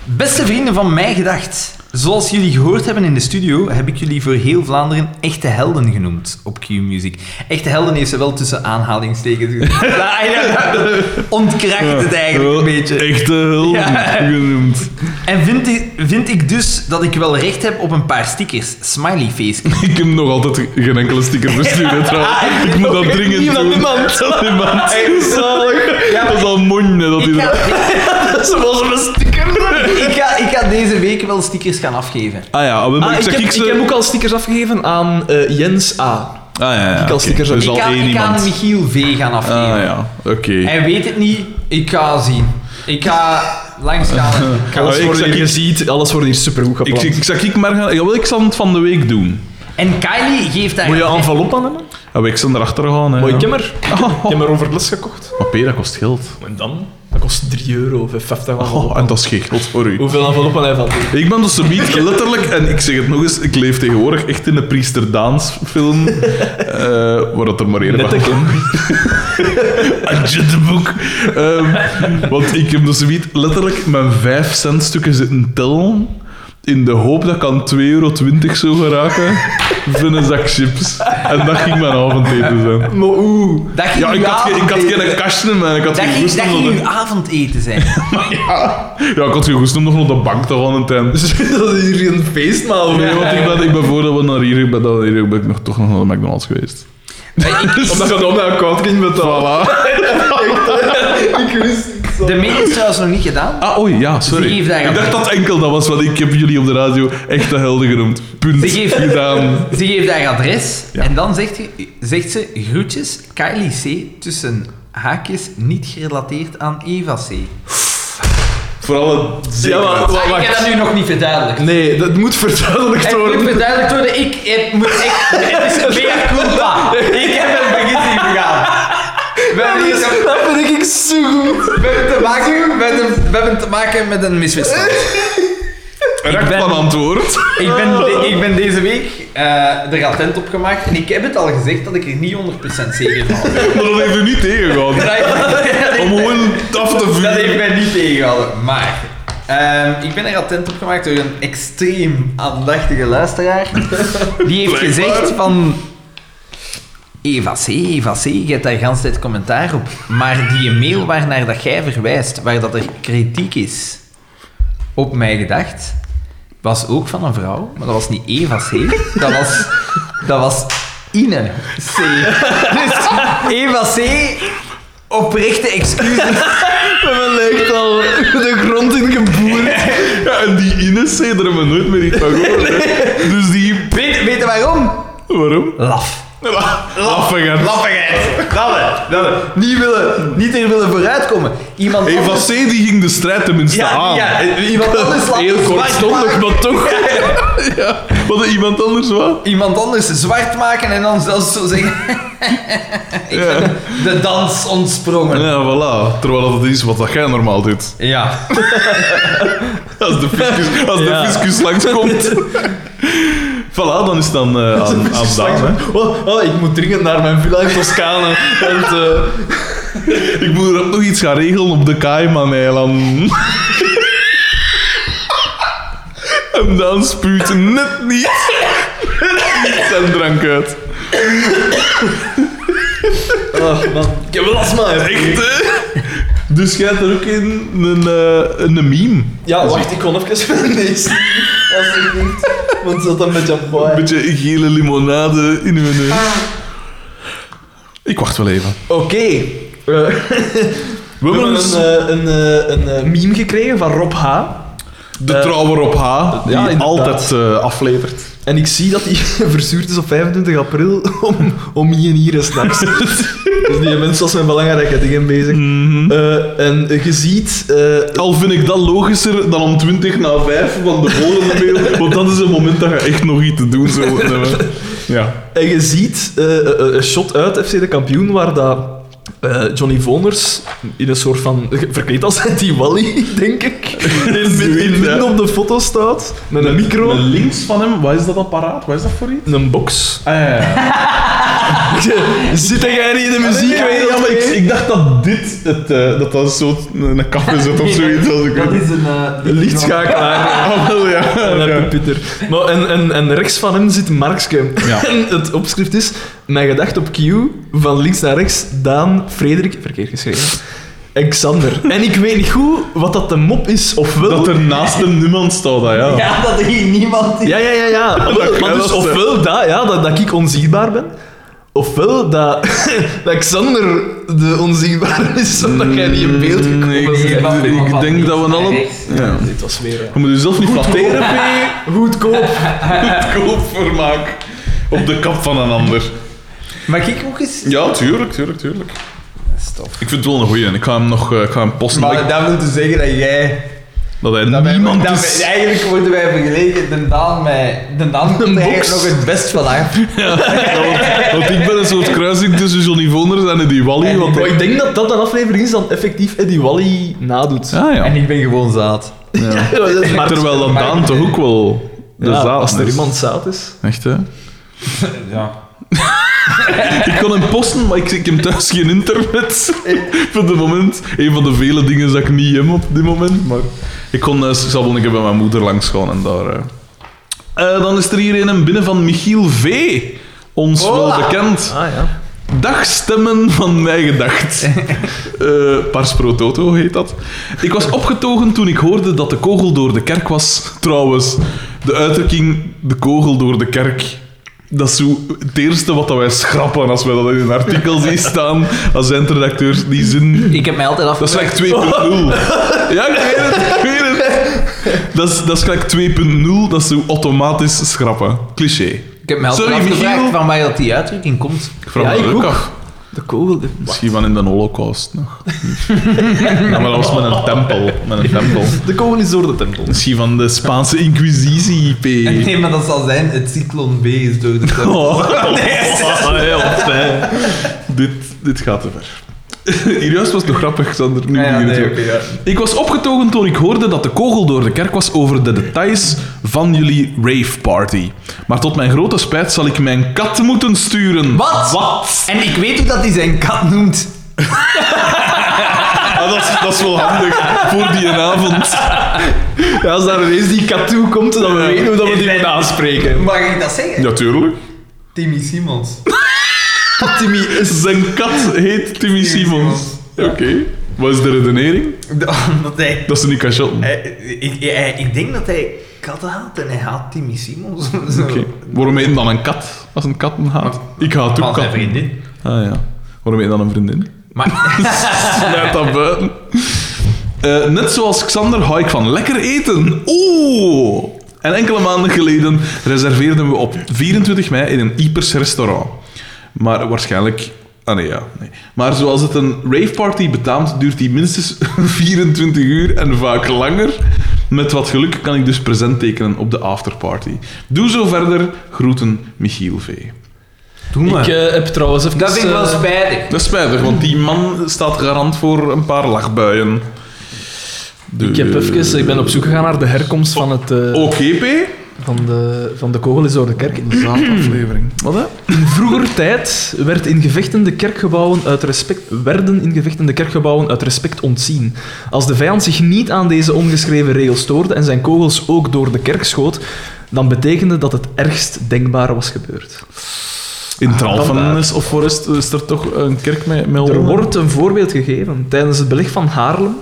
Beste vrienden van mij gedacht. Zoals jullie gehoord hebben in de studio, heb ik jullie voor heel Vlaanderen echte helden genoemd op Q-Music. Echte helden heeft ze wel tussen aanhalingstekens gezet. Ja, ja, dat Ontkracht het eigenlijk
Wel,
een beetje.
Echte hulp
Ja.
genoemd.
En vind ik, vind ik dus dat ik wel recht heb op een paar stickers. Smiley face.
Ik heb nog altijd geen enkele sticker verstuurd, hè, trouwens. Ik moet dat dringend
Niemand, dus
doen.
niemand.
Aan niemand.
Zalig.
Dat is al mooi hè, dat
Ik
hij
ga,
dat...
Ze was er een sticker.
ik, ga, ik ga deze week wel stickers gaan afgeven.
Ah ja, maar
Ah,
ik
ik,
zeg
heb,
ik
ik
ze...
heb ook al stickers afgegeven aan eh, Jens A.
Ah ja, ja.
al
oké.
stickers
Dus
heb.
al
ik ga,
één
ik ga aan
iemand.
Michiel V gaan afgeven.
Ah ja, oké.
Hij weet het niet. Ik ga zien. Ik ga langs gaan. Ik ga-
Ah,
Alles
ik
wordt
zeg
hier
ik-
geziet, alles wordt hier supergoed
Ik,
gepland.
ik, zeg ik maar gaan... Jawel, ik zal het van de week doen.
En Kylie geeft daar...
Moet je envelop aan hebben?
Ja, maar ik zal erachter gaan, hè. Ah, oh.
Mooi, ik heb er. Ik heb- ik heb er overles gekocht.
Papier, dat kost geld.
En dan? Dat kost 3 euro of 50
Oh, en dat is geen geld voor u.
Hoeveel enveloppen heb je van die?
Ik ben dus niet letterlijk, en ik zeg het nog eens, ik leef tegenwoordig echt in de Priester Daans film, eh, waar dat er maar één
Net
van
een
komt. Adje de boek. Ehm, want ik heb dus niet letterlijk mijn vijf cent stukken zitten tellen in de hoop dat ik aan 2,20 euro zou geraken voor een zak chips. En dat ging mijn avondeten zijn.
Maar oeh.
Dat ging
Ja,
uw
ik had, geen- ik had
avondeten-
geen kastje, man. Ik had
Dat
geen
ging,
goest
dat
om
ging
nog-
uw avondeten zijn.
Ja. ja, ik had geen goest om nog naar de bank te gaan en ten.
dat is hier een feestmaal.
Nee, want ik ben, ik ben voordat we naar hier, ben, naar hier ben ik nog, toch nog naar de McDonald's geweest.
Omdat je dan naar koud ging betalen.
Voilà.
Ik wist het zo.
De mail is trouwens nog niet gedaan.
Ah, oei, ja, sorry.
Ze geeft
Ik
eigenlijk-
dacht dat enkel dat was, want ik heb jullie op de radio echt de helden genoemd. Punt.
Ze geeft-
Gedaan.
Ze geeft haar adres
Ja.
en dan zegt, je- zegt ze groetjes Kylie C. tussen haakjes niet gerelateerd aan Eva C.
Vooral het
Ja, maar
zekerheid.
wacht.
Ah, ik heb dat nu nog niet verduidelijkt.
Nee, dat moet verduidelijkt
Het moet
worden.
verduidelijkt worden, ik heb... moet- Ik, het is meer culpa. Ik heb een vergissing begaan. We hebben,
dus
hier te-
Dat vind ik zo goed.
we hebben te maken met een, we hebben te maken met een misverstand.
Raakt
ben-
van antwoord.
Ik ben, de- ik ben deze week eh er attent op gemaakt en ik heb het al gezegd dat ik er niet 100% zeker van was.
Maar dat heeft u niet tegengehouden. Om gewoon af te
Dat heeft
vuren.
mij niet tegengehouden. Maar ehm, ik ben er attent op gemaakt door een extreem aandachtige luisteraar. Die
Blijkbaar.
heeft gezegd van... Eva C, Eva C, je hebt daar gans tijd commentaar op. Maar die mail waarnaar dat jij verwijst, waar dat er kritiek is op mij gedacht, was ook van een vrouw. Maar dat was niet Eva C, dat was, dat was Ine C. Dus Eva C, oprechte excuses
We hebben lijkt al de grond in geboerd.
Ja, en die Ines zei, daar hebben we nooit meer iets van gehoord. hè. Dus die...
Weet, weet je waarom?
Waarom?
Laf.
Laffingen.
Lappigheid. Dat we, dat we. Niet, willen, Eh, niet er willen vooruitkomen. Iemand
Eva
anders-
C. die ging de strijd tenminste
Ja,
aan.
ja, iemand anders laat
Heel
het zwart
kortstondig,
maken.
maar toch.
Ja. Wat iemand anders wat?
Iemand anders zwart maken en dan zelfs zo zeggen... Ik
Ja.
ben De dans ontsprongen. Ja.
Ja, voilà. Terwijl dat het is wat dat jij normaal doet. Als de fiscus, als
Ja.
de fiscus langskomt. voilà, dan is het dan eh, aan, aan Daan. hè.
Oh, oh, ik moet dringend naar mijn villa in Toscane. Want, eh,
eh, Ik moet er ook nog iets gaan regelen op de Cayman-eilanden. en dan spuut net niet zijn drank uit.
oh, man. Ik heb wel astma. hè.
Echt, hè? Dus jij hebt er ook in een, eh, een meme.
Ja, wacht, ik kon even mijn neus zien. Alsjeblieft. Want dat dan met
Een
Japan.
beetje gele limonade in uw neus. Ik wacht wel even.
Oké.
We
We
hebben
hebben
dus
een, eh, een, eh, een eh, meme gekregen van Rob H.
de
eh,
trouwer op H, die
inderdaad.
altijd eh, aflevert.
En ik zie dat hij verstuurd is op 25 april om, om hier en hier en s'nachts. dus die mensen was met belangrijke dingen bezig.
Mhm.
Eh, en je ziet... eh,
Al vind ik dat logischer dan om 20 na 5 van de volgende mail. Want dat is een moment dat je echt nog iets te doen zou moeten hebben. Ja.
En je ziet eh, eh, eh, een shot uit FC de kampioen waar dat, eh, Johnny Voners in een soort van verkleed als die Wally, denk ik, in, in, in- midden op de foto staat met een micro,
Met links van hem, wat is dat apparaat? Wat is dat voor iets?
een box.
Ah, ja, ja.
Zit jij niet in de
Muziek,
muziek?
ja, ja, maar ik, ik dacht dat dit, het, eh, dat dat zo een kaffe zit of zoiets. Als ik
Dat is een... eh, die-
Lichtschakelaar.
Ah, wel, ja.
En, dan heb je
ja.
Pieter. Maar en, en, en rechts van hem zit Markske.
Ja.
En het opschrift is: Mijn gedacht op Q, van links naar rechts, Daan, Frederik, verkeerd geschreven, en Xander. En ik weet niet goed wat dat de mop is, ofwel.
Dat er naast hem niemand staat, dat, ja.
Ja, dat er hier niemand is.
Ja, ja, ja, ja.
Dat
maar dus
klopt, hè.
ofwel dat, ja, dat, dat ik onzichtbaar ben, ofwel dat, dat Xander de onzichtbare is, omdat jij niet in beeld gekomen
Nee,
bent.
Mm, ik-
van-
ik
van
denk
links
dat we
naar
alle-
rechts.
Ja.
Dit was weer.
Je moet jezelf niet flatteren.
P, goedkoop.
Koop vermaak. Op de kap van een ander.
Mag ik ook eens...
Ja, tuurlijk, tuurlijk, tuurlijk.
Stop.
Ik vind het wel een goeie en ik ga hem nog eh, ik ga hem posten. dat, ik-
dat wil dus zeggen dat jij...
dat hij
dat wij-
niemand
dat
is.
wij- eigenlijk worden wij vergeleken, de Daan met... De Daan komt er eigenlijk nog het best van af.
Want, want ik ben een soort kruising tussen Johnny Voners en die Wally.
En
Want
die
Maar ik denk dat dat een aflevering is dat effectief Eddie Wally nadoet.
Ah, ja.
En ik ben gewoon zaad.
ja.
Ja, dat is maar-
Terwijl dan
maar-
Daan toch ook wel de
Ja,
zaal
als er
is.
iemand zaad is.
Echt, hè?
Ja.
Ik kon hem posten, maar ik, ik heb thuis geen internet. Voor de moment. Een van de vele dingen dat ik niet heb op dit moment. Maar ik kon uh, zal ik bij mijn moeder langs gaan en daar. eh. Eh, dan is er hier een binnen van Michiel V. Ons wel
Hola.
bekend.
Ah ja.
Dagstemmen van mij gedacht. Eh Pars pro toto heet dat. Ik was opgetogen toen ik hoorde dat de kogel door de kerk was. Trouwens, de uitdrukking de kogel door de kerk. Dat is zo het eerste wat dat wij schrappen als wij dat in een artikel zien staan. Als eindredacteurs die zin.
Ik heb mij altijd
Dat is
afgevraagd...
gelijk 2.0. Ja, ik weet het, ik weet het. Dat is, dat is gelijk 2.0, dat is zo automatisch schrappen. Cliché.
Ik heb mij altijd
Sorry,
afgevraagd
Michiel.
van waar dat die uitdrukking komt.
Ik vraag
Ja,
me
ik
dat ook
ook.
af.
De kogel. de-
Misschien van in de holocaust nog. ja, maar dat was met een tempel. Met een tempel.
De kogel is door de tempel.
Misschien van de Spaanse Inquisitie, IP.
Nee, maar dat zal zijn, het cyclon B is door de kerk.
Oh, heel fijn. Dit, dit gaat te ver. Hier juist was het nog grappig, Sander. Nu
Ja, ja,
begint het
nee,
weer.
oké, ja.
Ik was opgetogen toen ik hoorde dat de kogel door de kerk was over de details van jullie rave party. Maar tot mijn grote spijt zal ik mijn kat moeten sturen.
Wat?
Wat?
En ik weet hoe dat hij zijn kat noemt.
Ah, dat, is, dat is wel handig voor die avond.
Ja, als daar ineens die kat toe komt, dan we weten hoe dat we die moeten aanspreken.
Mag ik dat zeggen?
Natuurlijk.
Timmy Simons.
Timmy Zijn kat heet Timmy Simons.
Simons.
Oké. Wat is de redenering?
Omdat hij...
Dat ze niet cachotten.
hij- ik, hij- ik denk dat hij katten haat en hij haat Timmy Simons.
Oké. Waarom heet hem dan een kat als een katten haat? Ik haat ook
Van zijn
katten.
vriendin.
Ah ja. Waarom heet dan een vriendin?
Maar...
Sluit dat buiten. Eh, net zoals Xander hou ik van lekker eten. Oeh! En enkele maanden geleden reserveerden we op 24 mei in een Ypres restaurant. Maar waarschijnlijk... Ah nee, ja. Nee. Maar zoals het een raveparty betaamt, duurt die minstens 24 uur en vaak langer. Met wat geluk kan ik dus present tekenen op de afterparty. Doe zo verder. Groeten, Michiel V.
Doe
Ik eh, heb trouwens even...
dat vind ik wel
eh,
spijtig.
Dat is spijtig, want die man staat garant voor een paar lachbuien.
Ik heb even... Ik ben op zoek gegaan naar de herkomst van het... eh,
Oké, P.
Van de, van de kogel is door de kerk in de zaadaflevering. Wat hè? In vroeger tijd werd in gevechten de kerkgebouwen uit respect, werden in gevechten de kerkgebouwen uit respect ontzien. Als de vijand zich niet aan deze ongeschreven regel stoorde en zijn kogels ook door de kerk schoot, dan betekende dat het ergst denkbare was gebeurd.
In Tralfen
Ah, vandaar.
is, of Forest is er toch een kerk met, met
Er
honden?
wordt een voorbeeld gegeven. Tijdens het beleg van Haarlem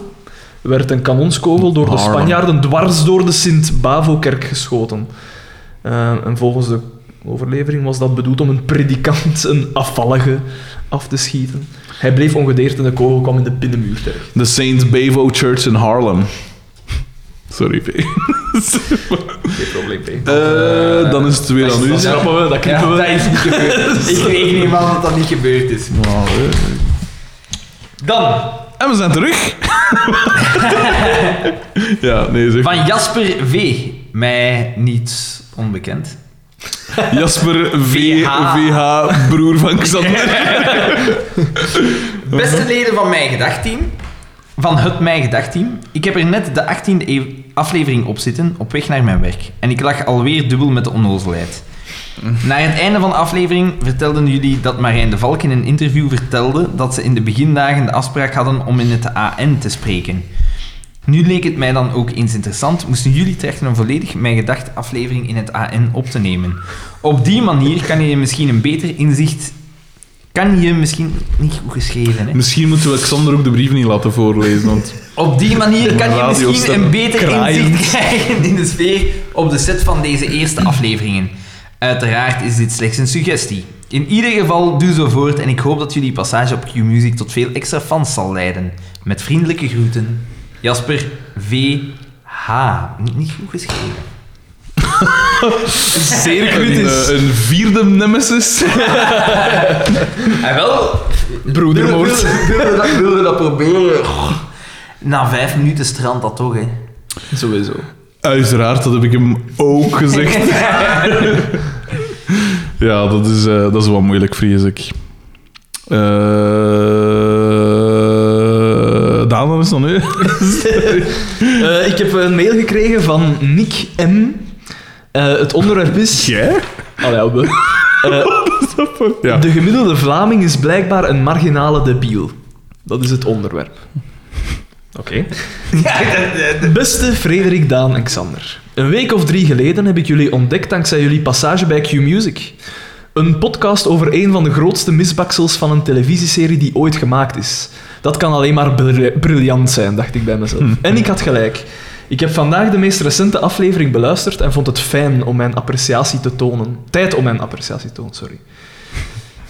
werd een kanonskogel door de
Haarlem.
Spanjaarden dwars door de Sint-Bavo-kerk geschoten. Eh, en volgens de overlevering was dat bedoeld om een predikant, een afvallige, af te schieten. Hij bleef ongedeerd en de kogel kwam in de binnenmuur terecht.
De Saint Bavo Church in Harlem. Sorry, P.
Geen probleem, P.
Eh, dan is het weer aan u.
Dat schrappen we, dat knippen we.
dat is niet gebeurd. ik reken niet aan dat dat niet gebeurd is. Dan,
En we zijn terug. ja, nee, zeg.
van Jasper V. Mij niet onbekend.
Jasper v,
VH.
VH, broer van Xander.
Beste leden van Mijn Gedachtteam, van het Mijn Gedachtteam. Ik heb er net de 18e ev- aflevering op zitten, op weg naar mijn werk. En ik lag alweer dubbel met de onnozelheid. Naar het einde van de aflevering vertelden jullie dat Marijn de Valk in een interview vertelde dat ze in de begindagen de afspraak hadden om in het AN te spreken. Nu leek het mij dan ook eens interessant, moesten jullie trachten een volledig mijn gedacht aflevering in het AN op te nemen. Op die manier kan je misschien een beter inzicht... Kan je misschien... Niet goed geschreven, hè?
Misschien moeten we Xander ook de brief niet laten voorlezen, want...
Op die manier kan je
Radiostem.
misschien een beter
Kraaien.
inzicht krijgen in de sfeer op de set van deze eerste afleveringen. Uiteraard is dit slechts een suggestie. In ieder geval, doe zo voort en ik hoop dat jullie passage op Q-Music tot veel extra fans zal leiden. Met vriendelijke groeten, Jasper V.H. Niet- Niet goed geschreven. Zeer goed
Een,
is.
eh, een vierde nemesis.
En Ah, wel,
Broedermoord.
willen we dat proberen? Na vijf minuten strandt dat toch, hè?
Sowieso.
Uiteraard, dat heb ik hem ook gezegd. ja, dat is, eh, dat is wel moeilijk, vrees ik. Eh Daan, dan is dan nu.
Eh, ik heb een mail gekregen van Nick M. Eh, het onderwerp is...
Jij?
Allee, ja, we. Eh,
Ja.
De gemiddelde Vlaming is blijkbaar een marginale debiel. Dat is het onderwerp. Oké.
Ja, eh, de- de-
Beste Frederik, Daan en Xander. Een week of drie geleden heb ik jullie ontdekt dankzij jullie passage bij Q-Music. Een podcast over een van de grootste misbaksels van een televisieserie die ooit gemaakt is. Dat kan alleen maar bril- briljant zijn, dacht ik bij mezelf. En ik had gelijk. Ik heb vandaag de meest recente aflevering beluisterd en vond het fijn om mijn appreciatie te tonen. Tijd om mijn appreciatie te tonen, sorry.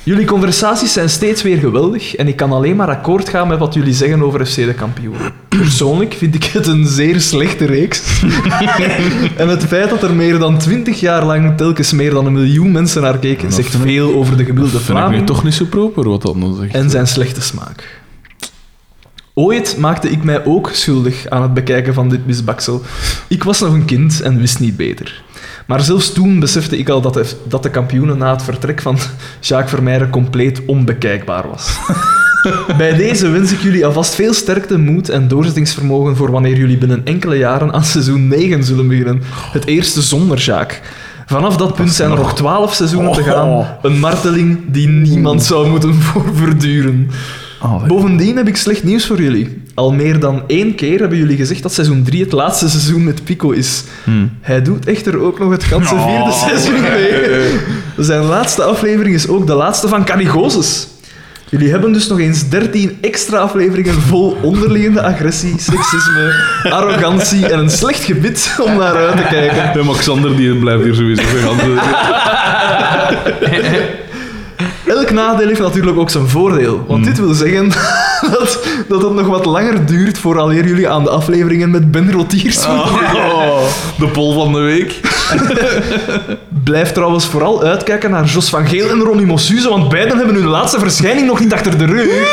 Jullie conversaties zijn steeds weer geweldig en ik kan alleen maar akkoord gaan met wat jullie zeggen over FC de kampioen. Persoonlijk vind ik het een zeer slechte reeks. en het feit dat er meer dan twintig jaar lang telkens meer dan een miljoen mensen naar keken,
Dat
zegt
vind ik-
veel over de gemiddelde
Dat vind ik nu
Vlaming
toch niet zo proper wat dat dan zegt.
en zijn slechte smaak. Ooit maakte ik mij ook schuldig aan het bekijken van dit misbaksel. Ik was nog een kind en wist niet beter. Maar zelfs toen besefte ik al dat de, dat de kampioenen na het vertrek van Jacques Vermeijden compleet onbekijkbaar was. Bij deze wens ik jullie alvast veel sterkte, moed en doorzettingsvermogen voor wanneer jullie binnen enkele jaren aan seizoen 9 zullen beginnen. Het eerste zonder Jacques. Vanaf dat punt zijn er nog Oh. 12 seizoenen te gaan. Een marteling die niemand zou moeten voor verduren.
Allee.
Bovendien heb ik slecht nieuws voor jullie. Al meer dan één keer hebben jullie gezegd dat seizoen 3 het laatste seizoen met Pico is.
Hmm.
Hij doet echter ook nog het ganse vierde
Oh.
seizoen mee. Zijn laatste aflevering is ook de laatste van Carigosus. Jullie hebben dus nog eens 13 extra afleveringen vol onderliggende agressie, seksisme, arrogantie en een slecht gebit om naar uit te kijken.
Ja, maar Xander die blijft hier sowieso. gaan.
Elk nadeel heeft natuurlijk ook zijn voordeel. Want dit wil zeggen dat, dat het nog wat langer duurt vooraleer jullie aan de afleveringen met Ben Rotiers moeten
Oh, de pol van de week.
Blijf trouwens vooral uitkijken naar Jos van Geel en Ronnie Mossuze, want beiden hebben hun laatste verschijning nog niet achter de rug.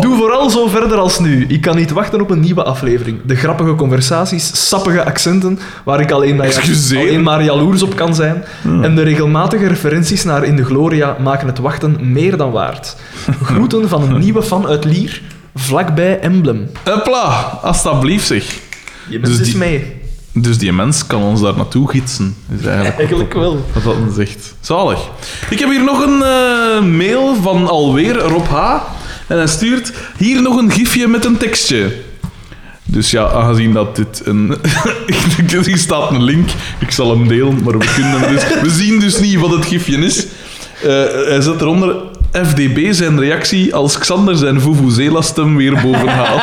Doe vooral zo verder als nu. Ik kan niet wachten op een nieuwe aflevering. De grappige conversaties, sappige accenten, waar ik alleen maar,
Excuseer. Hmm.
alleen maar jaloers op kan zijn. En de regelmatige referenties naar In de Gloria maken het wachten meer dan waard. Groeten van een nieuwe fan uit Lier, vlakbij Emblem.
Hopla, alsjeblieft zeg.
Je
bent
bent
dus
dus
die-
mee.
Dus die mens kan ons daar naartoe gidsen, is eigenlijk
Eigenlijk wel.
wat dat dan zegt. Zalig. Ik heb hier nog een eh, mail van alweer Rob H. En hij stuurt hier nog een gifje met een tekstje. Dus ja, aangezien dat dit een... hier staat een link. Ik zal hem delen, maar we kunnen hem dus... We zien dus niet wat het gifje is. Eh, hij zet eronder... FDB zijn reactie als Xander zijn Vuvuzela-stem weer boven haalt.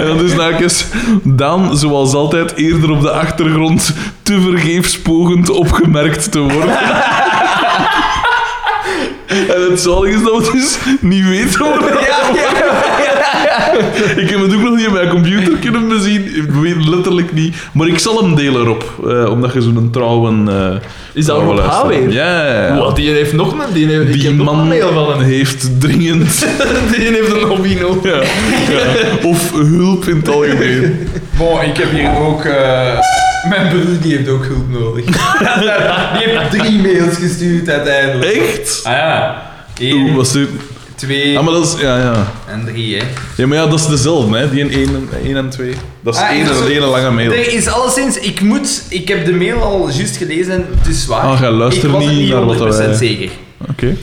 En dat is nakens Daan, zoals altijd, eerder op de achtergrond tevergeefs pogend opgemerkt te worden. En het zalige is dat we dus niet weten wat dat Ik heb het ook nog niet op mijn computer kunnen bezien. Ik weet letterlijk niet. Maar ik zal hem delen, op, omdat je zo'n trouwe... eh,
Is dat
trouwe
Rob H.
luisteraar bent.
weer?
Ja, ja, ja.
Wow, die heeft nog een... Die, heeft, ik
Die
heb nog een
man
mail van hem.
heeft dringend...
Die heeft een hobby nodig.
Ja, ja. Of hulp in het algemeen.
Bon, ik heb hier ook... eh, mijn broer die heeft ook hulp nodig. die heeft drie mails gestuurd uiteindelijk.
Echt?
Ah ja.
Oeh,
Eén,
was dit...
twee
Ja, maar dat is... Ja, ja.
en drie, hè.
Ja, maar ja, dat is dezelfde, hè. Die in 1 en, 1 en 2. Dat is
Ah,
één
ja,
en
zo-
een hele lange mail.
Er is alleszins, ik moet, ik heb de mail al juist gelezen en het is waar.
Ah, jij luistert
ik was er
niet naar wat
100%
wij-
zeker.
Oké.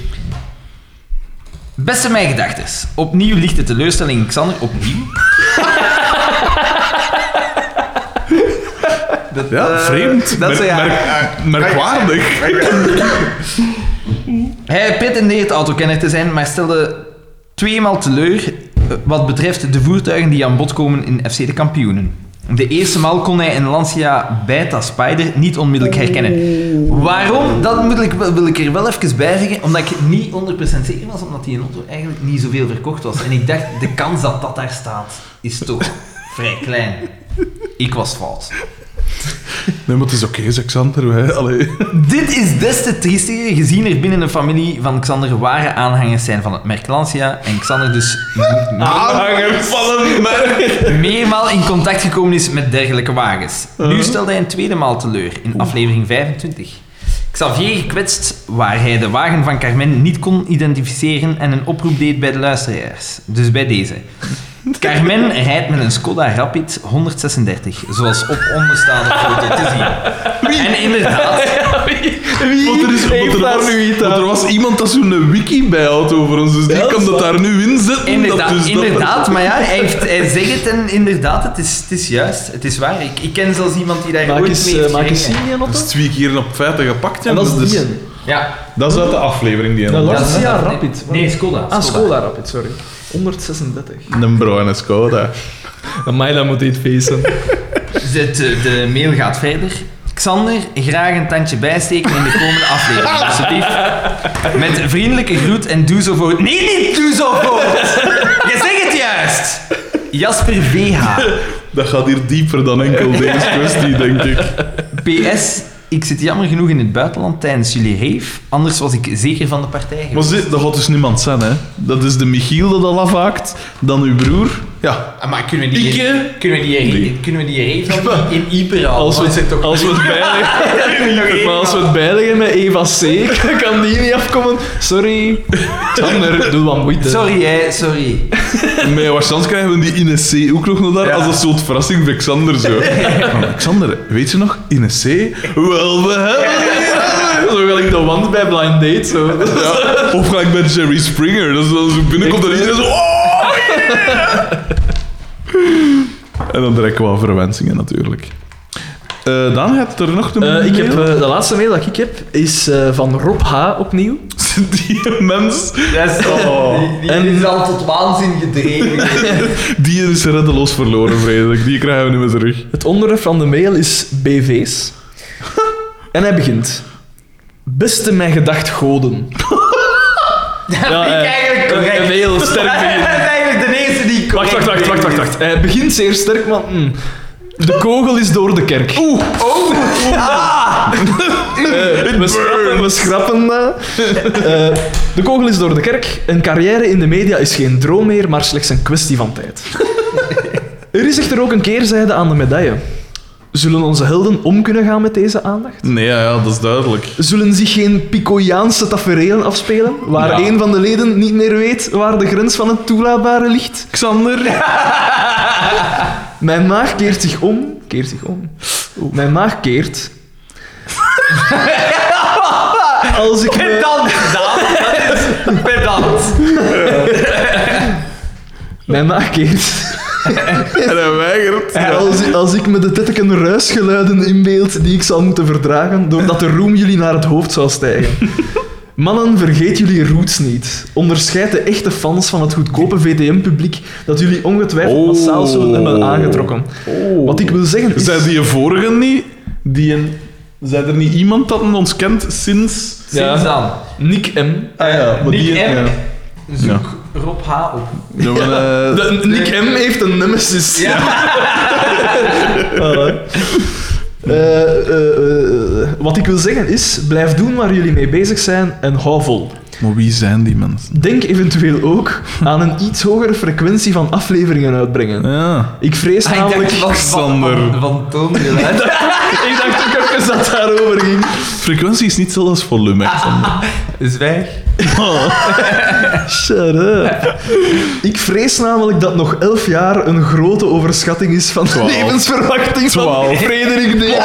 Beste mijn gedachtes, opnieuw ligt de teleurstelling in Xander, opnieuw. Dat,
Ja,
eh,
vreemd.
Dat ze,
Mer-
ja.
Ah,
merk- merkwaardig.
Hij pretendeert autokenner te zijn, maar stelde tweemaal teleur eh, wat betreft de voertuigen die aan bod komen in FC de kampioenen. De eerste maal kon hij een Lancia Beta Spider niet onmiddellijk herkennen. Waarom? Dat moet ik, wel- wil ik er wel even bij zeggen, omdat ik niet 100% zeker was, omdat die auto eigenlijk niet zoveel verkocht was. En ik dacht, de kans dat dat daar staat, is toch vrij klein. Ik was fout.
Nee, maar het is oké, zeg Xander. Wij. Allee.
Dit is des te triestiger gezien er binnen de familie van Xander ware aanhangers zijn van het merk Lancia en Xander dus m-
Aanhanger van een merk.
meermaal in contact gekomen is met dergelijke wagens. Nu stelde hij een tweede maal teleur in aflevering 25. Xavier gekwetst, waar hij de wagen van Carmen niet kon identificeren en een oproep deed bij de luisteraars. Dus bij deze. Carmen rijdt met een Skoda Rapid 136, zoals op onderstaande foto te zien. En inderdaad,
Want er, is, want er, was, want er was iemand dat zo'n wiki bijhoudt over ons, dus die
Ja, dat
kan
is
dat
waar.
daar nu in zetten.
inderdaad,
dat dus dat-
inderdaad maar ja, hij, heeft, hij zegt het en inderdaad, het is, het is juist, het is waar. Ik, ik ken zelfs iemand die daar
Maak
ooit
eens,
mee
eh,
heeft
maak eens zien,
gereden.
Jan
Dat
Otto.
is twee keer op feiten gepakt. Ja.
En dat is
dus-
die.
dus-
een.
Ja.
dat is uit de aflevering die
Dat
een-
was-
is
Ja, Rapid.
Nee, Skoda.
Ah, Skoda Rapid, sorry. 136.
Een bruine Skoda.
Amai, dat moet dit feesten.
De, de, Dus eh, de mail gaat verder. Xander, graag een tandje bijsteken in de komende aflevering, alsjeblieft. Met vriendelijke groet en doe zo voort. Nee, niet doe zo voort! Je zegt het juist! Jasper VH.
Dat gaat hier dieper dan enkel deze kwestie, denk ik.
PS, ik zit jammer genoeg in het buitenland tijdens jullie reef, anders was ik zeker van de partij
Maar
geweest.
zie, dat gaat dus niemand zijn, hè. Dat is de Michiel dat al afhaakt, dan uw broer. Ja.
Ah, maar kunnen we
Ik,
die,
eh,
kunnen we die,
nee.
kunnen we die reef dan niet in Ieper halen?
Als we,
Want het zijn toch-
als we het bijleggen, maar als we het bijleggen met Eva C, kan die niet afkomen. Sorry. Xander, doe wat moeite.
Sorry, hè, sorry.
Met waarschijnlijk krijgen we die in C ook nog naar daar,
Ja.
als een soort verrassing bij Xander zo. Van, Xander, weet je nog, in C? Wel, we hebben die."
Zo wil ik de wand bij Blind Date. Zo.
Ja. Of ga ik met Jerry Springer? Dat is dan zo binnenkomt en iedereen zo... "Oh, yeah!" En dan direct wel verwensingen, natuurlijk. Eh dan heb je er nog een
Eh, ik heb,
mail?
eh, de laatste mail dat ik heb is eh, van Rob H. opnieuw.
Die mens... Oh.
die, die
En-
is al tot waanzin gedreven.
Die is reddeloos verloren, vreselijk. Die krijgen we niet meer terug.
Het onderwerp van de mail is BV's. en hij begint. Beste mijn gedacht goden.
Ja,
eh,
ik eigenlijk
een-
correct.
een heel sterk begin.
Dat is eigenlijk de eerste die
Wacht,
correct
wacht, wacht, wacht, wacht, wacht. Hij begint zeer sterk, maar... hm, de kogel is door de kerk. Ah. Oeh! Oh. Eh, we, schrappen, we schrappen dat. Eh, de kogel is door de kerk. Een carrière in de media is geen droom meer, maar slechts een kwestie van tijd. Er is echter ook een keerzijde aan de medaille. Zullen onze helden om kunnen gaan met deze aandacht?
Nee, ja, ja, dat is duidelijk.
Zullen zich geen Picojaanse tafereelen afspelen, waar
Ja.
een van de leden niet meer weet waar de grens van het toelaatbare ligt? Xander. Mijn maag keert zich om. Keert zich om. Oeh. Mijn maag keert. Als ik me...
Pedant, Daan. Dat is pedant.
Mijn maag keert.
En hij weigert.
Als, als ik me de tetteken ruisgeluiden inbeeld die ik zal moeten verdragen, doordat de roem jullie naar het hoofd zou stijgen. Mannen, vergeet jullie roots niet. Onderscheid de echte fans van het goedkope VTM-publiek dat jullie ongetwijfeld
Oh.
massaal zullen hebben aangetrokken. Wat ik wil zeggen is...
Zijn die vorige niet? Die een... Zijn er niet iemand dat ons kent sinds...
Ja.
Sinds dan.
Nick M.
Ah ja, maar
Eh, Nick
die...
M.
Ja. Ja.
Zoek Rob H. op.
Ja, maar, eh,
De- Nick M heeft een nemesis. Voilà. Eh, eh, eh, eh, wat ik wil zeggen is, blijf doen waar jullie mee bezig zijn en hou vol.
maar wie zijn die mensen?
Denk eventueel ook aan een iets hogere frequentie van afleveringen uitbrengen.
Ja.
Ik vrees
Ah,
namelijk... Ik
van,
Xander.
van, van toon geluid.
dacht, ook even dat het daarover ging.
Frequentie is niet hetzelfde als volume.
Ah.
Xander.
Zwijg.
Shut up. Ik vrees namelijk dat nog elf jaar een grote overschatting is van de
Twaalf.
levensverwachting van
Twaalf.
Frederik D.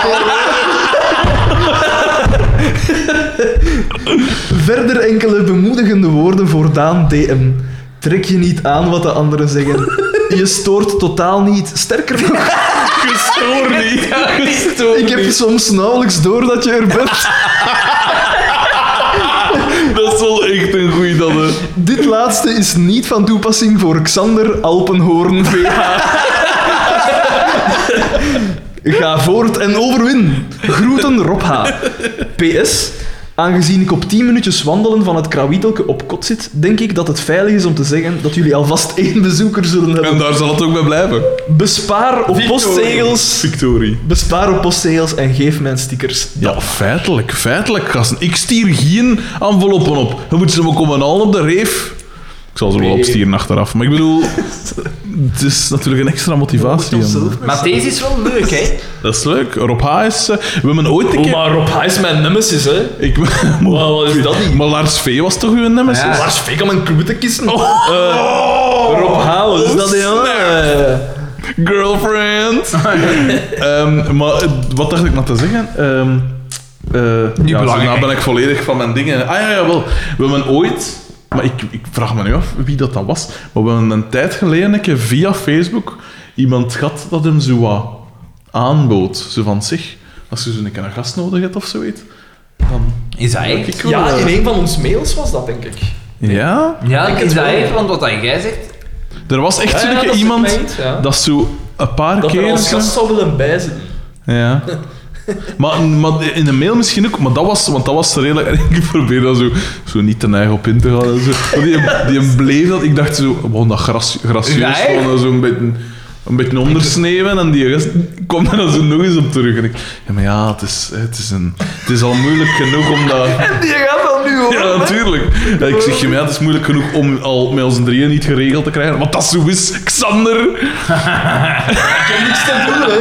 Verder enkele bemoedigende woorden voor Daan DM. Trek je niet aan wat de anderen zeggen. Je stoort totaal niet. Sterker nog,
Gestoord niet. Gestoord
Ik heb
niet.
soms nauwelijks door dat je er bent.
Dat is wel echt een goeie dat... eh.
Dit laatste is niet van toepassing voor Xander Alpenhoorn VH. Ga voort en overwin. Groeten Rob H. PS. Aangezien ik op 10 minuutjes wandelen van het krawietelke op kot zit, denk ik dat het veilig is om te zeggen dat jullie alvast één bezoeker zullen hebben.
En daar zal het ook bij blijven.
Bespaar op
Victorie.
postzegels.
Victorie.
Bespaar op postzegels en geef mijn stickers.
Ja, feitelijk, feitelijk, gasten. Ik stier geen enveloppen op. Je moet ze maar komen halen op de reef. Ik zal ze wel
Nee.
opstieren achteraf. Maar ik bedoel, het is natuurlijk een extra motivatie.
Maar deze is wel leuk, hè?
Dat is leuk. Rob H. is... eh, we hebben ooit een
Oh,
keer...
maar Rob H is mijn nemesis, hè.
Ik,
Wat- wat is dat niet?
Maar Lars V. was toch uw nemesis?
Ja.
Lars Veek om een kluwe te kiezen. Oh, Eh,
Oh,
Rob H, wat is eh, dat, hè, jongen?
snel. Girlfriend. Ehm, maar eh, wat dacht ik nog te zeggen? Ehm eh, ja,
belangrijk.
daarna ben ik volledig van mijn dingen. Ah ja, jawel. We hebben ooit, maar ik, ik vraag me nu af wie dat dan was, maar we hebben een tijd geleden een keer via Facebook iemand gehad dat hem zo wat aanbood. Zo van zich, als je zo een keer een gast nodig hebt of zoiets. Dan...
Is dat echt?
Ik wil,
Ja,
eh,
in een van ons mails was dat, denk ik.
ja?
Ja,
Ik
is
het
dat
wel.
echt? Want wat dat jij zegt...
Er was echt
Ja,
zo'n
ja,
keer
dat is
iemand
het moment, ja.
dat zo een paar
Dat
keer...
er als gast zou willen bijzitten.
Ja. Maar, maar in de mail misschien ook, maar dat was, want dat was redelijk. Ik probeerde dat zo, zo niet te neig op in te gaan. En zo. Maar die, die bleef dat. Ik dacht zo, gewoon dat gras, gracieus,
Nee.
gewoon zo een beetje, een beetje ondersneeuwen. En die rest kwam er dan zo nog eens op terug. En ik, ja, maar ja, het is, het is, een, het is al moeilijk genoeg om dat.
Die gaat wel nu hoor.
Ja, natuurlijk. Ja, ik zeg je, maar ja, het is moeilijk genoeg om al met ons drieën niet geregeld te krijgen. Want dat zo is, Xander.
Niks te doen, hè.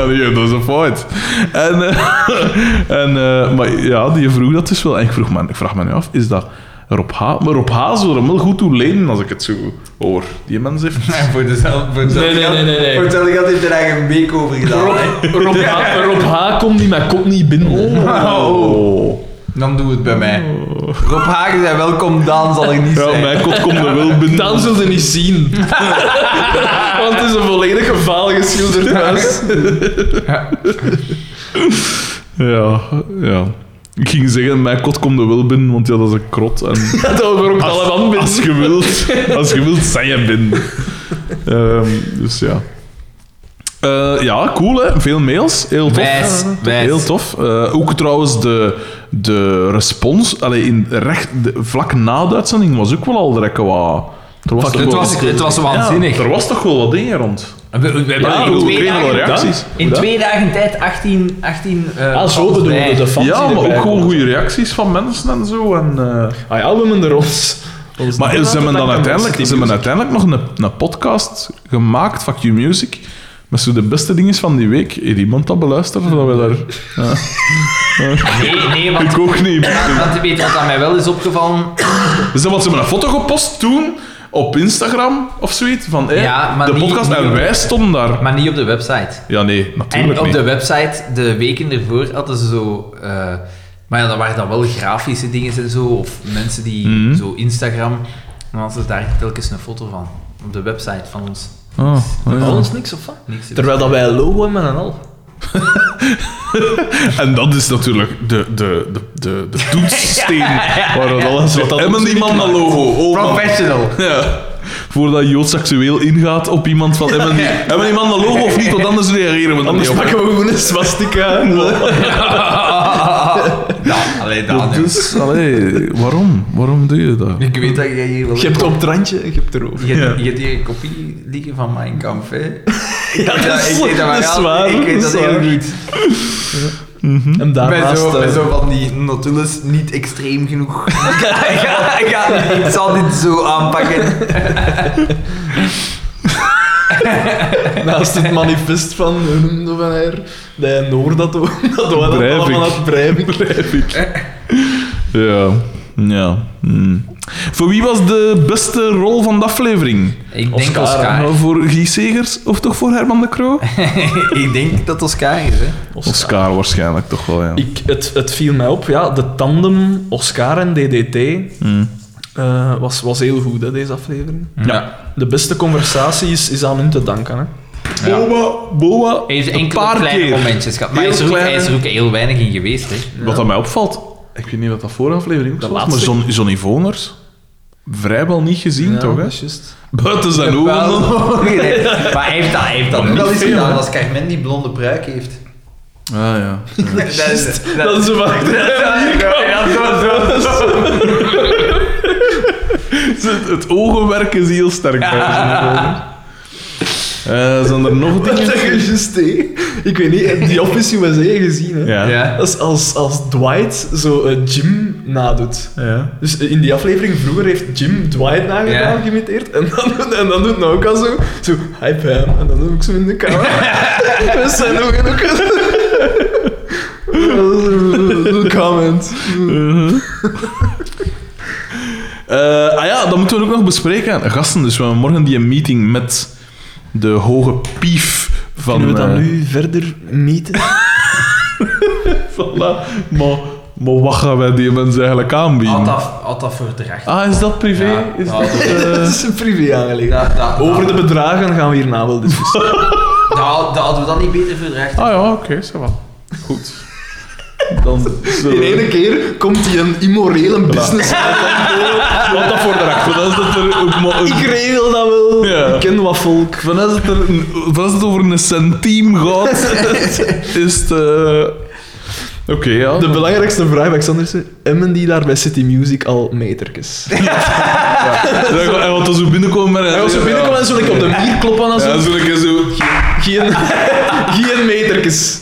Ja, nee, dat is een fout. En, eh, en, eh, maar ja, die vroeg dat dus wel. En ik, vroeg me, ik vraag me nu af, is dat Rob H? Maar Rob H zou er wel goed toe lenen als ik het zo hoor. Die mens heeft...
voor dezelfde... Voor
Nee, nee, nee, nee, nee.
Voor hetzelfde geld heeft er eigenlijk een week over gedaan. hè.
Rob, H, Rob H. komt niet, maar komt niet binnen.
Oh.
Dan doe het bij mij.
Oh.
Rob Hagen zei welkom, Daan zal ik niet
Ja,
zijn.
mijn kot komt er wel binnen.
Dan zul je niet zien. Want het is een volledig gevaal geschilderd huis.
Ja, ja. Ik ging zeggen, mijn kot komt er wel binnen, want ja, dat is een krot. En
Dat we ook alle man binnen.
als je wilt, als je wilt, zijn je binnen. Ehm, dus ja. Eh, ja, cool hè. Veel mails. Heel tof.
Wijs, wijs.
Heel tof. Eh, ook trouwens de, de respons, allee, in recht, de- vlak na de uitzending was ook wel al direct wat... Er was, toch
Het
wel-
was, het was
ja,
waanzinnig.
er was toch wel wat dingen rond.
We, we- we hebben
Ja,
in
we
twee
kregen wel
dagen,
reacties.
in
Hoe dat?
twee dagen tijd 18... 18 eh,
Ah, zo
fans
bedoelde
bij.
de fans
ja,
die
maar
erbij
ook gewoon
komen.
goede reacties van mensen en zo. En, eh,
Ah ja, we hebben er ons... ons
Maar
niet
ze hebben dan
laten pakken
uiteindelijk,
met
ze hebben
City
uiteindelijk nog een, een podcast gemaakt, Fuck You Music, met zo de beste dingen van die week. Heeft iemand dat beluisterd? Dat we daar... Ja.
Nee, nee, want...
Ik ook niet.
Want je weet wat aan mij wel is opgevallen.
Dus dan had ze hebben een foto gepost toen op Instagram of zoiets van hey,
Ja, maar
de
niet-
podcast
niet
en
op-
wij stonden daar.
Maar niet op de website.
Ja, nee, natuurlijk
En op
niet.
de website, de weken ervoor, hadden ze zo... eh, maar ja, dat waren dan wel grafische dingen en zo. Of mensen die
Mhm.
zo Instagram... Dan hadden ze daar telkens een foto van. Op de website van ons.
Oh, ja.
Van ons niks, of wat?
Niks te
Terwijl dat wij low hebben en al.
En dat is natuurlijk de, de, de, de, de toetssteen waar dat alles wat dat En
ons
die man dat logo. Oh, man.
Professional.
Ja. Voordat Jood seksueel ingaat op iemand van hebben die, hebben die man een logo of niet, want anders reageren we dan
Anders
niet op.
pakken we gewoon een swastika.
Ja, alleen dat. hè.
Dus, allee, waarom? Waarom doe je dat?
Ik weet dat jij hier wel...
Je hebt op het randje, je hebt erover.
Je,
Ja.
je hebt hier een kopie liggen van Mein Kampf, hè?
Ja,
Ja,
dat
ik
is,
weet dat, maar
dat is
ja,
waar.
Ik weet dat
is
heel
waar.
goed.
En
Bij
daarnaast...
zo, bij
eh,
zo van die notules niet extreem genoeg. ik, ga- ik ga- ik zal dit zo aanpakken.
Naast het manifest van hoe noemde dat van haar, de Noor dat we dat we dat
Breivik.
allemaal aan het breivik.
Ja. Ja. hm. Voor wie was de beste rol van de aflevering?
Ik
denk Oscar. Oscar.
Nou, voor Guy Segers of toch voor Herman de Croo?
ik denk dat Oscar is, hè.
Oscar waarschijnlijk toch wel, ja.
Ik, het, het viel mij op, ja, de tandem Oscar en DDT
Hm.
eh, was, was heel goed hè, deze aflevering.
Ja.
De beste conversatie is, is aan hun te danken. Hè.
Ja.
Boa, boa,
Hij heeft
een
enkele
paar
kleine
keer.
momentjes gehad. Maar
Heel
hij is, er ook,
kleine.
hij is er ook heel weinig in geweest, hè.
Wat dat mij opvalt, ik weet niet wat dat voor aflevering ook
De
zo was, maar
laatste.
John, Johnny Voners vrijwel niet gezien, toch? Hè?
dat is juist.
Buiten zijn ogen dan.
maar hij heeft dat, hij heeft dat
niet
wel eens
veel, hè.
gedaan als Carmen die blonde pruik heeft.
Ah ja.
Dat is...
Dat is
Dus het, het ogenwerk is heel sterk bij Eh, Zijn er nog dingen?
juist, hè. Ik weet niet, die Office USA gezien, hè.
Ja. ja.
Ja.
Dat is als, als Dwight zo eh, Jim nadoet. Dus in die aflevering vroeger heeft Jim Dwight nagedaan,
Ja.
geïmiteerd. En dan, en dan doet Nauka zo, zo, hi Pam. En dan doe ik zo in de camera. We zijn ook in elkaar. Comment.
Mhm. Eh, ah ja, dat moeten we ook nog bespreken. Gasten, dus we hebben morgen die meeting met de hoge pief van...
Kunnen we dat
eh,
nu verder meten?
Voilà. Maar, maar wat gaan wij die mensen eigenlijk aanbieden?
Had dat, had dat voor terecht.
Ah, is dat privé?
Ja,
is
ja,
dat, eh,
is een privé aangelegenheid.
Dat, dat,
Over
dat,
de bedragen gaan we hierna wel discussiëren.
dat- dat hadden we dan niet beter voor terecht.
Ah ja, oké, zo wel. Goed. Dan zullen
In
we-
één keer komt hij een immorele business.
Wat dat voor de raak? Vanaf dat er ook maar
Ik
een...
regel dat wel.
Ja.
Ik ken wat volk.
Vanaf dat, er een, vanaf dat het over een centiem gaat, is het... eh, Oké, ja.
De belangrijkste vraag bij Xandersen, emmen die daar bij City Music al metertjes?
Hij gaat dan zo binnenkomen met...
Als we binnenkomen en zo like, op de muur kloppen en zo,
Ja, zo een keer zo...
geen, geen metertjes.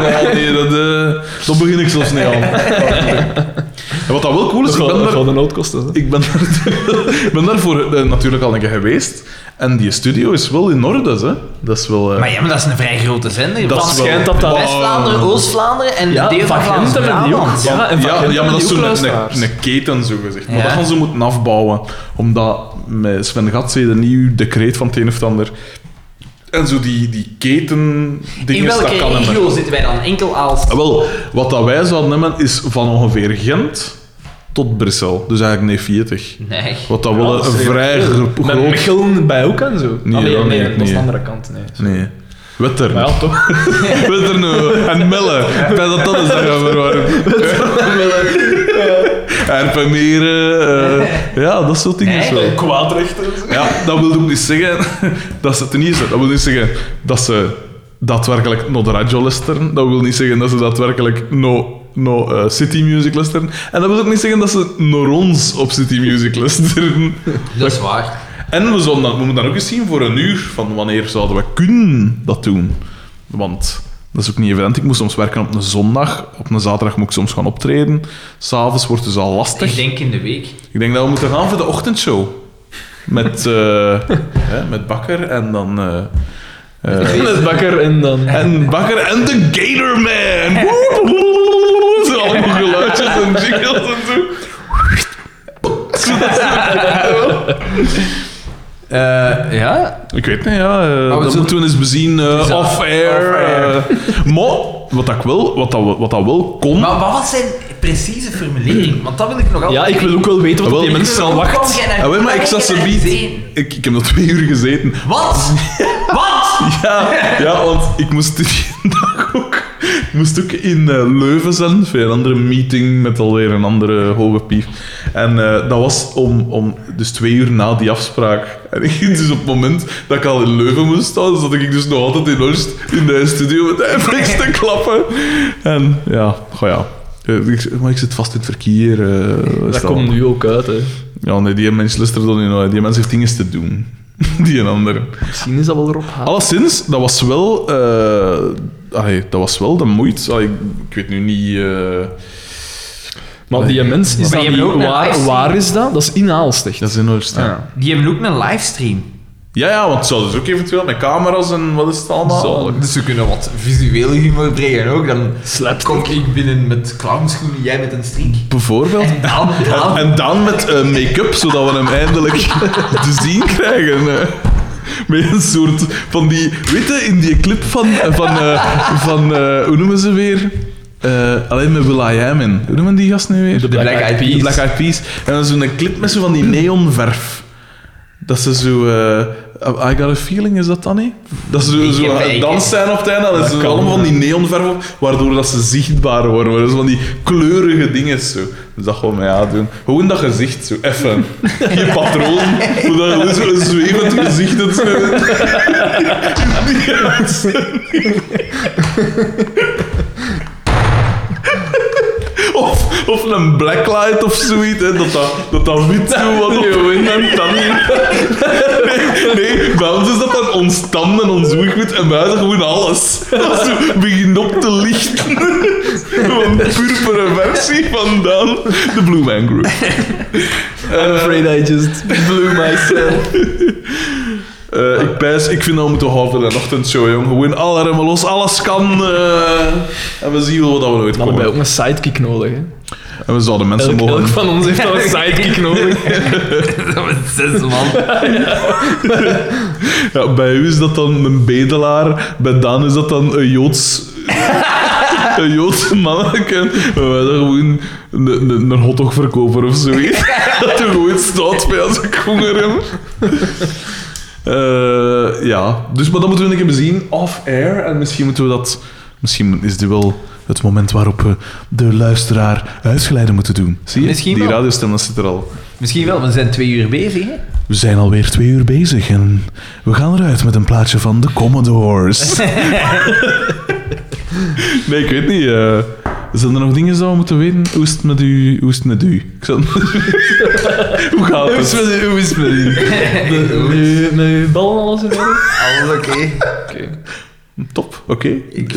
Ja, nee, dat, eh, dat begin ik zelfs niet aan. En wat dat wel cool is, ik ben, daar,
een nood kosten. hè.
ik ben, daar, ik ben daarvoor eh, natuurlijk al een keer geweest. En die studio is wel in orde, hè. Dat is wel... eh,
Maar ja, maar dat is een vrij grote zender.
Dat
van
is wel-
schijnt dat dat-
Oh.
West-Vlaanderen, Oost-Vlaanderen en
Ja,
deel van
van Gent hebben die ook.
Vlaams-Brabant.
Ja, en van
Ja,
Gent
ja, maar dat is
hebben die ook
zo'n
luisteraars.
een, een keten, zo gezegd. Maar
Ja.
dat gaan ze moeten afbouwen. Omdat met Sven Gatse, de nieuw decreet van het een of het ander. En zo die, die keten.
In
dinges,
welke
dat kan hem.
regio zitten wij dan? Enkel als...
Wel, wat dat wij zouden nemen is van ongeveer Gent tot Brussel. Dus eigenlijk nee 40.
Nee.
Wat dat wel
Ja,
een,
dat is
vrij
heel
gro-
Met
groot.
Mechelen bij ook en zo.
Nee,
Allee,
dat
nee,
niet,
dat is de
nee.
andere kant. Nee.
Nee. Wettern.
Maar ja, toch.
Wettern eh, en Melle. Ik ben dat dat is daar gaan verwarren. Erpenmeren. eh, ja, dat soort dingen.
Nee.
wel.
Kwaadrechter.
Ja, dat wil ook niet zeggen dat ze ten eerste, dat wil niet zeggen dat ze daadwerkelijk naar de radio luisteren. Dat wil niet zeggen dat ze daadwerkelijk naar no, eh, City Music luisteren. En dat wil ook niet zeggen dat ze naar ons op City Music luisteren.
Dat is waar.
En we, zullen dan, we moeten dan ook eens zien voor een uur van wanneer zouden we kunnen dat doen. Want dat is ook niet evident. Ik moest soms werken op een zondag. Op een zaterdag moet ik soms gaan optreden. S'avonds wordt het dus al lastig.
Ik denk in de week.
Ik denk dat we moeten gaan voor de ochtendshow. Met, eh, hè, met Bakker en dan... eh, eh,
Met bakker en dan...
en Bakker en de Gator Man! Woe! Zo allemaal geluidjes en jingles en zo.
Eh,
ja?
Ik weet niet, ja. eh,
we
dat
zullen-
moeten we eens bezien. eh, off-air.
off-air.
eh. maar, wat dat, ik wel, wat dat, wat dat wel kon...
Maar wat was zijn precieze formulering? Want dat wil ik nog altijd
Ja, ik wil ook wel weten wat
Wel,
op die
ik
mensen
wil
al
ook
wachten.
wel- jij daar-
Ah, wel, maar ik
daar
zat
heb
ze
je
niet...
gezien.
Ik, ik heb nog twee uur gezeten.
Wat? Wat?
Ja, ja, want ik moest die dag ook, ik moest ook in eh, Leuven zijn voor een andere meeting met alweer een andere hoge pief. En eh, dat was om, om dus twee uur na die afspraak. En ik, dus op het moment dat ik al in Leuven moest staan, zat ik dus nog altijd in Oost in de studio met de FX te klappen. En ja, goh ja. Eh, ik- Maar ik zit vast in het verkeer. eh, is
Dat komt nu ook uit, hè.
Ja, nee, die mens luistert dan niet naar. Die mens heeft dingen te doen. Die een ander.
Misschien is dat wel erop
Oh.
haal.
Alleszins, dat was wel... eh, allee, dat was wel de moeite. Allee, ik weet nu niet... eh,
Maar die mens, is
Maar
dat
je
niet...
hebt ook een
Waar,
livestream.
waar is dat? Dat is in Aalstecht.
dat is in Oost. Ja.
Ja.
Die hebben ook een livestream.
ja, ja, want ze hadden dus ook eventueel met camera's en wat is het allemaal.
Zalig.
Dus we kunnen wat visueel humor brengen ook. Dan
Slapstick.
kom ik binnen met clownschoenen, jij met een strik.
Bijvoorbeeld.
En dan,
En,
dan
en dan met eh, make-up, zodat we hem eindelijk te zien krijgen. eh. Met een soort van die... Weet je, in die clip van... eh, van, eh, van eh, hoe noemen ze weer? Eh, alleen met Will I Am in. Hoe noemen die gast nu weer?
de Black Eyed
Die
Peas.
Black Eyed Peas. En dan zo'n clip met zo van die neonverf. Dat ze zo... eh, I got a feeling, is dat dan niet? Dat ze zo,
Ik
zo
heb-
aan het
ik-
dansen zijn op het einde. Dat is
Dat
zo
kan,
allemaal van
ja.
die neonverf op, waardoor dat ze zichtbaar worden. Maar Dat is van die kleurige dingen zo. Dus dat gewoon mij aandoen. Gewoon dat gezicht zo, effen. Geen patroon. Hoe dat gewoon zo'n zwevend gezicht dat zo... Of, of een blacklight of zoiets, hè, dat, dat, dat dat wit zo wat op en dan... Nee, nee, bij ons is dat dan ons tanden en ons oogwit en bij ons gewoon alles. Dat zo begint op te lichten. Een purperen versie van dan de Blue Man Group.
I'm afraid I just blew myself.
Eh, ik pijs, ik vind dat we moeten houden in een ochtendshow, jong. Gewoon alle remmen los, alles kan. eh, en we zien wel wat we nooit
Dan hebben
komen.
wij ook een sidekick nodig, hè.
En we zouden mensen
Elk,
mogen...
elk van ons heeft al een sidekick nodig.
Dat was zes man.
Ja, bij u is dat dan een bedelaar, bij Daan is dat dan een Joods... een Joodse manneke. En wij dan gewoon een, een, een hotdogverkoper of zoiets. dat er gewoon staat bij als ik honger heb. Eh, ja, dus maar dat moeten we een keer bezien off-air. En misschien moeten we dat... Misschien is dit wel het moment waarop we de luisteraar huisgeleiden moeten doen. Zie je?
Misschien
Die
wel.
radiostem, dat zit er al.
Misschien wel, we zijn twee uur bezig. Hè?
We zijn alweer twee uur bezig en we gaan eruit met een plaatje van de Commodores. nee, ik weet niet. eh, zijn er nog dingen die we moeten weten? Hoe is het met u? Hoe is het met u? Ik zal... Hoe gaat het?
Hoe is het met
Met uw ballen alles in orde?
Alles oké.
Oké.
Top, oké.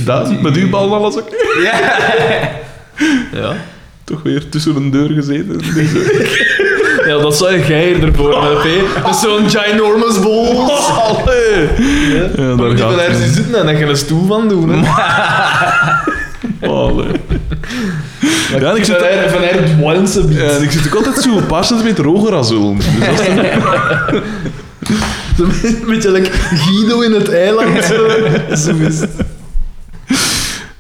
Daan, Met uw bal alles oké?
Ja.
Toch weer tussen een deur gezeten. Dus, eh, Deze-
ja, dat zou jij ervoor hebben, hè. Met zo'n ginormous bol.
Allee. Ja, daar
Moet je wel
gaat
ergens in
het.
zitten en dan ga je een stoel van doen. Hè.
Allee. Ja, en ik zit...
Van haar- van haar het warmste biedt.
En ik zit ook altijd zo'n paar centimeter hoger als Ulm. Dus dat is
Zo Een beetje like Guido in het eiland. Zo, zo is het.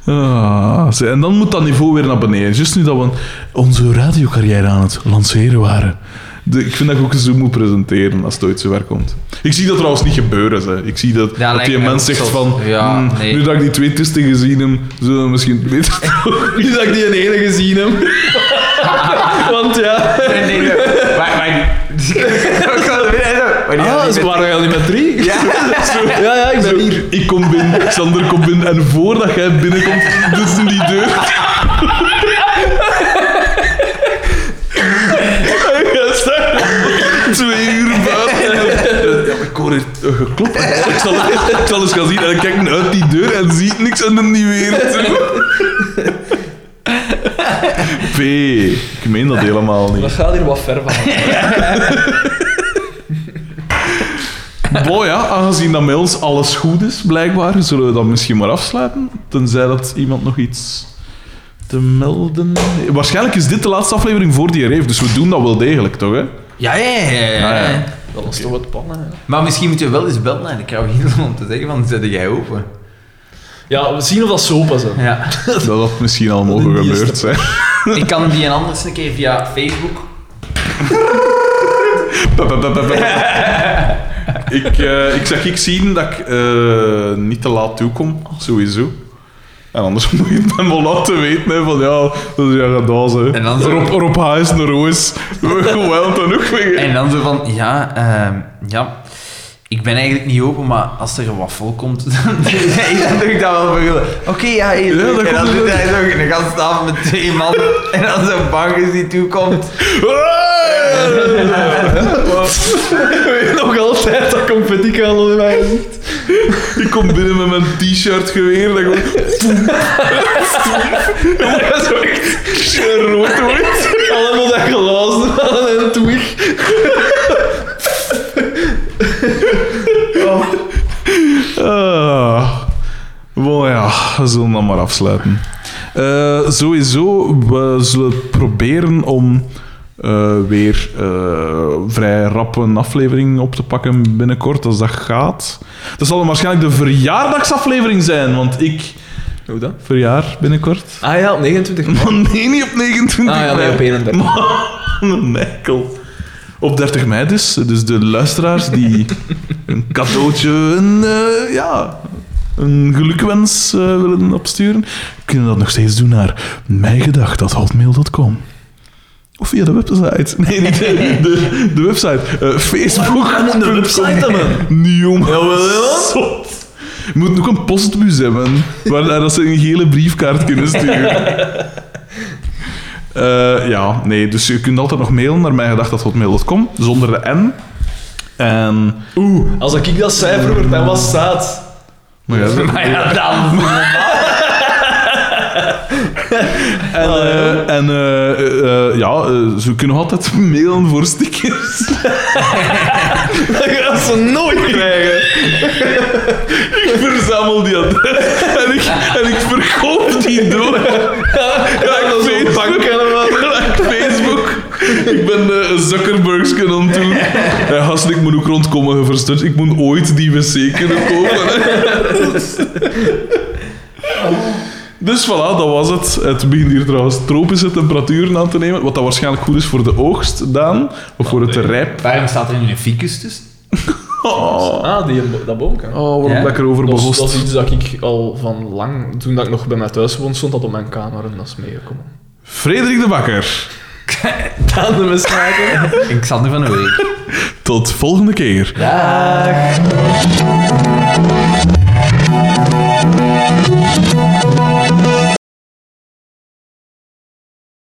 Ah, zie, en dan moet dat niveau weer naar beneden. Juist nu dat we onze radiocarrière aan het lanceren waren. De- ik vind dat ik ook zo moet presenteren als het ooit zover komt. Ik zie dat trouwens niet gebeuren. Zeg. Ik zie dat, dat
lijkt
die
mij
mens
ook
zegt
zot.
van...
Ja,
"Hmm,
nee.
Nu dat ik die twee twisten gezien heb, zullen we misschien beter...
Niet dat ik die ene gezien heb. Want ja...
Nee, nee, nee. Maar, maar... Ik zal er weer uit. Maar die
Ah,
had
dus
niet
we
met-
waren al niet met drie? Ja, ja, ik ben
Zo,
hier.
ik kom binnen, Xander komt binnen. En voordat jij binnenkomt, dus in die deur... En jij staat Twee uur buiten. Ja, maar ik hoor hier eh, geklopt. Ik zal, ik zal eens gaan zien. En ik kijk uit die deur en ziet niks en dan niet weer. Zo. P. Ik meen dat helemaal
Dat
niet.
gaat hier wat ver van.
Bo, ja, aangezien dat met ons alles goed is, blijkbaar, zullen we dat misschien maar afsluiten. Tenzij dat iemand nog iets te melden... Waarschijnlijk is dit de laatste aflevering voor die heeft, dus we doen dat wel degelijk, toch? Hè?
Ja, ja, ja, ja, ja.
Ah, ja.
Dat was toch wat pannen.
Maar misschien moeten we wel eens bellen naar de Carolina om te zeggen van, zet jij open?
Ja, we zien of dat sopa is. hè.
Ja.
Dat had misschien al mogen
Die is
gebeurd zijn.
Ik kan die en anders een keer via Facebook.
Pa, pa, pa, pa, pa. ik, eh, ik zeg ik zien dat ik eh, niet te laat toekom, sowieso. En anders moet je het mij wel laten weten, hè, van ja, dat is ja gedaan, hè.
En dan zo-
Rob, Rob H. is een roos. Geweld en ook weer.
En dan zo van, ja, ehm, ja, ik ben eigenlijk niet open, maar als er een wafel komt, dan, dan doe ik dat wel voor jullie. Oké, ja, heel
Ja,
leuk.
dat
En dan
komt
zit
wel.
hij zo in de gastenavond met twee man. En als een bankers die toekomt,
Nog altijd dat confetti kan onder mij.
Ik kom binnen met mijn t-shirt geweer. Dat gewoon.
Dat is ook
rood wordt.
allemaal dat glas en een twig.
Ah. Wel ja, we zullen dat maar afsluiten. Eh, sowieso, we zullen proberen om eh, weer eh, vrij rap een aflevering op te pakken binnenkort, als dat gaat. Dat zal dan waarschijnlijk de verjaardagsaflevering zijn, want ik
Hoe dan?
verjaar binnenkort.
Ah ja, op 29 maart.
Maar nee, niet op 29
Ah ja, nee,
mei.
op 31.
Man, Michael. Op 30 mei dus. Dus de luisteraars die een cadeautje, een, eh, ja, een gelukwens eh, willen opsturen, kunnen dat nog steeds doen naar mijgedacht.hotmail.com. Of via de website. Nee, niet de, de, de website. Eh Facebook.
Waarom de website dan, man?
Nieuw. Zot. Je moet ook een postbus hebben, waar daar dat ze een gele briefkaart kunnen sturen. Eh, ja, nee, dus je kunt altijd nog mailen naar mijgedacht.hotmail.com, zonder de N. En...
Oeh, als ik dat zei vroeger, dan was staat.
Maar ja, dat-
Maar ja, dan.
en, eh, en eh, eh, eh, ja, eh, ze kunnen nog altijd mailen voor stickers.
Dat gaan ze nooit krijgen.
ik verzamel die adres en ik, en ik verkoop die door.
Ja, dat is
weet
een
het.
bank en wat.
Ja, Zuckerbergs kunnen eh, aan het doen. Ja, gast, ik moet ook rondkomen, je verstut. Ik moet ooit die wc kunnen kopen. hè. Dus voilà, dat was het. Het begint hier trouwens tropische temperaturen aan te nemen, wat dat waarschijnlijk goed is voor de oogst, Daan. Of voor het rijp.
Waarom staat er nu een ficus tussen?
Oh,
Ah, die, dat boomke.
oh waarom
Ja?
ben ik erover
Dat is, dat is
begost?
iets dat ik al van lang, toen dat ik nog bij mij thuis woonde, stond dat op mijn kamer en dat is meegekomen.
Frederik de Bakker.
Aan de
En Xander van der Week.
Tot volgende keer.
Dag.